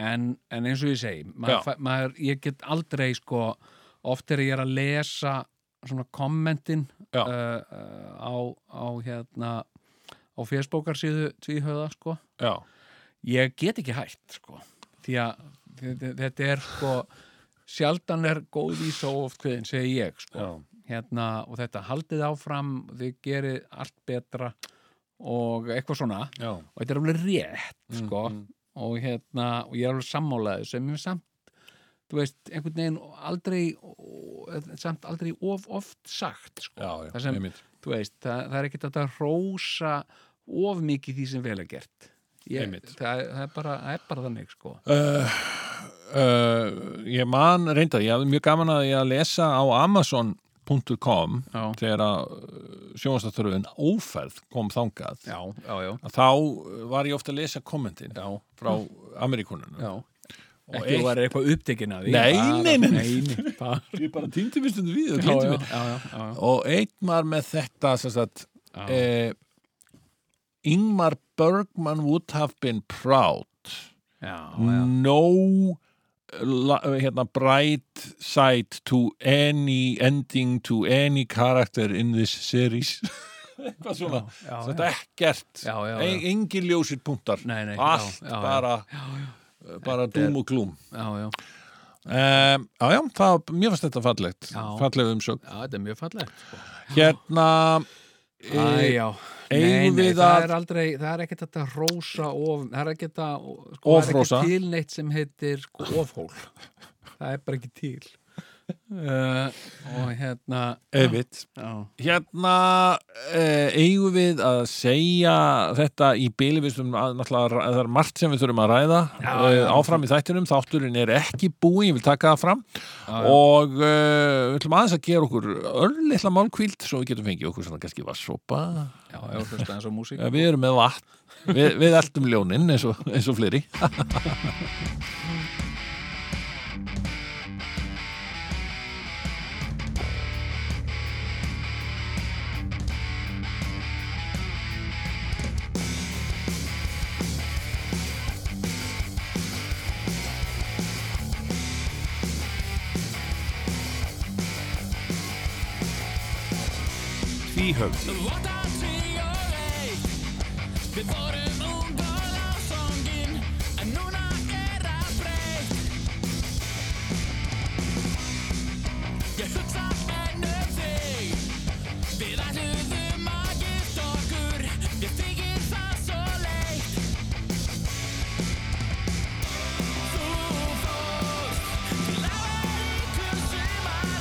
Speaker 3: en, en eins og ég segi
Speaker 1: Já.
Speaker 3: maður, fæ- maður, ég get aldrei sko oft er ég er að lesa svona kommentin
Speaker 1: Já.
Speaker 3: uh, uh, á, á hérna á Facebookarsíðu tvíhöða sko
Speaker 1: Já,
Speaker 3: ég get ekki hægt sko. því að þetta- þetta er sko, sjaldan er góð í svo oft kveðin, segi ég sko. hérna, og þetta haldið áfram þið gerið allt betra og eitthvað svona
Speaker 1: já.
Speaker 3: og þetta er alveg rétt sko.
Speaker 1: mm.
Speaker 3: og, hérna, og ég er alveg sammálaðið sem ég samt þú veist, einhvern veginn aldrei samt aldrei of oft sagt sko.
Speaker 1: Já, já,
Speaker 3: Það sem-
Speaker 1: einmitt.
Speaker 3: Þú veist, það, það er ekkert hægt að rósa of mikið því sem vel er gert ég,
Speaker 1: Einmitt.
Speaker 3: það, það, er bara, það er bara þannig sko.
Speaker 1: Uh, uh, ég man reyndar, ég hafði mjög gaman að ég að lesa á amazon.com
Speaker 3: já.
Speaker 1: þegar að sjónvastathörfun ófærð kom þangað
Speaker 3: já, já, já,
Speaker 1: að þá uh, var ég ofta að lesa kommentin
Speaker 3: já,
Speaker 1: frá Ameríkununum
Speaker 3: já.
Speaker 1: Og
Speaker 3: ekki þú
Speaker 1: eitt-
Speaker 3: væri eitthvað upptekin að því
Speaker 1: Nei, nei,
Speaker 3: Bara-
Speaker 1: nei, nei.
Speaker 3: nei, bara-
Speaker 1: ég bara týndi mér stundum við og
Speaker 3: já,
Speaker 1: gleymdi
Speaker 3: já,
Speaker 1: mér.
Speaker 3: já, já, já,
Speaker 1: og einn var með þetta sem sagt
Speaker 3: já.
Speaker 1: eh, Ingmar Bergman would have been proud
Speaker 3: já, já.
Speaker 1: no la, hérna, bright side to any ending to any character in this series eitthvað svona
Speaker 3: já,
Speaker 1: þetta er ekkert
Speaker 3: Já, já, já.
Speaker 1: en- engin ljósir punktar
Speaker 3: Nei, nei, já,
Speaker 1: allt
Speaker 3: já, já.
Speaker 1: bara, eh, bara
Speaker 3: er-
Speaker 1: dúm og glúm
Speaker 3: já, já,
Speaker 1: Um, já, já, það, mér fannst þetta fallegt
Speaker 3: Já.
Speaker 1: falleg umsögn
Speaker 3: já, þetta er mjög fallegt sko.
Speaker 1: hérna
Speaker 3: Æ,
Speaker 1: e,
Speaker 3: já, nei,
Speaker 1: eigum
Speaker 3: nei,
Speaker 1: við
Speaker 3: það
Speaker 1: að-
Speaker 3: er aldrei, það er ekkert hægt að rósa of, það er ekkert að, sko,
Speaker 1: Ofrósa.
Speaker 3: það er ekki til neitt sem heitir sko, ofhól, það er bara ekki til uh, og hérna,
Speaker 1: Efitt
Speaker 3: já,
Speaker 1: Hérna eh, eigum við að segja þetta í byli við stum að náttúrulega að það er margt sem við þurfum að ræða
Speaker 3: Já,
Speaker 1: eh,
Speaker 3: já.
Speaker 1: áfram í þættinum, þátturinn er ekki búin ég vil taka það fram
Speaker 3: já.
Speaker 1: og eh, við ætlum aðeins að gera okkur örlitla málkvíld svo við getum fengið okkur svona kannski vassopa
Speaker 3: já, ég var hlusta eins og músík.
Speaker 1: Eh, við erum með vatn við, við eldum ljónin eins og, eins og fleiri
Speaker 2: Tvíhöfði
Speaker 4: Við vorum ungar á songin En núna er að breytt Ég hugsa enn um þig Við ætluðum að gift okkur Ég þykir það svo leitt Þú fórst til að vera í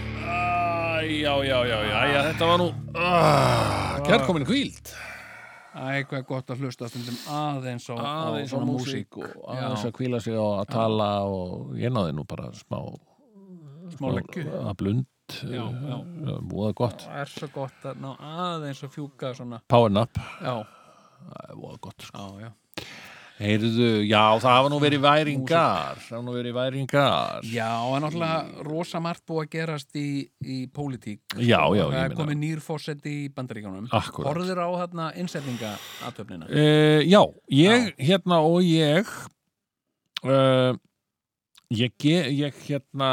Speaker 1: já, já, já, já, já, þetta var nú ah, Kjærkomin kvíld
Speaker 3: Æ, hvað er gott að hlusta stundum aðeins á,
Speaker 1: Aðeins á
Speaker 3: svona
Speaker 1: músík
Speaker 3: músík.
Speaker 1: og aðeins
Speaker 3: Já.
Speaker 1: að kvíla sig og að tala og ég náði nú bara smá
Speaker 3: smá leggju
Speaker 1: að blund eh,
Speaker 3: Já, já.
Speaker 1: Voða gott
Speaker 3: Það er svo gott að ná aðeins að fjúka svona
Speaker 1: Power nap,
Speaker 3: Já,
Speaker 1: það er voða gott sko.
Speaker 3: já, já
Speaker 1: Heyrðu, já, það hafa nú verið væringar Það hafa nú verið væringar
Speaker 3: Já, það er náttúrulega rosa margt búið að gerast í, í pólitík
Speaker 1: Já, já,
Speaker 3: Það
Speaker 1: ég
Speaker 3: er
Speaker 1: meina.
Speaker 3: komið nýr fósetti í bandaríkjónum
Speaker 1: Akkúrat.
Speaker 3: Horður á hérna þarna innsetninga aðtöfnina
Speaker 1: Uh, já, ég, hérna, og ég, uh, ég, ge- ég, hérna,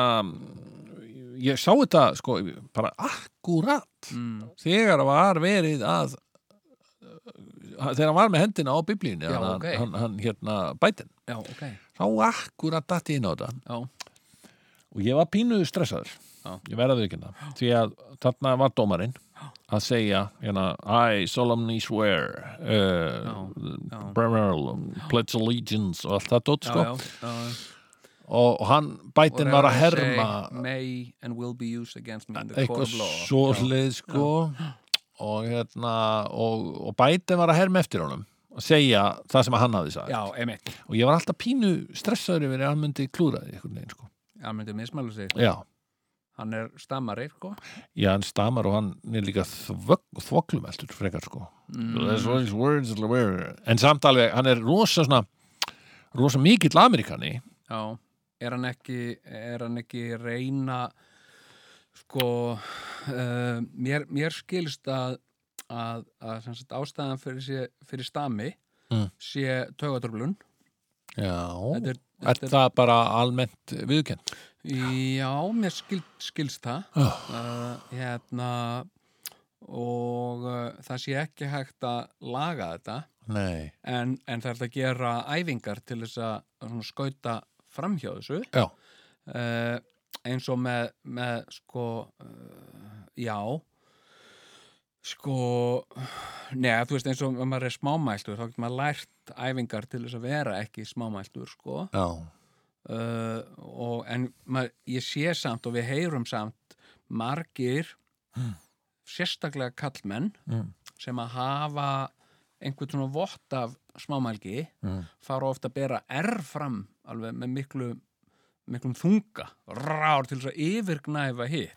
Speaker 1: ég sá þetta, sko, bara akkurat
Speaker 3: mm.
Speaker 1: þegar var verið að, uh, þegar hann var með hendina á biblíunni,
Speaker 3: Já,
Speaker 1: hann,
Speaker 3: ok.
Speaker 1: hann, hann, hérna, bætin,
Speaker 3: Já, ok
Speaker 1: sá akkurat datti inn á þetta
Speaker 3: Já,
Speaker 1: og ég var pínuð stressaður
Speaker 3: Já.
Speaker 1: ég verða við ekki það því að þarna var dómarinn að segja hérna, I solemnly swear uh,
Speaker 3: já.
Speaker 1: Bremerl, pledge allegiance og allt það dótt
Speaker 3: já,
Speaker 1: sko
Speaker 3: já, já, já.
Speaker 1: og, og hann
Speaker 3: Og
Speaker 1: bætin var að
Speaker 3: þegar þeir
Speaker 1: herma
Speaker 3: segja, May and will be used against me in the court
Speaker 1: eitthvað
Speaker 3: of law
Speaker 1: svoleið sko og hérna og, og bætin var að herma eftir honum að segja það sem hann hafði sagt
Speaker 3: Já, emitt
Speaker 1: og ég var alltaf pínu stressaður yfir að hann myndi klúraði einhvern veginn sko
Speaker 3: Hann myndi mismælu sig
Speaker 1: já
Speaker 3: Hann er stammari, sko
Speaker 1: Já, hann stamar og hann er líka þvoklum eldur frekar sko That's what his words were. En samt alveg, hann er rosa svona rosa mikill Amerikani
Speaker 3: Já, er hann ekki, er hann ekki reyna sko uh, mér, mér skilst að að, að sem sagt, ástæðan fyrir, sé, fyrir stami
Speaker 1: Mm.
Speaker 3: sé taugatröflun
Speaker 1: Já
Speaker 3: Þetta er,
Speaker 1: Er
Speaker 3: þetta er,
Speaker 1: það bara almennt viðkjönd?
Speaker 3: já, mér skil, skilst það
Speaker 1: Oh.
Speaker 3: uh, hérna og uh, það sé ekki hægt að laga þetta
Speaker 1: Nei
Speaker 3: en, en það er hægt að gera æfingar til þess að svona, skauta framhjá þessu
Speaker 1: Já,
Speaker 3: uh, eins og með, með sko uh, já sko neða, þú veist eins og ef maður er smámæltur þá getur maður lært æfingar til þess að vera ekki smámæltur sko
Speaker 1: já,
Speaker 3: uh, og, en maður, ég sé samt og við heyrum samt margir sérstaklega kallmenn
Speaker 1: Mm.
Speaker 3: sem að hafa einhvern svona vott af smámælgi
Speaker 1: Mm.
Speaker 3: fara ofta að bera R fram alveg með miklu miklum þunga, rár til þess að yfirgnæfa hitt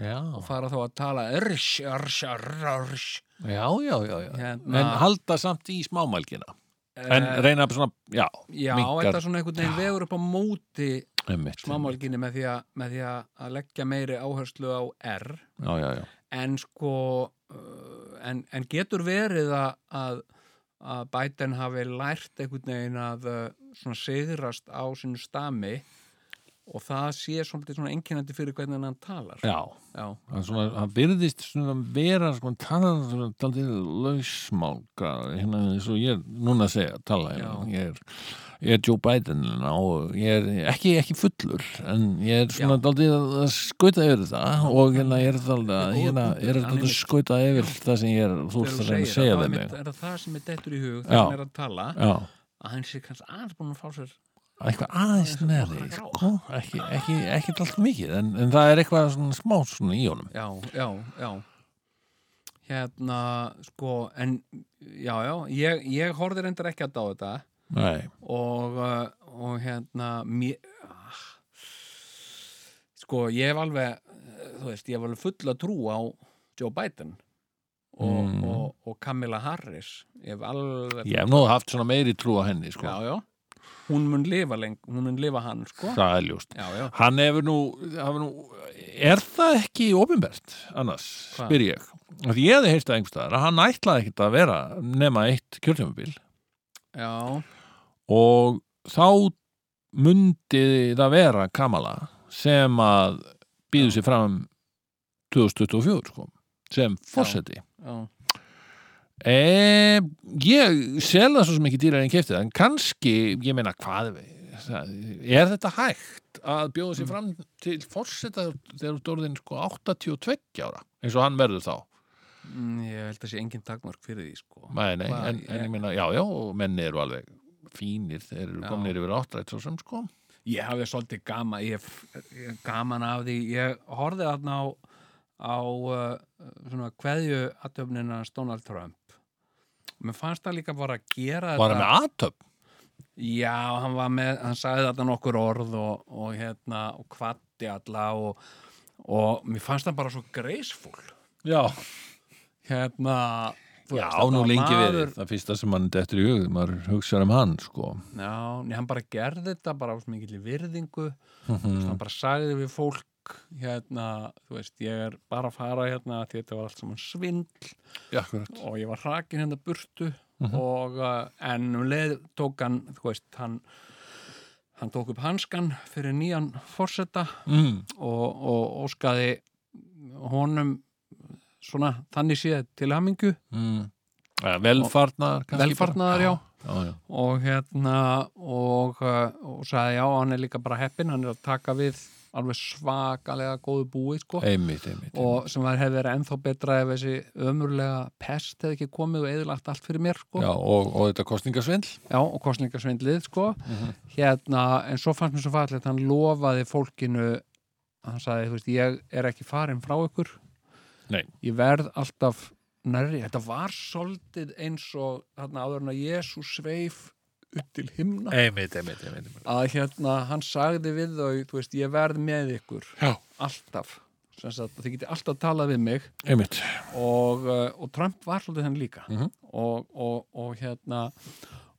Speaker 1: já
Speaker 3: og fara þá að tala rsh, rsh, rsh
Speaker 1: Já, já, já, já
Speaker 3: Hérna.
Speaker 1: En halda samt í smámælgina En
Speaker 3: Eh,
Speaker 1: reyna svona, já
Speaker 3: Já, þetta er svona einhvern veginn vegur upp á móti
Speaker 1: einmitt,
Speaker 3: smámálginni með því, að, með því að að leggja meiri áherslu á R
Speaker 1: Já, já, já
Speaker 3: en sko uh, en, en getur verið að, að, að Biden hafi lært einhvern veginn að uh, svona sigrast á sínu stami og það sé svolítið svona einkennandi fyrir hvernig hann talar
Speaker 1: Já,
Speaker 3: já,
Speaker 1: hann, svona, hann virðist svona vera sko, hann talar svona daldið lausmálga hérna eins og ég er núna að segja tala hérna,
Speaker 3: Já.
Speaker 1: ég er, ég er Joe Biden hérna og ég er ekki, ekki fullur en ég er svona
Speaker 3: Já.
Speaker 1: daldið að skauta yfir það og hérna ég er daldið
Speaker 3: Þetta er
Speaker 1: að hérna,
Speaker 3: góður punktur,
Speaker 1: ég er
Speaker 3: hann
Speaker 1: daldið að
Speaker 3: einmitt.
Speaker 1: skauta yfir það sem ég er þú ert að reyna
Speaker 3: Þegar þú
Speaker 1: að
Speaker 3: segir
Speaker 1: segja
Speaker 3: það,
Speaker 1: þeim
Speaker 3: þá
Speaker 1: mig
Speaker 3: er það, það sem er dettur í hug
Speaker 1: Já.
Speaker 3: þegar hann er að tala
Speaker 1: Já,
Speaker 3: að hann sé kannski aðeins búin að fá sér
Speaker 1: eitthvað aðeins neðri
Speaker 3: Bara grá.
Speaker 1: sko, ekki, ekki, ekki alltaf mikið en, en það er eitthvað svona smá svona í honum
Speaker 3: já, já, já hérna, sko en, já, já, ég, ég horfði reyndar ekki að dá þetta
Speaker 1: Nei,
Speaker 3: og, uh, og hérna mér, ah, sko ég hef alveg eh, þú veist, ég hef alveg fulla trú á Joe Biden og,
Speaker 1: Mm.
Speaker 3: og, og Kamala Harris ég hef alveg
Speaker 1: ég hef nú haft svona meiri trú á henni sko.
Speaker 3: já, já. hún mun lifa leng, hún mun lifa hann sko.
Speaker 1: það er ljóst
Speaker 3: já, já,
Speaker 1: Hann hefur nú, hefur nú er það ekki ofinbært annars,
Speaker 3: Hvað?
Speaker 1: spyr ég Af Því ég hefði heyrst að einhverstaðar að hann ætlaði ekkert að vera nema eitt kjörtjumabil
Speaker 3: já,
Speaker 1: og þá mundi það vera Kamala sem að býðu sér fram 2024 sko, sem fórseti
Speaker 3: já.
Speaker 1: e, Ég sel það svo sem ekki dýrar en kefti það en kannski, ég meina hvað er þetta hægt að bjóða sér fram til fórseta þegar þú orðin sko 82 ára eins og hann verður þá
Speaker 3: Mm, ég held að sé engin takmark fyrir því sko.
Speaker 1: nei, nei, en,
Speaker 3: Hvað,
Speaker 1: en
Speaker 3: ég-
Speaker 1: ég meina, já, já, og menni eru alveg fínir, þeir eru
Speaker 3: Já.
Speaker 1: komnir yfir áttrætt svo sem sko
Speaker 3: ég hafði svolítið gaman ég, ég, gaman af því, ég horfði þarna á á uh, svona kveðju aðtöfnina Donald Trump mér fannst það líka bara að gera
Speaker 1: Var hann
Speaker 3: þetta
Speaker 1: með aðtöp?
Speaker 3: Já, hann var með, hann sagði þetta nokkur orð og, og hérna, og kvatti alla og, og mér fannst það bara svo graceful
Speaker 1: Já,
Speaker 3: hérna þú
Speaker 1: já
Speaker 3: veist, þetta
Speaker 1: nú
Speaker 3: var
Speaker 1: lengi
Speaker 3: maður-
Speaker 1: við Það fyrsta sem hann dettur í hug, maður hugsaður um hann sko.
Speaker 3: Já, nei, hann bara gerði þetta bara á svo mikill virðingu mm. hann bara sagði við fólk hérna, þú veist, ég er bara að fara hérna því þetta var allt saman svindl
Speaker 1: Já, akkurat
Speaker 3: og ég var hrakin hérna burtu og uh, en um leið tók hann, þú veist, hann hann tók upp hanskan fyrir nýjan forseta
Speaker 1: mm.
Speaker 3: og, og óskaði honum svona þannig séð til hamingu
Speaker 1: Mm. Ja, Velfarnar kannski bara.
Speaker 3: Velfarnaðar, já.
Speaker 1: já, já.
Speaker 3: og hérna og, uh, og sagði já, hann er líka bara heppin hann er að taka við alveg svakalega góðu búi sko
Speaker 1: Einmitt, einmitt, einmitt.
Speaker 3: og sem var hefði verið ennþá betra ef þessi ömurlega pest hefði ekki komið og eðilagt allt fyrir mér sko
Speaker 1: Já, og, og þetta kostningasvindl
Speaker 3: Já, og kostningasvindlið sko
Speaker 1: Mhm.
Speaker 3: hérna, en svo fannst mér svo fallið hann lofaði fólkinu hann sagði, þú veist, ég er ekki farin frá ykkur
Speaker 1: Nei.
Speaker 3: ég verð alltaf nærri, þetta var soldið eins og þarna áður en að Jésús sveif upp til himna
Speaker 1: Einmitt, einmitt, einmitt, einmitt.
Speaker 3: að hérna, hann sagði við þau þú veist, ég verð með ykkur
Speaker 1: Já.
Speaker 3: alltaf, sem sagt, þið getið alltaf talað við mig
Speaker 1: Einmitt,
Speaker 3: og, uh, og Trump var svolítið hann líka
Speaker 1: Mhm.
Speaker 3: og, og, og hérna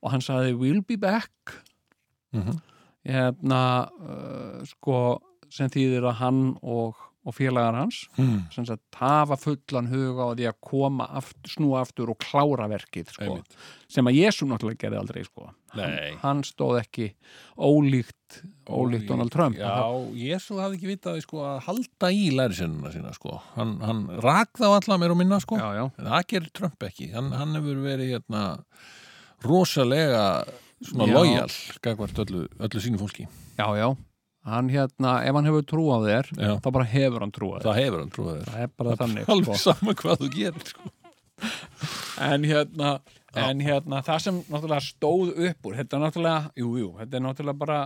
Speaker 3: og hann sagði we'll be back
Speaker 1: Mhm.
Speaker 3: hérna uh, sko sem þýðir að hann og, og félagar hans
Speaker 1: mm.
Speaker 3: sem sagt hafa fullan huga á því að koma aftur, snúa aftur og klára verkið sko,
Speaker 1: Einmitt.
Speaker 3: sem að Jésu náttúrulega gerði aldrei sko.
Speaker 1: Nei.
Speaker 3: hann, hann stóð ekki ólíkt ólíkt Donald Trump
Speaker 1: Já,
Speaker 3: Hann-
Speaker 1: Jésu hafði ekki vitað sko, að halda í lærisennuna sína sko. hann, hann rak þá alla mér og minna sko.
Speaker 3: já, já.
Speaker 1: en það gerir Trump ekki hann, hann hefur verið hérna, rosalega svona
Speaker 3: Já.
Speaker 1: lojal gagvart öllu, öllu sínu fólki
Speaker 3: já, já hann hérna, ef hann hefur trú á þér
Speaker 1: Já.
Speaker 3: þá bara hefur hann trú á þér
Speaker 1: það hefur hann trúið þér
Speaker 3: það er bara þannig sko.
Speaker 1: alveg sama hvað þú gerir sko.
Speaker 3: en hérna, en hérna það sem náttúrulega stóð upp úr þetta er náttúrulega, jú, jú, þetta er náttúrulega bara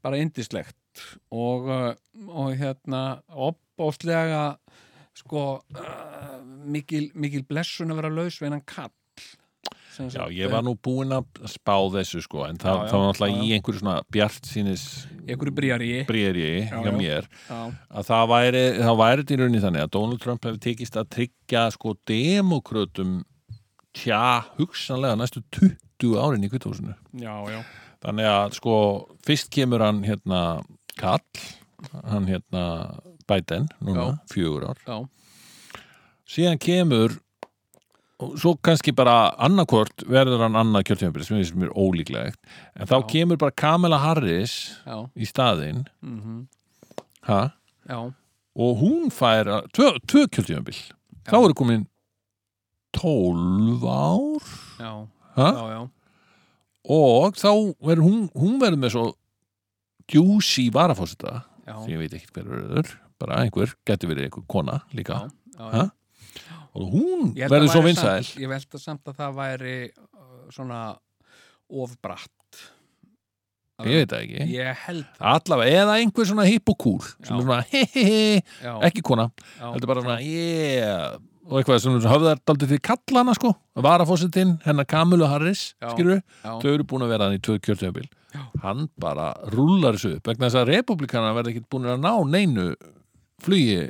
Speaker 3: bara indislegt og, uh, og hérna opbóstlega sko uh, mikil, mikil blessun að vera laus við hennan kall Sem
Speaker 1: já,
Speaker 3: sagt,
Speaker 1: ég var nú búinn að spá þessu sko, en það,
Speaker 3: Já, já,
Speaker 1: það var náttúrulega
Speaker 3: já, já.
Speaker 1: í einhverju svona bjart sínis
Speaker 3: í einhverju brýjar í
Speaker 1: brýri
Speaker 3: Já,
Speaker 1: hjá
Speaker 3: já.
Speaker 1: mér
Speaker 3: já,
Speaker 1: að það væri, það væri til rauninni þannig að Donald Trump hefði tekist að tryggja sko demokrautum tja hugsanlega næstu 20 árin í kvittúsinu
Speaker 3: já, já,
Speaker 1: þannig að sko fyrst kemur hann hérna Karl hann hérna Biden núna, fjögur ár
Speaker 3: já.
Speaker 1: síðan kemur og svo kannski bara annarkvort verður hann annað kjörtjöfnbyrð sem finnst mér ólíklegt en þá
Speaker 3: Já.
Speaker 1: kemur bara Kamala Harris
Speaker 3: já,
Speaker 1: í staðinn
Speaker 3: mm
Speaker 1: ha?
Speaker 3: já.
Speaker 1: og hún fær að- tvö, tvö kjöldjöfumbil þá eru komin 12 ár
Speaker 3: Já,
Speaker 1: ha?
Speaker 3: já, já,
Speaker 1: og þá verður hún, hún verður með svo juicy varafósita
Speaker 3: já,
Speaker 1: sem ég veit ekkert hver verður bara einhver, getur verið einhver kona líka
Speaker 3: já, já, já.
Speaker 1: Ha? og hún
Speaker 3: Ég held að
Speaker 1: verður svo
Speaker 3: væri
Speaker 1: vinsæl
Speaker 3: samt, ég held að samt að það væri uh, svona ofbratt
Speaker 1: ég veit það ekki
Speaker 3: ég held það
Speaker 1: allavega, eða einhver svona hipp og kúl sem
Speaker 3: Já.
Speaker 1: er svona he he he,
Speaker 3: já,
Speaker 1: ekki kona
Speaker 3: já,
Speaker 1: heldur bara svona yeah og eitthvað sem höfðar daldið fyrir kallana sko varafósitin, hennar Kamilu Harris
Speaker 3: Já.
Speaker 1: skilur
Speaker 3: já,
Speaker 1: þau eru búin að vera hann í tvö kjörtjöfumbil
Speaker 3: Já.
Speaker 1: hann bara rúlar þessu upp vegna þess að republikana verða ekkert búin að ná neinu flugi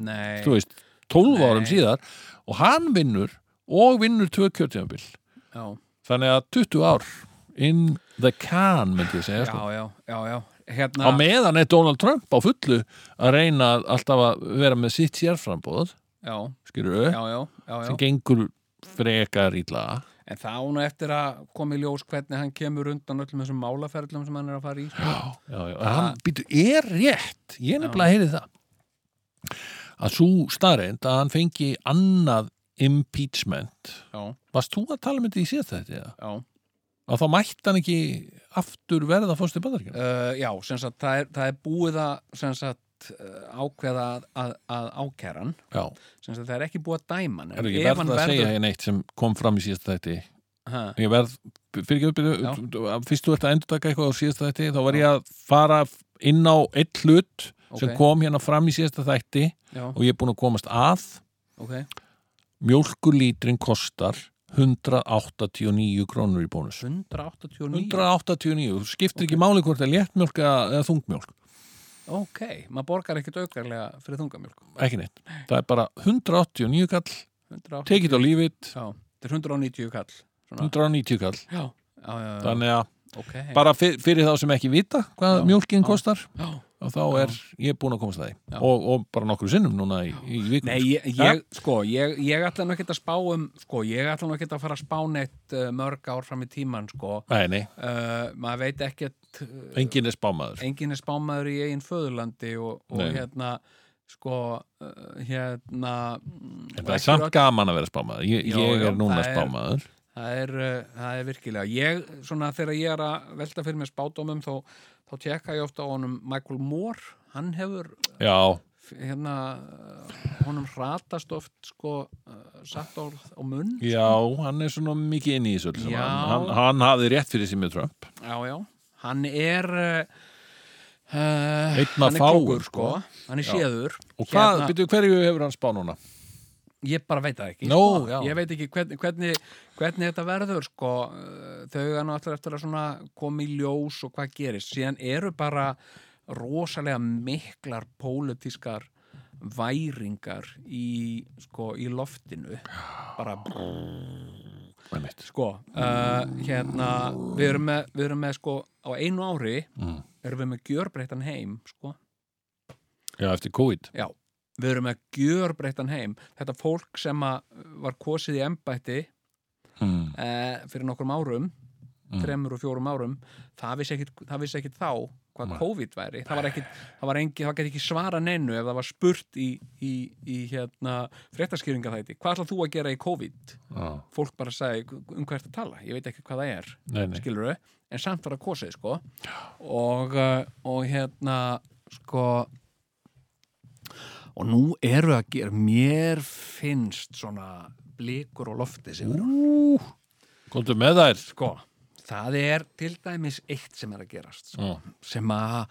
Speaker 3: nei,
Speaker 1: þú veist, 12
Speaker 3: Nei.
Speaker 1: árum síðar og hann vinnur og vinnur tvö kjörtjöfumbil
Speaker 3: já,
Speaker 1: þannig að 20 ár in the can myndi ég segja
Speaker 3: já,
Speaker 1: sko.
Speaker 3: já, já, já
Speaker 1: á
Speaker 3: hérna,
Speaker 1: meðan er Donald Trump á fullu að reyna að alltaf að vera með sitt sérframbóð
Speaker 3: já,
Speaker 1: skilur
Speaker 3: já, já, já,
Speaker 1: sem
Speaker 3: já
Speaker 1: gengur frekar ítla
Speaker 3: en þá nú eftir að komi í ljós hvernig hann kemur undan öllum þessum málaferðlum sem hann er að fara í sko.
Speaker 1: já, já, Ah. hann býtu er rétt ég nefnilega heyri það að svo starrend að hann fengi annað impeachment
Speaker 3: já,
Speaker 1: varst þú að tala með þetta í séð þetta eða?
Speaker 3: já
Speaker 1: að þá mætti hann ekki aftur verða fórstu bandaríkjum
Speaker 3: Uh, já, sem sagt, það er, það er búið að sem sagt, uh, ákveða að, að, að ákæran
Speaker 1: já,
Speaker 3: sem sagt, það er ekki búið að dæma hann
Speaker 1: er ekki verð að segja hérna eitt sem kom fram í síðasta þætti
Speaker 3: segja
Speaker 1: ég verð, fyrir ekki upp fyrst þú ert að endur taka eitthvað á síðasta þætti þá var ég að fara inn á eitt hlut sem
Speaker 3: ok,
Speaker 1: kom hérna fram í síðasta þætti
Speaker 3: já,
Speaker 1: og ég er búin að komast að
Speaker 3: ok
Speaker 1: mjólkulítrin kostar 189 krónur í bónus
Speaker 3: 189,
Speaker 1: 189, þú skiptir ekki máli hvort það er léttmjólk eða eða þungmjólk
Speaker 3: ok maður borgar ekkert aukarlega fyrir þungamjölk
Speaker 1: ekki neitt, það er bara 189 kall
Speaker 3: 180
Speaker 1: tekið á lífið,
Speaker 3: já, þetta er 190 kall svona.
Speaker 1: 190 kall
Speaker 3: já, já, já, já,
Speaker 1: þannig að
Speaker 3: ok
Speaker 1: bara fyr, fyrir þá sem ekki vita hvað
Speaker 3: Já,
Speaker 1: mjólkin
Speaker 3: já.
Speaker 1: kostar
Speaker 3: já.
Speaker 1: og þá er ég búin að komast að
Speaker 3: Já.
Speaker 1: því og, og bara nokkru sinnum núna í, í vikum
Speaker 3: Nei, ég, ég, sko, ég, ég ætla nú ekki að spá um, sko, ég ætla nú ekki að fara að spá neitt uh, mörg ár fram í tíman, sko.
Speaker 1: nei, nei,
Speaker 3: Uh, maður veit ekkert, uh,
Speaker 1: engin er spámaður
Speaker 3: enginn er spámaður í eigin föðurlandi og, og
Speaker 1: Nei.
Speaker 3: hérna, sko, uh, hérna... mm,
Speaker 1: en
Speaker 3: og
Speaker 1: það
Speaker 3: ekki
Speaker 1: er samt
Speaker 3: öll-
Speaker 1: gaman að vera spámaður ég,
Speaker 3: Já,
Speaker 1: ég
Speaker 3: já,
Speaker 1: er núna
Speaker 3: það er-
Speaker 1: spámaður
Speaker 3: Það er, uh, það er virkilega. Ég, svona, þegar ég er að velta fyrir mér spádómum, þá, þá tekka ég ofta á honum Michael Moore. Hann hefur,
Speaker 1: já,
Speaker 3: f- hérna, uh, honum hratast oft, sko, uh, satt orð á munn.
Speaker 1: já, hann er svona mikið inn í þessu öllu saman.
Speaker 3: Já.
Speaker 1: hann, hann hafði rétt fyrir sér með Trump
Speaker 3: Já, já. Hann er... Uh, uh,
Speaker 1: Einn af
Speaker 3: hann er
Speaker 1: fáum,
Speaker 3: klókur, sko.
Speaker 1: sko.
Speaker 3: Hann er
Speaker 1: Já.
Speaker 3: séður.
Speaker 1: og hvað, hérna... hverju hefur hann spáð núna?
Speaker 3: Ég bara veit það ekki.
Speaker 1: Nó,
Speaker 3: sko.
Speaker 1: já.
Speaker 3: Ég veit ekki hvernig, hvernig, hvernig þetta verður, sko. Eh, Þau er náttúrulega eftir að svona koma í ljós og hvað gerist. Síðan eru bara rosalega miklar pólitískar væringar í, sko, í loftinu. Bara,
Speaker 1: Einmitt.
Speaker 3: sko, uh, hérna, við erum með, við erum með, sko, á einu ári
Speaker 1: Mm.
Speaker 3: erum við með gjörbreyttan heim, sko.
Speaker 1: já, eftir COVID
Speaker 3: Já, við erum með gjörbreyttan heim. Þetta fólk sem að var kosið í embætti
Speaker 1: mm.
Speaker 3: eh, fyrir nokkrum árum
Speaker 1: Mm.
Speaker 3: þremur og fjórum árum það vissi ekkit, það vissi ekkit þá hvað
Speaker 1: Nei.
Speaker 3: COVID væri það var ekkit, það var engi, það gæti ekki svara neinu ef það var spurt í, í, í hérna, fréttaskýringa þætti, hvað ætlað þú að gera í COVID
Speaker 1: já,
Speaker 3: fólk bara sagði um hvert að tala ég veit ekki hvað það er,
Speaker 1: nei, nei
Speaker 3: skilur þau en samt var að kosið, sko og, eh, og hérna sko og nú eru að gera mér finnst svona blikur og lofti sem eru
Speaker 1: Ú, komdu með þær
Speaker 3: sko, það er til dæmis eitt sem er að gerast sko,
Speaker 1: já,
Speaker 3: sem að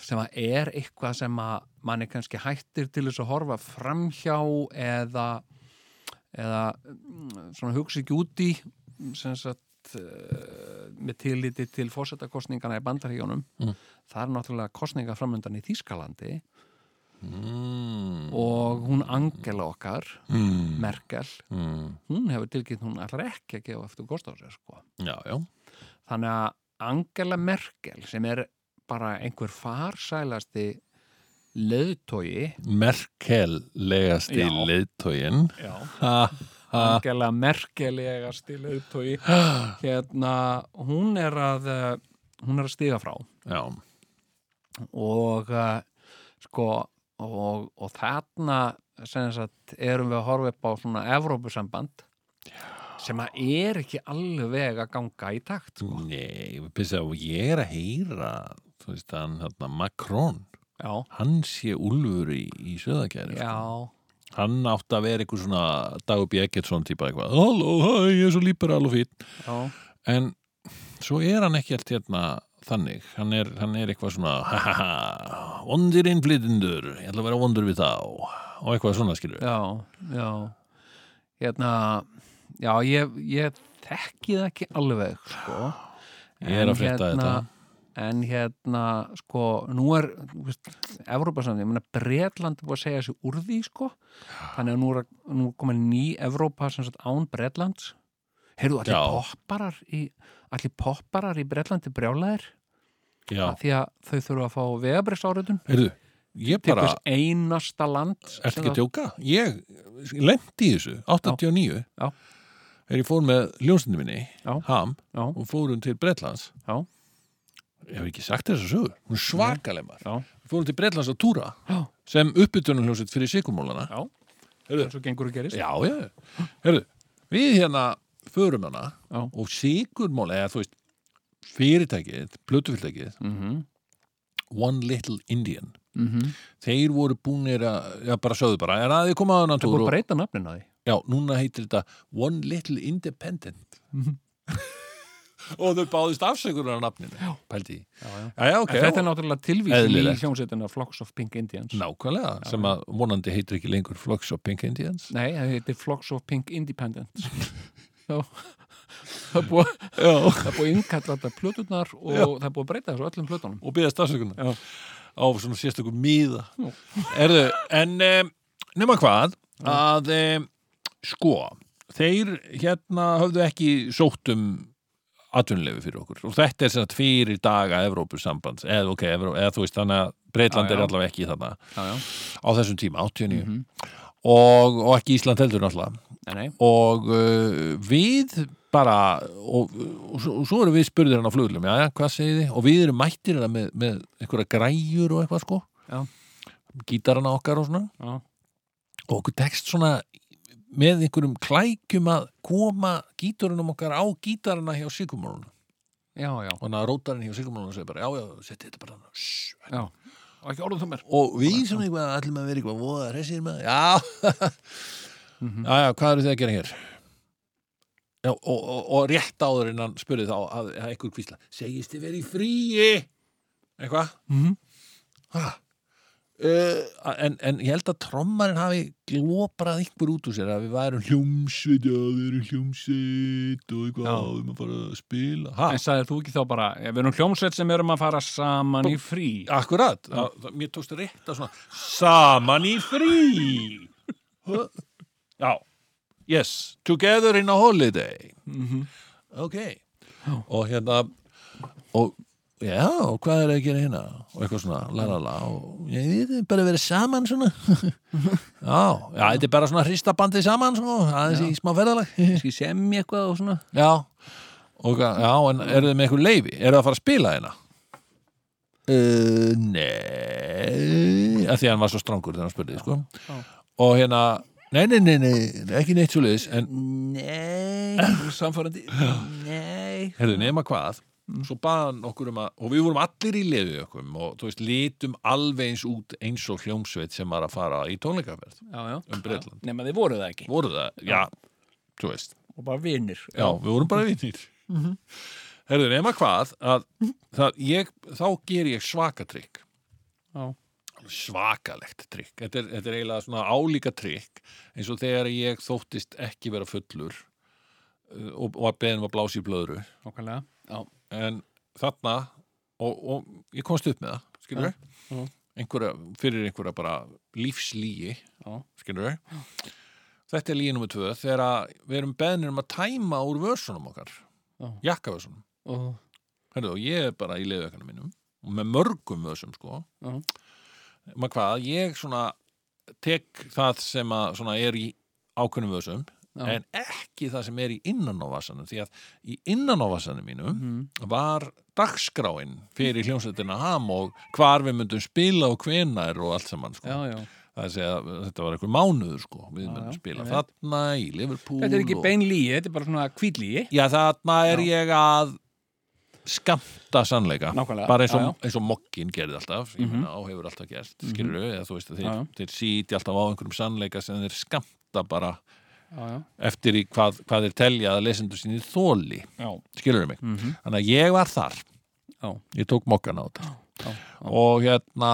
Speaker 3: sem að er eitthvað sem að mann er kannski hættir til þess að horfa framhjá eða eða mm, svona hugsa ekki út í sem sagt eh, með tilliti til fórsetakostningana í bandaríjónum
Speaker 1: Mm.
Speaker 3: það er náttúrulega kostninga framöndan í Þýskalandi
Speaker 1: mm.
Speaker 3: og hún Angela okkar
Speaker 1: Mm.
Speaker 3: Merkel,
Speaker 1: Mm.
Speaker 3: hún hefur tilkynnt hún ætlar ekki að gefa eftir kost á sér sko
Speaker 1: já, já
Speaker 3: Þannig að Angela Merkel sem er bara einhver farsælasti leðtogi
Speaker 1: Merkellegasti
Speaker 3: Já.
Speaker 1: leiðtógin
Speaker 3: Já.
Speaker 1: ha, ha.
Speaker 3: Angela Merkelegasti leðtogi hérna, hún er að eh, hún er að stiga frá
Speaker 1: já,
Speaker 3: og eh, sko og, og þarna sem sagt erum við að horfa upp á svona Evrópusamband sem að er ekki alveg að ganga í takt sko.
Speaker 1: nei, pissa, og ég er að heyra þú veist, hann, hérna, Macron
Speaker 3: Já, sko.
Speaker 1: hann sé úlfur í, í sko. söðakæri
Speaker 3: já,
Speaker 1: hann átti að vera eitthvað svona Dagur B. Eggertsson típa eitthvað halló, hæ, ég er svo líberal og fýtt
Speaker 3: já
Speaker 1: en svo er hann ekki allt hérna þannig, hann er, hann er eitthvað svona ha ha ha, vondir innflytindur ég ætla að vera vondur við þá og eitthvað svona skilur
Speaker 3: já, já hérna já, ég, ég þekki það ekki alveg sko.
Speaker 1: Ég er að
Speaker 3: En hérna,
Speaker 1: frétta þetta.
Speaker 3: en hérna, sko, nú er þú veist, Evrópasamning, ég meina Bretland er búið að segja sig úr því, sko þannig að nú er, að- nú er komin ný Evrópa sem sagt án Bretlands heyrðu, allir
Speaker 1: Já.
Speaker 3: popparar í allir popparar í Bretlandi brjálæðir
Speaker 1: já,
Speaker 3: af því að þau þurfa að fá vegabrist áriðun
Speaker 1: heyrðu, ég
Speaker 3: til
Speaker 1: bara
Speaker 3: hvers einasta land sem
Speaker 1: Ertu ekki að
Speaker 3: það-
Speaker 1: tjóka? Ég lendi í þessu, 89
Speaker 3: Já.
Speaker 1: er ég fór með ljónsinu minni
Speaker 3: Já.
Speaker 1: Ham
Speaker 3: Já.
Speaker 1: og fórum til Bretlands
Speaker 3: Já.
Speaker 1: Ég hef ekki sagt þess að sögur Hún er svakaleg maður
Speaker 3: Já.
Speaker 1: Fórum til Bretlands að túra
Speaker 3: Já.
Speaker 1: sem uppbytunarhljóset fyrir sikumólana
Speaker 3: já,
Speaker 1: Heyrðu.
Speaker 3: eins og gengur og gerist
Speaker 1: Já, já, herðu Við hérna förum hana
Speaker 3: Já.
Speaker 1: og sikumól eða þú veist fyrirtækið, plötufyrirtækið
Speaker 3: mm -hmm.
Speaker 1: One Little Indian
Speaker 3: Mm
Speaker 1: Þeir voru búnir að, já bara sögðu bara en að þið koma að hann
Speaker 3: Það
Speaker 1: túr
Speaker 3: búið að
Speaker 1: og
Speaker 3: breyta nafninu á því Mhm.
Speaker 1: Já, núna heitir þetta One Little Independent og þau báðist afsökunar á nafninu já. pældi í
Speaker 3: já, já.
Speaker 1: já, já, ok,
Speaker 3: Þetta er náttúrulega tilvísin í
Speaker 1: Eðlilegt.
Speaker 3: hljómsveitina Flocks of Pink Indians
Speaker 1: nákvæmlega sem að vonandi heitir ekki lengur Flux og Pink Indians
Speaker 3: Nei, það heitir Flocks of Pink Independent Þá Það er búið
Speaker 1: já.
Speaker 3: það er búið að innkalla þetta plötunar og það er búið að breyta þessu öllum plötunum
Speaker 1: og byggðast afsökunar
Speaker 3: Já.
Speaker 1: á svona sérstökum míða Erðu, en um, nema hvað að um, sko þeir hérna höfðu ekki sótt um atvinnulefi fyrir okkur og þetta er sem sagt fyrir daga Evrópusambands eða, ok, Evró, eða þú veist þannig að Breitland
Speaker 3: Já, Mhm.
Speaker 1: er
Speaker 3: já.
Speaker 1: allavega ekki þarna
Speaker 3: Já, já,
Speaker 1: á þessum tíma, 89 og, og ekki Ísland heldur náttúrulega
Speaker 3: nei, nei
Speaker 1: og uh, við bara og, og, svo- og svo erum við spurðir hann á fluglum já, já, hvað segir þið? Og við erum mættir hann með, með einhverja græjur og eitthvað sko
Speaker 3: Já.
Speaker 1: gítarana okkar og svona
Speaker 3: Já,
Speaker 1: og okkur tekst svona með einhverjum klækjum að koma gítarunum okkar á gítarana hjá Sigurmálunum
Speaker 3: já, já,
Speaker 1: og þannig að rótarinn hjá Sigurmálunum segir bara já, já, setti þetta bara þannig Shhh,
Speaker 3: já. Og ekki orðum það mér
Speaker 1: og við sem eitthvað ætlum að vera eitthvað voða hressir með já
Speaker 3: Mhm.
Speaker 1: já, já, hvað eru þið að gera hér já, og, og, og rétt áður en hann spurði þá að, að einhver kvísla segist þið verið í fríi eitthvað
Speaker 3: Mhm.
Speaker 1: Ha? Uh, en, en ég held að trommarinn hafi glóprað einhver út úr sér að við værum hljómsveit já, við erum hljómsveit og eitthvað
Speaker 3: Já.
Speaker 1: við erum að fara að spila ha,
Speaker 3: En sagðir þú ekki þá bara, "Ja, við erum hljómsveit sem erum að fara saman í frí
Speaker 1: Akkurat, það, það, mér tókst rétt að svona Saman í frí Huh? Já, yes Together in a holiday Ok Og hérna og, Já, og hvað er að gera hérna? Og eitthvað svona, la la la og, Ég veit, það er bara að vera saman svona Já, já, þetta er bara svona hrista bandið saman svona, aðeins í smá ferðalag
Speaker 3: Ski semja eitthvað og svona
Speaker 1: Já og, hvað- Já, en eru þið með eitthvað leifi? Eru það að fara að spila hérna? Uh, nei að því að hann var svo strangur þegar hann spurði sko.
Speaker 3: Já.
Speaker 1: og hérna nei, nei, nei, nei, ekki neitt svo liðis en
Speaker 3: Nei, samfærandi Nei
Speaker 1: herðu nema hvað svo baðan okkur um að, og við vorum allir í liðu okkur og þú veist, litum alveg eins út eins og hljómsveit sem var að fara í tónleikaferð
Speaker 3: Já, já
Speaker 1: um Bretland,
Speaker 3: Nei, maður þið voru það ekki
Speaker 1: voru það, já þú veist,
Speaker 3: Og bara vinir
Speaker 1: Já, við vorum bara vinnir. Herðu, nema hvað, að það, ég, þá ger ég svaka trikk.
Speaker 3: Já.
Speaker 1: Svakalegt trikk. Þetta er, þetta er eiginlega svona álíka trikk eins og þegar ég þóttist ekki vera fullur uh, og, og var beðin um að blási í blöðru.
Speaker 3: Nákvæmlega Já,
Speaker 1: En þarna, og, og ég komst upp með það, skilur
Speaker 3: Já, já.
Speaker 1: Einhverja, fyrir einhverja bara lífslíi
Speaker 3: já,
Speaker 1: skilur við þetta er líið nummer tvö þegar að við erum beðnir um að tæma úr vörsunum okkar
Speaker 3: Já.
Speaker 1: jakkavörsunum
Speaker 3: og,
Speaker 1: Herðu, og ég er bara í leiðökkanum mínum og með mörgum vörsum sko
Speaker 3: já,
Speaker 1: maður hvað, ég svona tek það sem að svona er í ákveðnum vörsum
Speaker 3: já.
Speaker 1: en ekki það sem er í innan á vassanum því að í innan á vassanum mínum
Speaker 3: Mhm.
Speaker 1: var dagskráin fyrir hljómsveitina ham og hvar við myndum spila og hvenær og allt saman sko.
Speaker 3: já, já
Speaker 1: það er að segja, að þetta var einhver mánuður sko við
Speaker 3: Já,
Speaker 1: munum
Speaker 3: já,
Speaker 1: spila
Speaker 3: ég veit.
Speaker 1: þarna í Liverpool
Speaker 3: Þetta er ekki
Speaker 1: og-
Speaker 3: bein líi, þetta er bara svona kvítlíi
Speaker 1: já þarna er
Speaker 3: Já.
Speaker 1: ég að skamta sannleika
Speaker 3: Nákvæmlega,
Speaker 1: bara eins
Speaker 3: já,
Speaker 1: og, eins og mokkin gerði alltaf ég
Speaker 3: Mhm.
Speaker 1: meina og hefur alltaf gert skilur eða þú veist að þeir,
Speaker 3: Já, já.
Speaker 1: þeir síti alltaf á einhverjum sannleika sem þeir skamta bara
Speaker 3: Já, já
Speaker 1: eftir í hvað, hvað þeir telja að lesendur sinni þóli
Speaker 3: Já,
Speaker 1: skilur mig
Speaker 3: mhm
Speaker 1: þannig að ég var þar
Speaker 3: Já.
Speaker 1: ég tók mokkan á þetta
Speaker 3: já, já.
Speaker 1: og hérna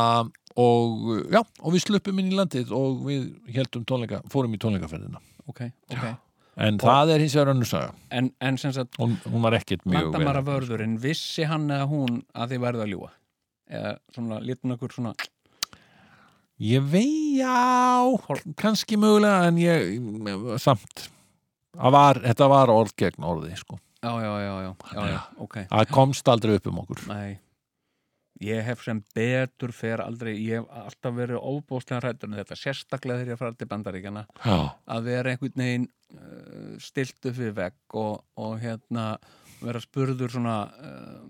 Speaker 1: og já, og við sluppum inn í landið og við heldum tónleika, fórum í tónleikaferðina
Speaker 3: ok, ok
Speaker 1: En það er hins vegar önnur saga.
Speaker 3: en, en sem sagt,
Speaker 1: Hún, hún var ekkit mjög
Speaker 3: landamara vörðurinn vissi hann eða hún að þið verða að ljúa eða svona, lítun okkur svona
Speaker 1: Ég vei, já, kannski mögulega, en ég, samt. Það Var, þetta var orð gegn orði, sko.
Speaker 3: já, já, já, já, já, já, ok
Speaker 1: Það komst aldrei upp um okkur.
Speaker 3: nei, ég hef sem betur fer aldrei, ég hef alltaf verið óbóðslega hrættur en þetta, sérstaklega þegar ég fara til bandaríkjana
Speaker 1: Já,
Speaker 3: að vera einhvern veginn uh, stilt upp við vegg og, og hérna vera spurður svona uh,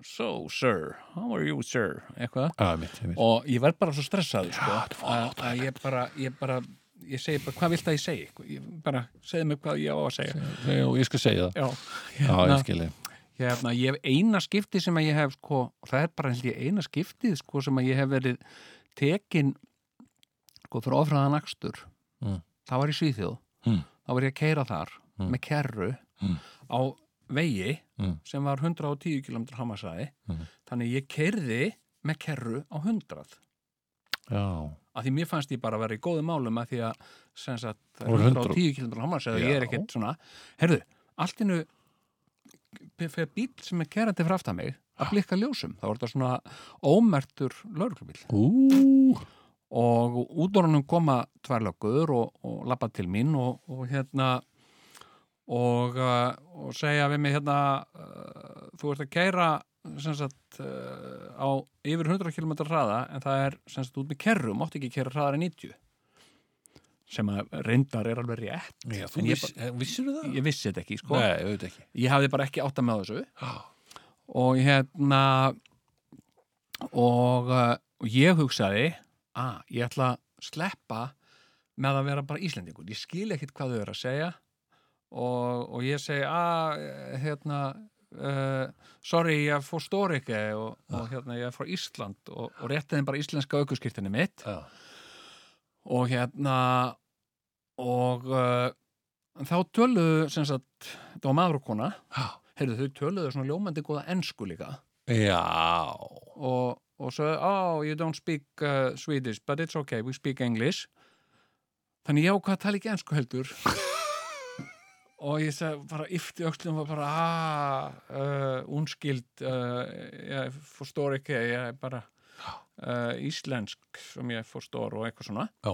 Speaker 3: so sir, how are you sir eitthvað
Speaker 1: það er mitt, það er mitt.
Speaker 3: og ég verð bara svo stressaður sko,
Speaker 1: þetta var
Speaker 3: að, að ég bara ég bara, ég segi bara, hvað vilt að ég segi Sko, ég bara, segðu mig hvað ég á að segja
Speaker 1: Jú, ég skal segja það.
Speaker 3: já,
Speaker 1: Já,
Speaker 3: hérna,
Speaker 1: ég skilji.
Speaker 3: hérna, ég hef eina skipti sem að ég hef sko, og það er bara held ég eina skiptið sko, sem að ég hef verið tekin sko, fyrir ofraðan akstur
Speaker 1: Mm.
Speaker 3: það var í Svíþjóð
Speaker 1: Mm.
Speaker 3: þá var ég að keira þar
Speaker 1: Mm.
Speaker 3: með kerru
Speaker 1: Mm.
Speaker 3: á vegi
Speaker 1: Mm.
Speaker 3: sem var 110 km hamasæði
Speaker 1: Mhm.
Speaker 3: þannig ég kerði með kerru á 100
Speaker 1: Já.
Speaker 3: af því mér fannst ég bara að vera í góðum málum af því að sem sagt, það
Speaker 1: Og
Speaker 3: er
Speaker 1: 100.
Speaker 3: 110 km hamasæði og ég
Speaker 1: Já.
Speaker 3: er ekkert svona herðu, allt innu fyrir bíl sem er kerandi frá aftan mig að blikka ljósum, þá var þetta svona ómertur lauruglubíl
Speaker 1: Ú.
Speaker 3: og út úr honum koma tvær löggur og, og lappa til mín og, og hérna og, uh, og segja við mig hérna uh, þú ert að kæra sem sagt uh, á yfir 100 km hraða en það er sem sagt út með kerru, mátt ekki kæra hraðar en 90 sem að reyndar er alveg rétt
Speaker 1: Já,
Speaker 3: En
Speaker 1: þú
Speaker 3: ég
Speaker 1: viss, vissir það?
Speaker 3: ég vissi þetta ekki sko,
Speaker 1: Nei, auðvitað ekki.
Speaker 3: ég hafði bara ekki átta með þessu
Speaker 1: Já.
Speaker 3: og hérna og, uh, og ég hugsaði að ég ætla að sleppa með að vera bara Íslendingur ég skil ekkit hvað þau eru að segja og, og ég segi að hérna uh, sorry, ég fór Stórike og, og hérna, ég er frá Ísland og, og rétti þeim bara íslenska aukurskirtinni mitt
Speaker 1: Já.
Speaker 3: og hérna og uh, þá töluðu sem sagt, þetta var maður og kona heyrðu þau töluðu svona ljómandi góða ensku líka
Speaker 1: Já.
Speaker 3: og, og sögðu, oh you don't speak uh, Swedish but it's okay, we speak English þannig ég ákvað að tala ekki ensku heldur og ég sagði bara yfti öxlum og bara ah, uh, unskild uh, ég forstór ekki ég er bara uh, íslensk sem ég forstór og eitthvað svona
Speaker 1: Já.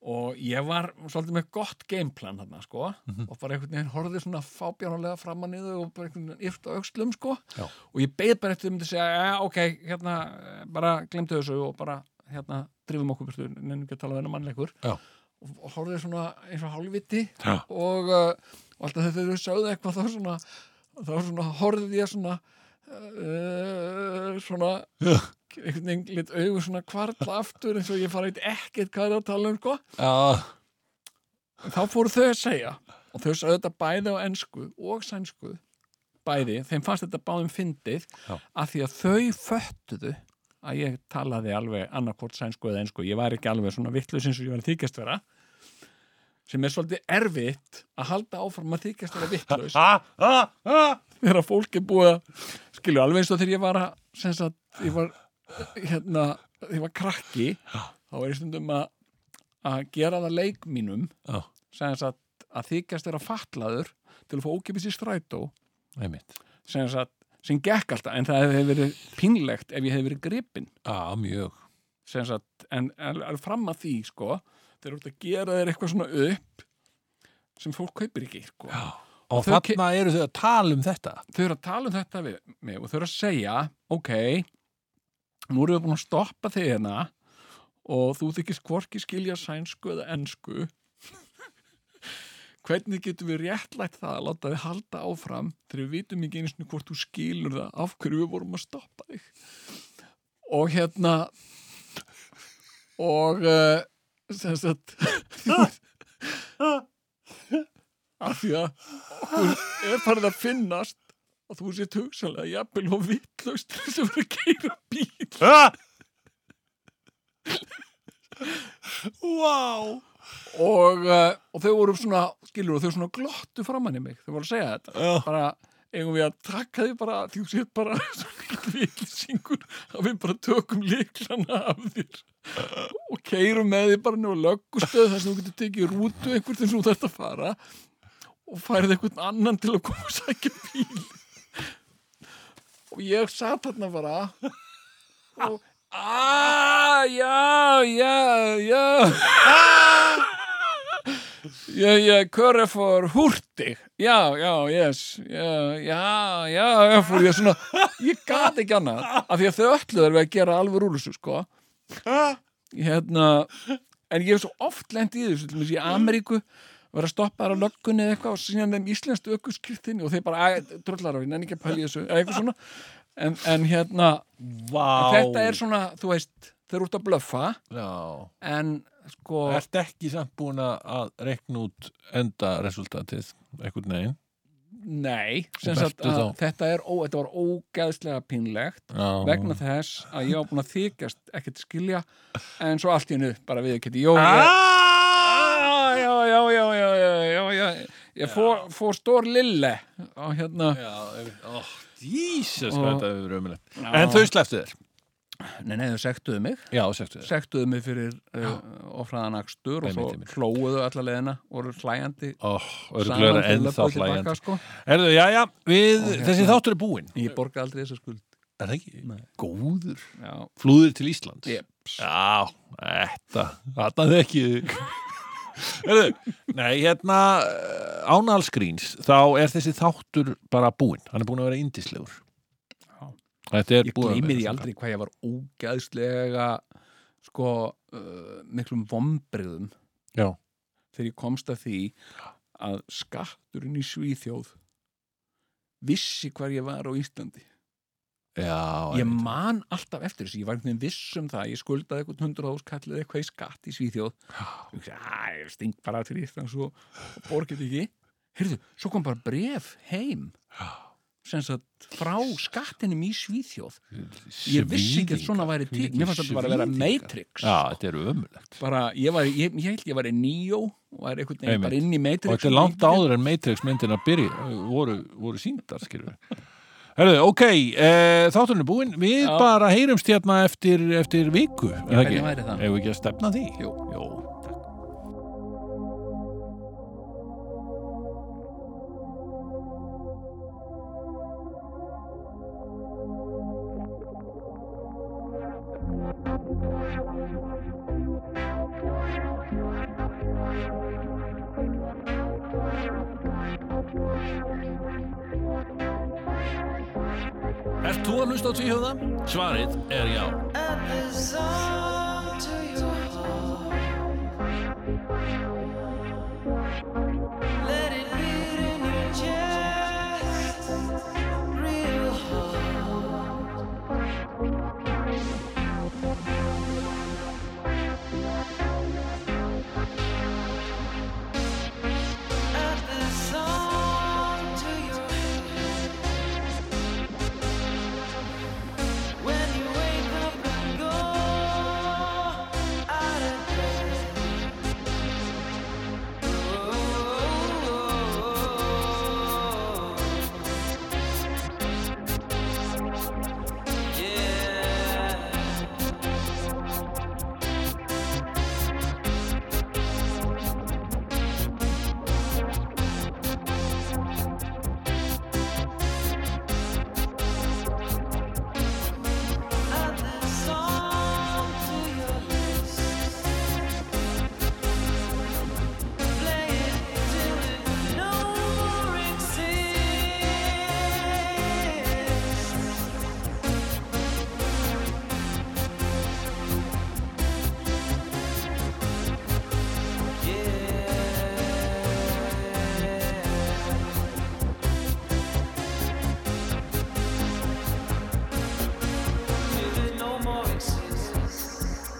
Speaker 3: og ég var svolítið með gott gameplan þarna sko
Speaker 1: Mhm.
Speaker 3: og bara einhvern veginn horfði svona fábjánulega framan í þau og bara einhvern veginn yfti öxlum sko
Speaker 1: Já.
Speaker 3: og ég beið bara eftir þau myndi segja "Ja, ok, hérna, eh, bara glemtu þessu og bara, hérna, drifum okkur burtu nefnum ekki að tala við hennar mannleikur
Speaker 1: Já.
Speaker 3: og, og horfði svona eins og hálfviti
Speaker 1: Já.
Speaker 3: og, uh, og alltaf þegar þau sögðu eitthvað þá svona, þá svona horfði ég svona uh, svona
Speaker 1: Já.
Speaker 3: einhvern veginn lit augu svona kvartla aftur eins og ég fara eitt ekkert hvað er að tala um sko
Speaker 1: Já.
Speaker 3: En þá fóru þau að segja og þau sagði þetta bæði á ensku og sænsku bæði, þeim fannst þetta báðum fyndið
Speaker 1: Já.
Speaker 3: af því að þau föttuðu að ég talaði alveg annarkvort sænsku eða ensku, ég var ekki alveg svona vittlaus eins og ég var að þykjast vera sem er svolítið erfitt að halda áfram að þykjast vera vittlaus
Speaker 1: Ha, ha, ha.
Speaker 3: þegar að fólk er búið að skilja alveg eins og þegar ég var að sem sagt, ég var hérna, ég var krakki þá er ég stundum að að gera það leik mínum
Speaker 1: Já,
Speaker 3: sem sagt að þykjast vera fatlaður til að fá ókipis í strætó
Speaker 1: einmitt.
Speaker 3: sem sagt, sem gekk alltaf en það hefði verið pínlegt ef ég hefði verið gripinn
Speaker 1: Já, mjög.
Speaker 3: sem sagt, en al- al- fram að því sko, þeir eru út að gera þeir eitthvað svona upp sem fólk kaupir ekki sko.
Speaker 1: Já. Og
Speaker 3: þau
Speaker 1: þarna eru þau að tala um þetta.
Speaker 3: þau eru að tala um þetta við mig og þau eru að segja ok, nú erum við búin að stoppa þig hérna og þú þykist hvorki skilja sænsku eða ensku hvernig getum við réttlætt það að láta þið halda áfram þegar við vitum ekki einu sinni hvort þú skilur það af hverju við vorum að stoppa þig og hérna og uh, sem sagt af því að okkur er farið að finnast að þú sétt hugsanlega jafnvel og vittlaust sem verður að keira bíl
Speaker 1: Ha! Vá!
Speaker 3: og, uh, og þau voru svona skilur og þau svona glottu framann í mig þau voru að segja þetta
Speaker 1: Já.
Speaker 3: bara eigum við að taka því bara því þú sétt bara svona vilsingur að við bara tökum líklana af þér og keirum með því bara nefnir löggustöð þar sem þú getur tekið rútu einhvert eins og þetta fara og færið einhvern annan til að koma og sækja bíl og ég satt þarna bara og aaa, já, já, já Já, já, hverja fór húrtig? Já, já, yes, já, já, já, já, fór ég svona, ég gat ekki annað, af því að þau ölluður við að gera alveg rúlusu, sko. Hérna, en ég hef svo oft lent í þessu, til dæmis í Ameríku, vera að stoppa þar á löggunni eða eitthvað og sína þeim íslenskt ökuskirtinni og þeir bara, æ, dröllar á, ég nenni ekki að pæli þessu, eða eitthvað svona. En, en hérna,
Speaker 1: Vá!
Speaker 3: þetta er svona, þú veist, þeir eru út að blöffa,
Speaker 1: Já.
Speaker 3: en sko...
Speaker 1: Ert ekki samt búin að- að reikna út enda resultatið, einhvern veginn?
Speaker 3: Nei, sem
Speaker 1: Og
Speaker 3: sagt
Speaker 1: bertu
Speaker 3: að
Speaker 1: þá?
Speaker 3: þetta, er, ó, þetta var ógeðslega pínlegt
Speaker 1: Já.
Speaker 3: vegna þess að ég var búin að þykjast ekkert skilja en svo Ah, allt í hennu bara við ekki Jó, ég,
Speaker 1: Ah!
Speaker 3: já, já, já, já, já, já, já, ég fór, fór stór lille á hérna
Speaker 1: Já, ó, Jesus,
Speaker 3: Og-
Speaker 1: hvað þetta hefur ömulegt. En þau sleftu þér.
Speaker 3: Nei, nei, þau sektuðu mig
Speaker 1: Já, sleftu þér.
Speaker 3: sektuðu mig fyrir uh, ofraðan akstur og
Speaker 1: Einmitt,
Speaker 3: svo
Speaker 1: einmitt.
Speaker 3: hlóuðu alla leðina og eru hlæjandi
Speaker 1: Ó,
Speaker 3: saman
Speaker 1: örgulega
Speaker 3: til löbbuðu
Speaker 1: ennþá
Speaker 3: til baka,
Speaker 1: hlægjandi.
Speaker 3: sko.
Speaker 1: Erðu, já, já, við,
Speaker 3: Og hérna-
Speaker 1: þessi þáttur er búinn.
Speaker 3: Ég borga aldrei þessa skuld
Speaker 1: Er það ekki? Góður.
Speaker 3: Já,
Speaker 1: Flúður til Íslands.
Speaker 3: jeps
Speaker 1: Já, þetta, þetta er ekki Heyrðu, Nei, hérna ánalskríns, þá er þessi þáttur bara búinn, hann er búinn að vera indislegur
Speaker 3: Já.
Speaker 1: Þetta er
Speaker 3: Ég
Speaker 1: búið að
Speaker 3: gleymi
Speaker 1: vera
Speaker 3: því
Speaker 1: svona.
Speaker 3: aldrei hvað ég var ógæðslega sko uh, miklum vombriðum
Speaker 1: Já.
Speaker 3: þegar ég komst að því að skatturinn í Svíþjóð vissi hvar ég var á Íslandi
Speaker 1: Já,
Speaker 3: ég
Speaker 1: einmitt.
Speaker 3: man alltaf eftir þessu, ég var einhvern veginn viss um það ég skuldaði eitthvað 100 ás kallið eitthvað í skatt í Svíþjóð ég hugsaði, "Ah, ég sting bara til Íslands og, og borgið ekki heyrðu, svo kom bara bref heim sem sagt frá skattinum í Svíþjóð ég vissi ekki að svona væri til
Speaker 1: Svíðingar,
Speaker 3: mér fannst þetta bara að vera
Speaker 1: svíðingar.
Speaker 3: Matrix
Speaker 1: Já, þetta er ömulegt
Speaker 3: bara, ég, var, ég, ég held ég var í Neo og var einhvern veginn
Speaker 1: Einmitt.
Speaker 3: bara inn í Matrix
Speaker 1: Og þetta er langt áður en Matrix myndin að byrja voru, voru síndar, skilur Herðu, ok, e, þátturinn er búinn Við
Speaker 3: Já.
Speaker 1: bara heyrumst hérna eftir, eftir viku Já,
Speaker 3: hvernig væri það?
Speaker 1: Ef við ekki að stefna því
Speaker 3: Jú.
Speaker 1: Jú. Ert þú að hlusta á tvíhjóða? Svarið er já.
Speaker 2: Let it beat in your chest real hard. Add the song to your head. When you wake up and go out of bed. Add the song to your list. Play it till it no more exists. Yeah. Till it no more exists.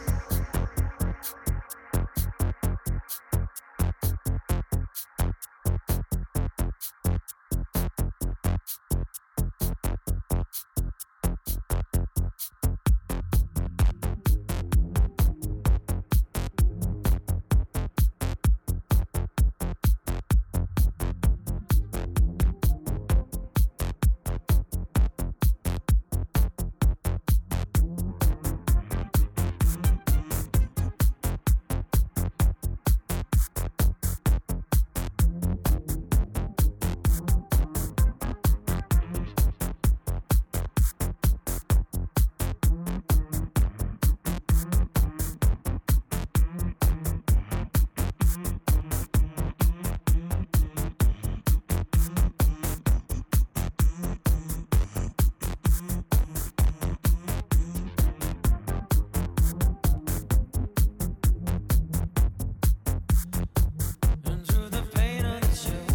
Speaker 2: And through the pain of the show,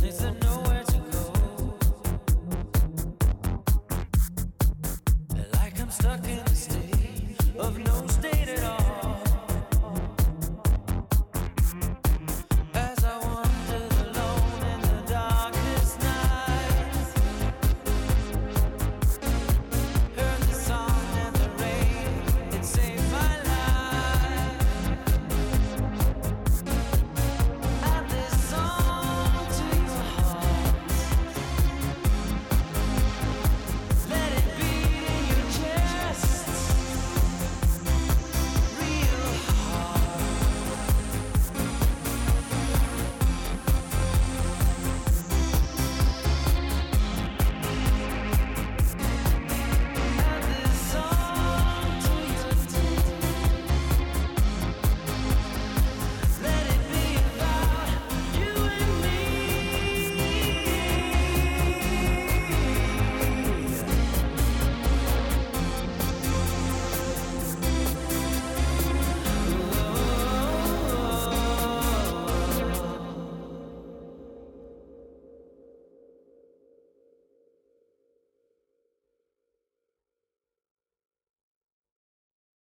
Speaker 2: they said nowhere to go. Like I'm stuck in a state of no